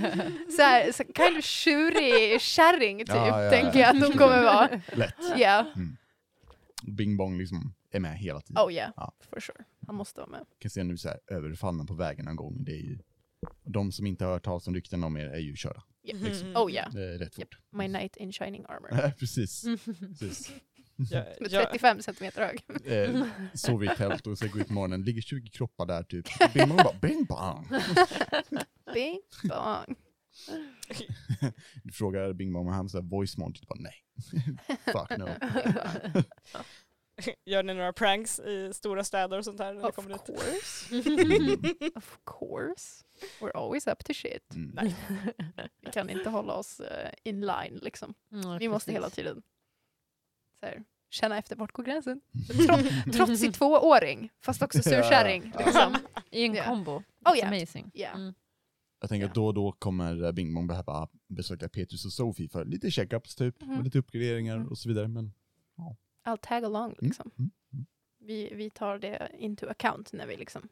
Speaker 3: så här, så kind of tjurig kärring typ,
Speaker 1: Ja, ja,
Speaker 3: tänker
Speaker 1: ja.
Speaker 3: jag att hon kommer vara.
Speaker 1: Lätt.
Speaker 3: Yeah.
Speaker 1: Bing Bong liksom är med hela tiden.
Speaker 3: Oh yeah,
Speaker 1: Ja.
Speaker 3: for sure. Han måste vara med.
Speaker 1: Kan se nu så här överfallna på vägen en gång. Det är ju, de som inte har hört talas om rykten om er är ju körda.
Speaker 3: Yeah.
Speaker 5: Mm.
Speaker 3: Oh yeah,
Speaker 1: Det är rätt fort.
Speaker 3: my knight in shining armor.
Speaker 1: precis.
Speaker 3: Mm.
Speaker 1: precis.
Speaker 5: Jag,
Speaker 3: Med
Speaker 5: jag,
Speaker 3: 35 centimeter hög.
Speaker 1: Eh, sover i tält och så går ut på morgonen, ligger 20 kroppar där typ. Bing Bong bara bing bong.
Speaker 3: Bing bong.
Speaker 1: Du frågar Bing Bong och han säger voice mode, typ bara nej. Fuck no.
Speaker 5: gör ni några pranks i stora städer och sånt här? När ni
Speaker 3: Of
Speaker 5: kommer dit?
Speaker 3: course.
Speaker 1: Mm.
Speaker 3: of course. We're always up to shit.
Speaker 1: Mm.
Speaker 5: Nej.
Speaker 3: Vi kan inte hålla oss eh, in line liksom.
Speaker 2: Mm,
Speaker 3: Vi måste
Speaker 2: precis.
Speaker 3: hela tiden så här, känna efter vart går gränsen. Trots, trots i tvååring, fast också surkärring.
Speaker 1: Mm. Ja, Mm. ja.
Speaker 3: Liksom.
Speaker 2: I en
Speaker 3: Ja.
Speaker 2: kombo.
Speaker 3: Oh
Speaker 2: It's
Speaker 3: yeah.
Speaker 2: Amazing.
Speaker 3: Yeah.
Speaker 2: Mm.
Speaker 1: Jag tänker att
Speaker 3: Ja.
Speaker 1: då och då kommer Bing Bong behöva besöka Petrus och Sophie för lite checkups typ,
Speaker 3: Mhm.
Speaker 1: och lite uppgraderingar
Speaker 3: Mm.
Speaker 1: och så vidare. Men
Speaker 3: I'll tag along liksom.
Speaker 1: mm,
Speaker 3: Vi, vi tar det into account när vi liksom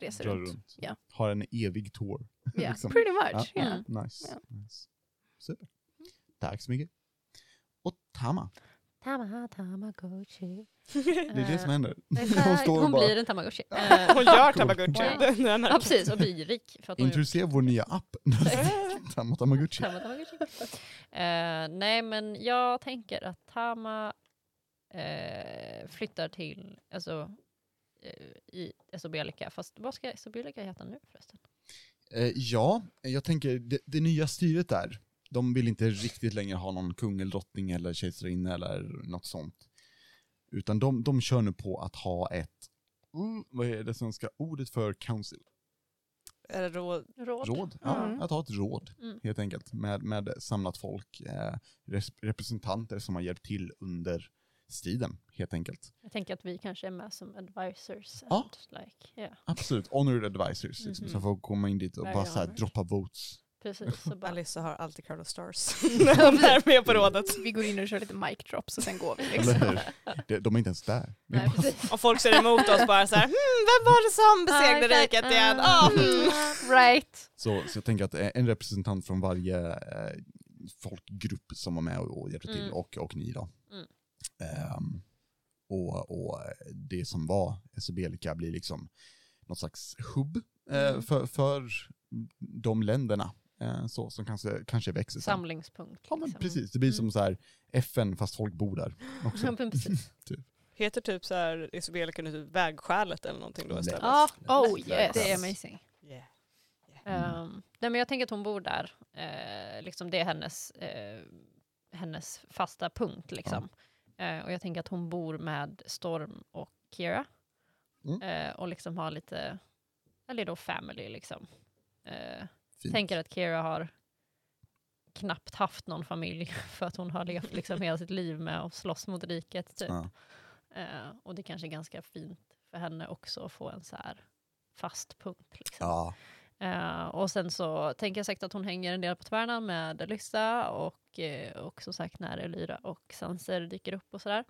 Speaker 3: reser
Speaker 1: drar
Speaker 3: runt.
Speaker 1: runt.
Speaker 3: Ja.
Speaker 1: Har en evig tour.
Speaker 3: Yeah,
Speaker 1: liksom.
Speaker 3: Pretty much.
Speaker 1: Ja.
Speaker 3: Yeah.
Speaker 2: Mm.
Speaker 1: Nice. nice. Super. Tack så mycket. Och Tama,
Speaker 2: Tama, tamagotchi.
Speaker 1: det är det som
Speaker 2: Eh,
Speaker 1: händer.
Speaker 2: Hon,
Speaker 1: står och
Speaker 2: hon
Speaker 1: bara-
Speaker 2: blir en tamagotchi. Eh,
Speaker 5: Hon gör Tamagotchi.
Speaker 2: Ja.
Speaker 5: Den- den här-
Speaker 2: ja, precis, och blir rik. För att hon gjort
Speaker 1: Introducera vår nya app, Tama Tamaguchi.
Speaker 2: Tama tamagotchi. Eh, nej, men jag tänker att Tama eh, flyttar till alltså, eh, i Esobelica. Fast vad ska Esobelica heta nu förresten?
Speaker 1: Eh, ja, jag tänker det, det nya styret där, de vill inte riktigt längre ha någon kung eller drottning eller kejsarinna eller något sånt. Utan de, de kör nu på att ha ett, mm, vad är det svenska ordet för council?
Speaker 5: Är det då-
Speaker 2: Råd.
Speaker 1: Råd? Ja,
Speaker 3: Mm.
Speaker 1: att ha ett råd
Speaker 2: Mm.
Speaker 1: helt enkelt med, med samlat folk, eh, res- representanter som har hjälpt till under striden helt enkelt.
Speaker 2: Jag tänker att vi kanske är med som advisors.
Speaker 1: Ja.
Speaker 2: and Like, yeah,
Speaker 1: Absolut, honored advisors liksom,
Speaker 2: Mhm.
Speaker 1: som får komma in dit och
Speaker 2: Very
Speaker 1: bara så här,
Speaker 2: honored.
Speaker 1: droppa votes.
Speaker 2: precis. Så bara,
Speaker 5: Alissa har alltid Carlos Stars när hon är med på rådet.
Speaker 3: Vi går in och kör lite mic drops och sen går vi. Liksom.
Speaker 1: Eller hur? De, de är inte ens där. Vi
Speaker 2: nej,
Speaker 1: bara-
Speaker 2: precis.
Speaker 5: Och folk ser emot oss bara så här, hmm, vem var det
Speaker 3: Ah,
Speaker 5: som besegrade riket igen? Ah, hmm.
Speaker 2: mm. right.
Speaker 1: Så, så jag tänker att eh, en representant från varje eh, folkgrupp som var med och, och hjälpte till,
Speaker 2: Mm.
Speaker 1: och, och ni då.
Speaker 2: Mm.
Speaker 1: Ehm, och, och det som var Esbelica blir liksom något slags hubb eh,
Speaker 2: Mm.
Speaker 1: för, för de länderna. Eh, så, som kanske, kanske växer sen.
Speaker 2: Samlingspunkt.
Speaker 1: Ja men
Speaker 2: liksom.
Speaker 1: precis, det blir som
Speaker 2: Mm.
Speaker 1: så här FN fast folk bor där
Speaker 2: Ja,
Speaker 1: också.
Speaker 2: men precis.
Speaker 5: Heter typ så här Isabelika nu typ
Speaker 3: Ah.
Speaker 5: vägskälet eller någonting då istället?
Speaker 2: Ja,
Speaker 3: Oh
Speaker 1: Yes.
Speaker 2: det är
Speaker 3: yes.
Speaker 2: amazing.
Speaker 5: Yeah.
Speaker 1: Mm.
Speaker 2: Ehm, Nej men jag tänker att hon bor där. Eh, liksom det är hennes, eh, hennes fasta punkt liksom. Eh, och jag tänker att hon bor med Storm och Kira.
Speaker 1: Mm.
Speaker 2: Eh, och liksom har lite, a little family liksom. Eh,
Speaker 1: Fint.
Speaker 2: tänker att Kira har knappt haft någon familj för att hon har levt liksom hela sitt liv med att slåss mot riket. Typ.
Speaker 1: Ja.
Speaker 2: Eh, och det kanske är ganska fint för henne också att få en så här fast punkt. Liksom.
Speaker 1: Ja.
Speaker 2: Eh, och sen så tänker jag säkert att hon hänger en del på tvärna med Lyssa och, eh, och som sagt när Elyra och Sanser dyker upp och sådär.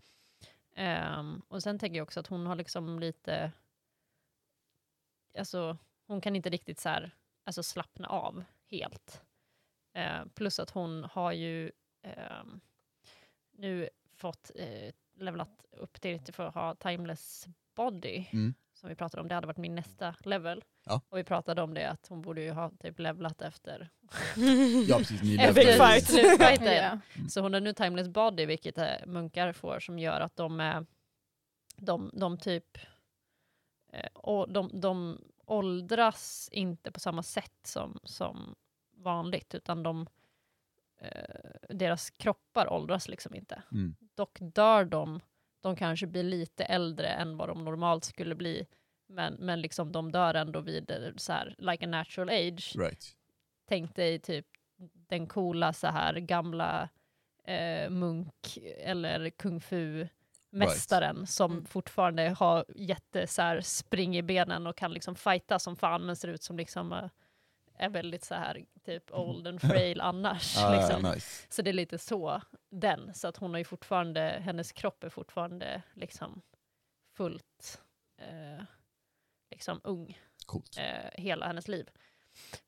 Speaker 2: Ehm, och sen tänker jag också att hon har liksom lite, alltså hon kan inte riktigt så här, alltså slappna av helt. Eh, plus att hon har ju ehm, nu fått eh, levlat upp till för att ha timeless body
Speaker 1: Mm.
Speaker 2: som vi pratade om, det hade varit min nästa level.
Speaker 1: Ja.
Speaker 2: Och vi pratade om det att hon borde ju ha typ levlat efter,
Speaker 1: ja, precis. Ni
Speaker 5: Big
Speaker 1: levererar.
Speaker 2: efter
Speaker 5: fight.
Speaker 2: slutfighten.
Speaker 3: Ja.
Speaker 2: Så hon har nu timeless body, vilket eh, munkar får, som gör att de, eh, de, de typ eh, å- de, de åldras inte på samma sätt som, som vanligt, utan de, eh, deras kroppar åldras liksom inte.
Speaker 1: Mm.
Speaker 2: Dock dör de, de kanske blir lite äldre än vad de normalt skulle bli, men, men liksom de dör ändå vid eh, så här, like a natural age
Speaker 1: Right.
Speaker 2: tänk dig typ den coola så här gamla eh, munk eller kung fu mästaren som
Speaker 7: Mm.
Speaker 2: fortfarande har jätte så här, spring i benen och kan liksom fighta som fan men ser ut som liksom eh, är väldigt så här typ old and frail annars.
Speaker 1: Ah,
Speaker 2: liksom.
Speaker 1: nice.
Speaker 2: Så det är lite så den, så att hon har ju fortfarande, hennes kropp är fortfarande liksom fullt eh, liksom ung
Speaker 1: Coolt.
Speaker 2: eh, hela hennes liv.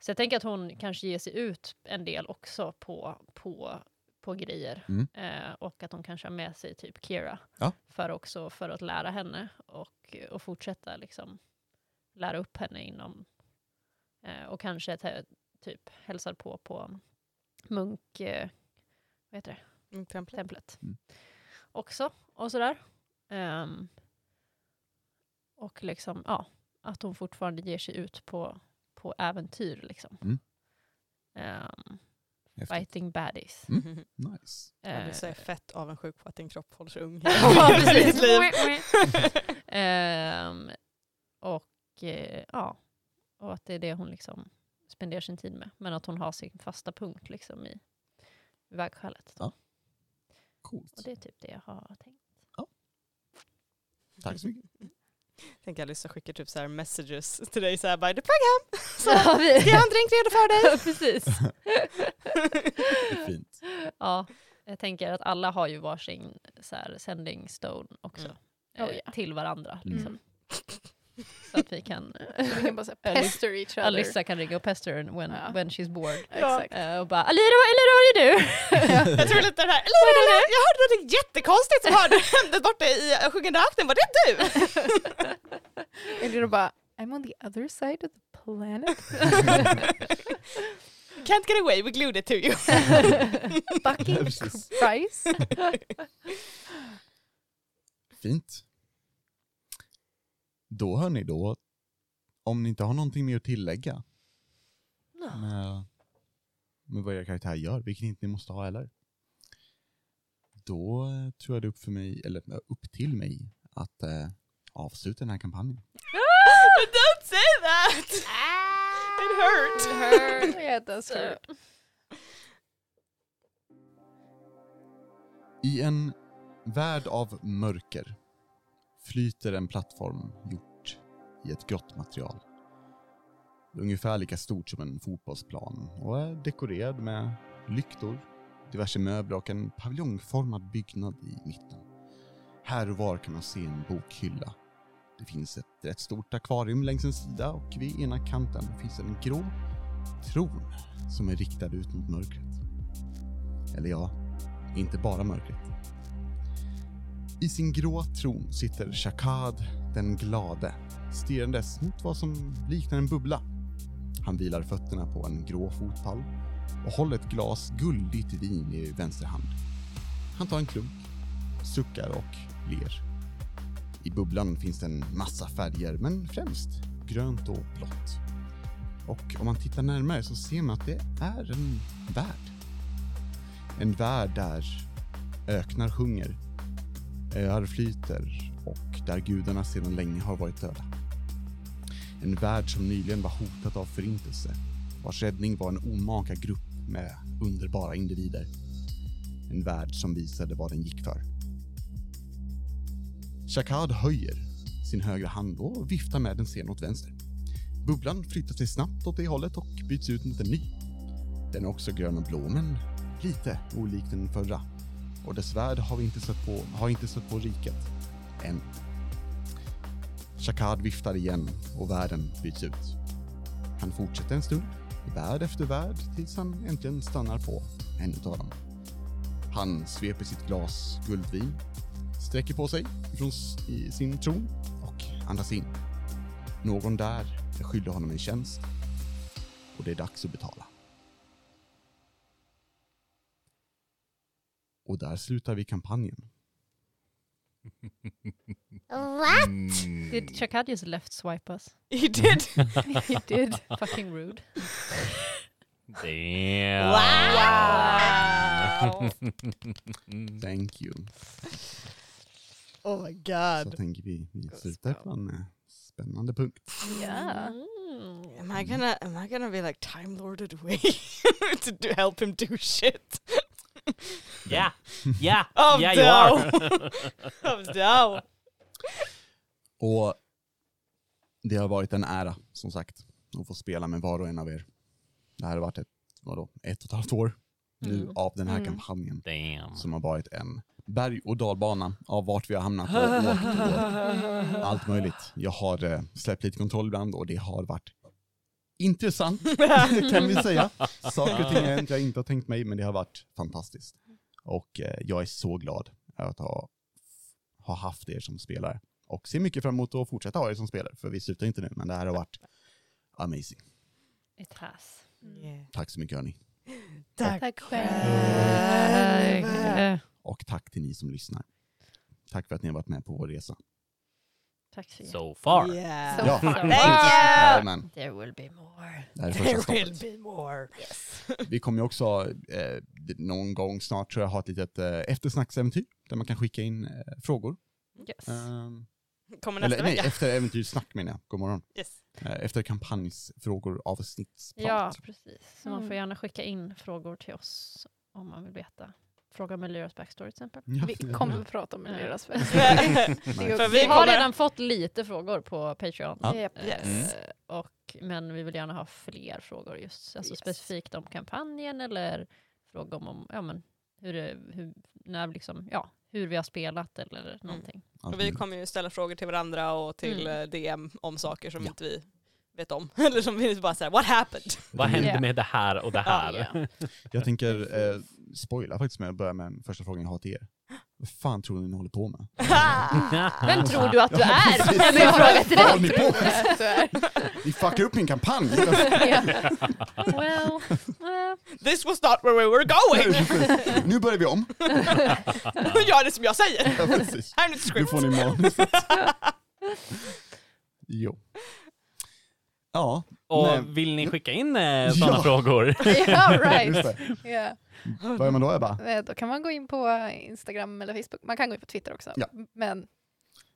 Speaker 2: Så jag tänker att hon kanske ger sig ut en del också på, på, på grejer.
Speaker 1: Mm.
Speaker 2: Eh, och att hon kanske har med sig typ Kira.
Speaker 1: Ja.
Speaker 2: För, också, för att lära henne och, och fortsätta liksom lära upp henne inom... Eh, och kanske te, typ hälsar på på munk... Eh, vad heter det?
Speaker 5: Mm, templet.
Speaker 2: templet
Speaker 1: Mm.
Speaker 2: också och sådär. Ehm, och liksom, ja, att hon fortfarande ger sig ut på, på äventyr liksom.
Speaker 1: Mm.
Speaker 2: Ehm,
Speaker 1: Häftigt.
Speaker 2: fighting baddies.
Speaker 1: Mm. Nice.
Speaker 5: Alice är
Speaker 2: Mm. Eh,
Speaker 5: fett avundsjuk på att din kropp hålls ung.
Speaker 2: ja,
Speaker 5: hela
Speaker 2: precis.
Speaker 5: ditt liv.
Speaker 2: Ehm, och eh, ja, och att det är det hon liksom spenderar sin tid med. Men att hon har sin fasta punkt liksom i vägskälet. då.
Speaker 1: Ja. Coolt.
Speaker 2: Och det är typ det jag har tänkt.
Speaker 1: Tack så mycket.
Speaker 5: Tänk Alice skickar typ så här messages till dig så här by the program. Så,
Speaker 2: Ja, vi-
Speaker 5: ska jag ha en drink redo för dig?
Speaker 2: Precis.
Speaker 1: Det är fint.
Speaker 2: Ja, jag tänker att alla har ju varsin så här, sending stone också.
Speaker 5: Mm.
Speaker 2: eh,
Speaker 3: Oh, ja.
Speaker 2: Till varandra.
Speaker 1: Mm.
Speaker 2: Liksom, Så att vi kan...
Speaker 3: Så vi kan bara säga pester each other.
Speaker 2: Alissa kan ringa och pester henne when,
Speaker 3: Ja.
Speaker 2: when she's bored.
Speaker 3: Exakt.
Speaker 2: Eh, och bara “Alira, vad- Alira, vad gör du?”
Speaker 5: Jag tror lite den här, eller, eller, eller, jag hörde något jättekonstigt som hörde hände borta i eh, Sjungande öknen, var det du?
Speaker 3: Eller då bara, I'm on the other side of the planet.
Speaker 5: Can't get away, we glued it to you.
Speaker 3: Fucking
Speaker 1: Precis.
Speaker 3: Christ.
Speaker 1: Fint. Då hör ni då, om ni inte har någonting mer att tillägga med, med vad era karaktär gör, vilket ni inte måste ha heller. Då eh, tror jag det är upp, för mig, eller, eh, upp till mig att eh, avsluta den här kampanjen.
Speaker 5: Don't say that!
Speaker 2: Ah.
Speaker 5: It hurt.
Speaker 3: Yeah, it does hurt.
Speaker 1: I en värld av mörker flyter en plattform gjort i ett grått material. Ungefär lika stort som en fotbollsplan och är dekorerad med lyktor, diverse möbler och en paviljongformad byggnad i mitten. Här och var kan man se en bokhylla. Det finns ett rätt stort akvarium längs en sida och vid ena kanten finns en grå tron som är riktad ut mot mörkret. Eller ja, inte bara mörkret. I sin grå tron sitter Shakad den glade, stirrandes mot vad som liknar en bubbla. Han vilar fötterna på en grå fotpall och håller ett glas guldigt vin i vänster hand. Han tar en klunk, suckar och ler. I bubblan finns det en massa färger, men främst grönt och blått. Och om man tittar närmare så ser man att det är en värld. En värld där öknar sjunger, öar flyter och där gudarna sedan länge har varit döda. En värld som nyligen var hotad av förintelse, vars räddning var en omaka grupp med underbara individer. En värld som visade vad den gick för. Shakad höjer sin högra hand och viftar med den sen åt vänster. Bubblan flyttar sig snabbt åt det hållet och byts ut mot en ny. Den är också grön och blå, men lite olik den förra. Och dess värld har vi inte sett på, har inte sett på riket. Än. Shakad viftar igen och världen byts ut. Han fortsätter en stund, värld efter värld, tills han äntligen stannar på en utav dem. Han sveper sitt glas guldvin, sträcker på sig från s- i sin tron och andas in. Någon där skyller honom en tjänst och det är dags att betala. Och där slutar vi kampanjen.
Speaker 7: What?
Speaker 1: Mm.
Speaker 2: Did Chakad just left swipe us?
Speaker 5: You did.
Speaker 3: He did.
Speaker 2: Fucking rude.
Speaker 4: Damn.
Speaker 5: Wow!
Speaker 1: Thank you.
Speaker 5: oh my
Speaker 1: Så
Speaker 5: god.
Speaker 1: tänker vi, vi slutar på en eh, spännande punkt.
Speaker 3: Yeah.
Speaker 2: Mm.
Speaker 5: Am I gonna am I gonna be like time lorded way to do, help him do shit?
Speaker 4: Yeah. Yeah.
Speaker 5: Of
Speaker 4: yeah, you
Speaker 5: no.
Speaker 4: are.
Speaker 5: Of no.
Speaker 1: Och det har varit en ära, som sagt, att få spela med var och en av er. Det här har varit ett, vadå, ett och ett halvt år nu
Speaker 2: Mm.
Speaker 1: av den här
Speaker 3: Mm.
Speaker 1: kampanjen
Speaker 4: Damn.
Speaker 1: som har varit en berg och dalbana av vart vi har hamnat och åkt och allt möjligt. Jag har eh, släppt lite kontroll ibland och det har varit intressant kan vi säga. Saker och ting har hänt jag inte har tänkt mig men det har varit fantastiskt. Och eh, jag är så glad att ha, ha haft er som spelare och ser mycket fram emot att fortsätta ha er som spelare för vi slutar inte nu men det här har varit amazing.
Speaker 2: It has.
Speaker 5: Yeah.
Speaker 1: Tack så mycket hörni.
Speaker 3: Tack
Speaker 5: själv.
Speaker 2: Eh,
Speaker 1: Och tack till ni som lyssnar. Tack för att ni har varit med på vår resa.
Speaker 2: Tack så jättemycket.
Speaker 4: So far.
Speaker 5: Yeah.
Speaker 2: So-
Speaker 1: Ja.
Speaker 2: Thank
Speaker 5: you.
Speaker 1: Jajamän.
Speaker 2: There will be more.
Speaker 1: Det här är
Speaker 5: There
Speaker 1: första
Speaker 5: will
Speaker 1: stoppet.
Speaker 5: be more.
Speaker 1: Vi kommer ju också eh, d- någon gång snart tror jag ha ett litet eh, eftersnacksäventyr där man kan skicka in eh, frågor.
Speaker 2: Yes.
Speaker 1: Ehm,
Speaker 5: Kommer nästa
Speaker 1: eller nej,
Speaker 5: vecka.
Speaker 1: efter äventyrssnack menar jag. God morgon.
Speaker 5: Yes.
Speaker 1: Eh, efter kampanjsfrågor avsnittsprat.
Speaker 2: Ja, precis. Så man
Speaker 3: Mm.
Speaker 2: får gärna skicka in frågor till oss om man vill veta. Fråga om Elioras backstory till exempel.
Speaker 1: Ja.
Speaker 3: Vi kommer att prata om Eliras fest.
Speaker 5: För
Speaker 2: Vi
Speaker 5: vi
Speaker 2: har
Speaker 5: kommer...
Speaker 2: redan fått lite frågor på Patreon.
Speaker 1: Ja. Mm.
Speaker 3: Japp.
Speaker 2: Eh,
Speaker 5: Yes.
Speaker 2: Och, men vi vill gärna ha fler frågor just, alltså
Speaker 3: Yes.
Speaker 2: specifikt om kampanjen eller frågor om- om ja, men hur, det- hur, när liksom, ja, hur vi har spelat eller någonting.
Speaker 1: Allt
Speaker 5: Och vi
Speaker 1: möjligt.
Speaker 5: kommer ju ställa frågor till varandra och till
Speaker 2: Mm.
Speaker 5: eh, DM om saker som
Speaker 1: Ja.
Speaker 5: inte vi vet om. Eller som vi bara säger, what happened?
Speaker 4: Vad hände
Speaker 2: Yeah.
Speaker 4: med det här och det här?
Speaker 2: Ja.
Speaker 1: Jag tänker eh, spoila faktiskt med att börja med den första frågan jag har till er. Vad fan tror ni ni håller på med?
Speaker 2: Vem tror du att du är?
Speaker 1: Ah. precis.
Speaker 2: Det är min fråga till
Speaker 1: Vad håller ni
Speaker 2: dig.
Speaker 1: på med? Ni fuckar upp min kampanj!
Speaker 2: Well, eh,
Speaker 5: This was not where we were going!
Speaker 1: nu börjar vi om.
Speaker 5: Gör det som jag säger!
Speaker 1: Ja, precis.
Speaker 5: Här är mitt
Speaker 1: Nu
Speaker 5: script.
Speaker 1: får ni manuset. jo. Ja,
Speaker 4: Och
Speaker 1: Nej.
Speaker 4: vill ni skicka in eh, sådana
Speaker 1: Ja.
Speaker 4: frågor?
Speaker 3: yeah,
Speaker 1: just
Speaker 3: right.
Speaker 1: det.
Speaker 3: Yeah.
Speaker 1: Vad gör man då Ebba?
Speaker 3: Eh, Då kan man gå in på Instagram eller Facebook. Man kan gå in på Twitter också.
Speaker 1: Ja.
Speaker 3: Men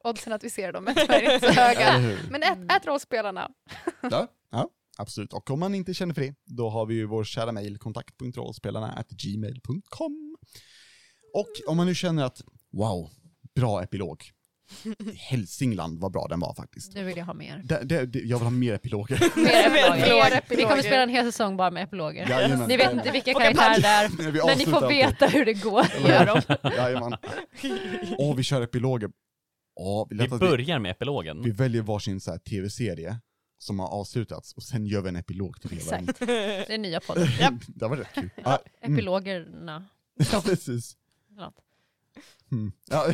Speaker 3: oddsen att vi ser dem är tyvärr inte så höga.
Speaker 1: Eller hur?
Speaker 3: Men ät, ät rollspelarna.
Speaker 1: Ja, ja, absolut. Och om man inte känner för det, då har vi ju vår kära mejl kontakt.rollspelarna.gmail.com Och om man nu känner att wow, bra epilog. Hälsingland, vad bra den var faktiskt.
Speaker 2: nu vill jag ha mer.
Speaker 1: Det, det, det, jag vill ha mer epiloger.
Speaker 2: Mer
Speaker 5: Mer
Speaker 2: epiloger.
Speaker 3: epiloger.
Speaker 2: Vi kommer spela en hel säsong bara med epiloger.
Speaker 1: Jajamän.
Speaker 2: Ni vet inte vilka
Speaker 5: Och en
Speaker 2: karaktärer det är,
Speaker 1: Nej, vi
Speaker 2: men ni
Speaker 1: avslutar
Speaker 2: får
Speaker 1: alltid.
Speaker 2: veta hur det går.
Speaker 1: Eller hur?
Speaker 2: Gör dem.
Speaker 1: Jajamän. Åh, vi kör epiloger. Åh, vi,
Speaker 4: Vi
Speaker 1: lätt att vi
Speaker 4: börjar med
Speaker 1: Vi
Speaker 4: epilogen.
Speaker 1: väljer varsin så här tv-serie som har avslutats och sen gör vi en epilog till det.
Speaker 2: Exakt. Det är nya podden.
Speaker 5: Japp.
Speaker 1: det var rätt kul. Ja, mm.
Speaker 2: Epilogerna.
Speaker 1: ja precis.
Speaker 2: eller något.
Speaker 1: Mm. Ja.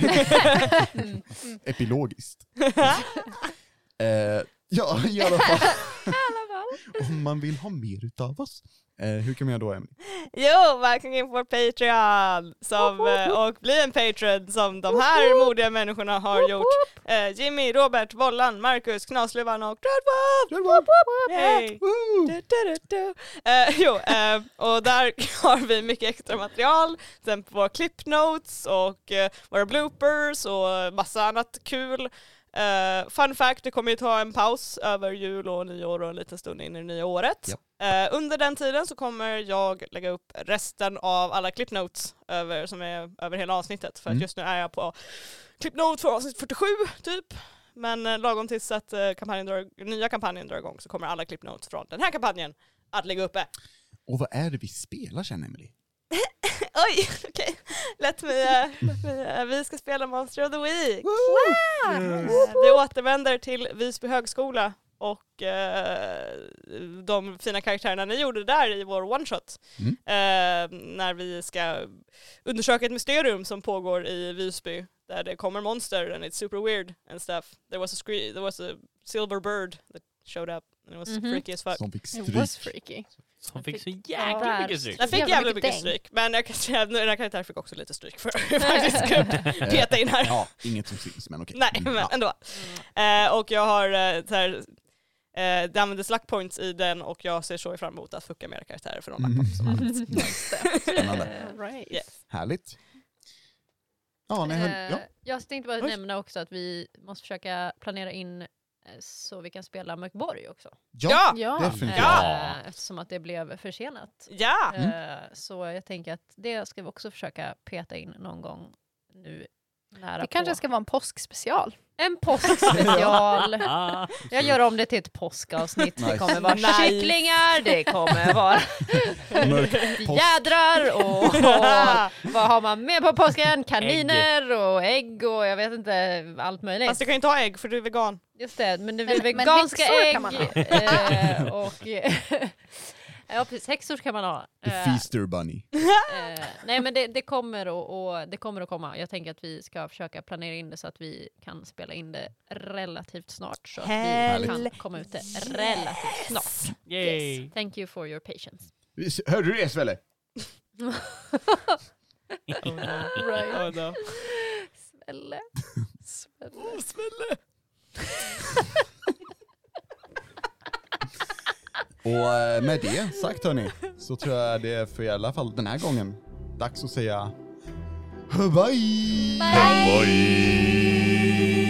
Speaker 1: Mm. Epilogiskt. eh, ja, i alla fall.
Speaker 2: I alla fall.
Speaker 1: Om man vill ha mer utav oss. Eh, hur kan man göra då, Emily?
Speaker 5: Jo, välkommen in på vår Patreon! Som, eh, och bli en patron som de här modiga människorna har gjort. Eh, Jimmy, Robert, Vollan, Marcus, Knasluvan och Dreadwolf! Yay!
Speaker 1: Woo!
Speaker 5: Du, du, du, du. Eh, jo, eh, och där har vi mycket extra material, till exempel våra clip notes och eh, våra bloopers och massa annat kul. Eh, fun fact, vi kommer ju ta en paus över jul och nyår och en liten stund in i det nya året. Eh, under den tiden så kommer jag lägga upp resten av alla clip notes över, som är över hela avsnittet. För
Speaker 1: Mm.
Speaker 5: att just nu är jag på clip note för avsnitt 47 typ. Men eh, lagom tills att eh, kampanjen drar, nya kampanjen drar igång så kommer alla clip notes från den här kampanjen att ligga uppe.
Speaker 1: Och vad är det vi spelar sen, Emily?
Speaker 5: Oj, okej. Let me, eh, let me, eh, vi ska spela Monster of the Week. Eh, Vi återvänder till Visby högskola och eh, de fina karaktärerna ni gjorde där i vår one shot.
Speaker 1: Mm.
Speaker 5: Eh, när vi ska undersöka ett mysterium som pågår i Visby där det kommer monster and it's super weird and stuff. There was a, scree- there was a silver bird that showed up and it was
Speaker 2: Mhm.
Speaker 5: freaky as fuck.
Speaker 1: Som fick
Speaker 3: It was
Speaker 1: stryk.
Speaker 3: freaky.
Speaker 4: Som fick så
Speaker 2: Ja.
Speaker 4: jäkla mycket stryk.
Speaker 5: Jag fick
Speaker 2: Jävla
Speaker 5: jävla
Speaker 2: mycket
Speaker 5: mycket
Speaker 2: däng.
Speaker 5: stryk, men jag kan säga att den här karaktären fick också lite stryk för att jag faktiskt skulle peta in här.
Speaker 1: Ja, inget som syns, men okej.
Speaker 5: Nej,
Speaker 1: Mm,
Speaker 5: men
Speaker 1: ja.
Speaker 5: ändå. Eh, och jag har eh, så här, eh, det användes luck points i den och jag ser så fram emot att fucka med era karaktärer för de luck points som
Speaker 1: Mm.
Speaker 5: används.
Speaker 1: Spännande.
Speaker 2: Eh,
Speaker 3: Right.
Speaker 5: Yes.
Speaker 1: Härligt. Ja, nej, hör, ja.
Speaker 2: Eh, Jag tänkte bara
Speaker 1: Oj.
Speaker 2: nämna också att vi måste försöka planera in eh, så vi kan spela Mörkborg också.
Speaker 5: Ja!
Speaker 3: Ja.
Speaker 1: definitivt.
Speaker 4: Ja.
Speaker 2: Eh, Eftersom att det blev försenat.
Speaker 5: Ja!
Speaker 1: Mm.
Speaker 2: Eh, Så jag tänker att det ska vi också försöka peta in någon gång nu nära
Speaker 3: Det kanske
Speaker 2: på.
Speaker 3: ska vara en påskspecial.
Speaker 2: En påskspecial.
Speaker 4: Ah,
Speaker 2: Jag gör om det till ett påskavsnitt.
Speaker 1: Nice.
Speaker 2: Det kommer vara
Speaker 5: Nice.
Speaker 2: kycklingar, det kommer vara
Speaker 1: Mörk
Speaker 2: jädrar och, och vad har man med på påsken? Kaniner och ägg och jag vet inte allt möjligt.
Speaker 5: Fast du kan ju inte ha ägg för du är vegan.
Speaker 2: Just det, men det är
Speaker 3: Men-
Speaker 2: väl
Speaker 3: men
Speaker 2: veganska
Speaker 3: häxor
Speaker 2: ägg
Speaker 3: kan man ha.
Speaker 2: eh, och... ja precis, häxor kan man ha.
Speaker 1: The
Speaker 2: Eh,
Speaker 1: Feaster Bunny.
Speaker 2: eh, nej men det, det, kommer och, och, det kommer att komma. Jag tänker att vi ska försöka planera in det så att vi kan spela in det relativt snart. Så att vi kan
Speaker 5: Hell
Speaker 2: komma ut det relativt snart.
Speaker 4: yay.
Speaker 2: Thank you for your patience.
Speaker 1: Hörde du det, Svelle?
Speaker 2: Right.
Speaker 5: Oh, no.
Speaker 2: Svelle. Svelle.
Speaker 1: Och eh, med det sagt hörni, så tror jag det är för i alla fall den här gången dags att säga bye! bye.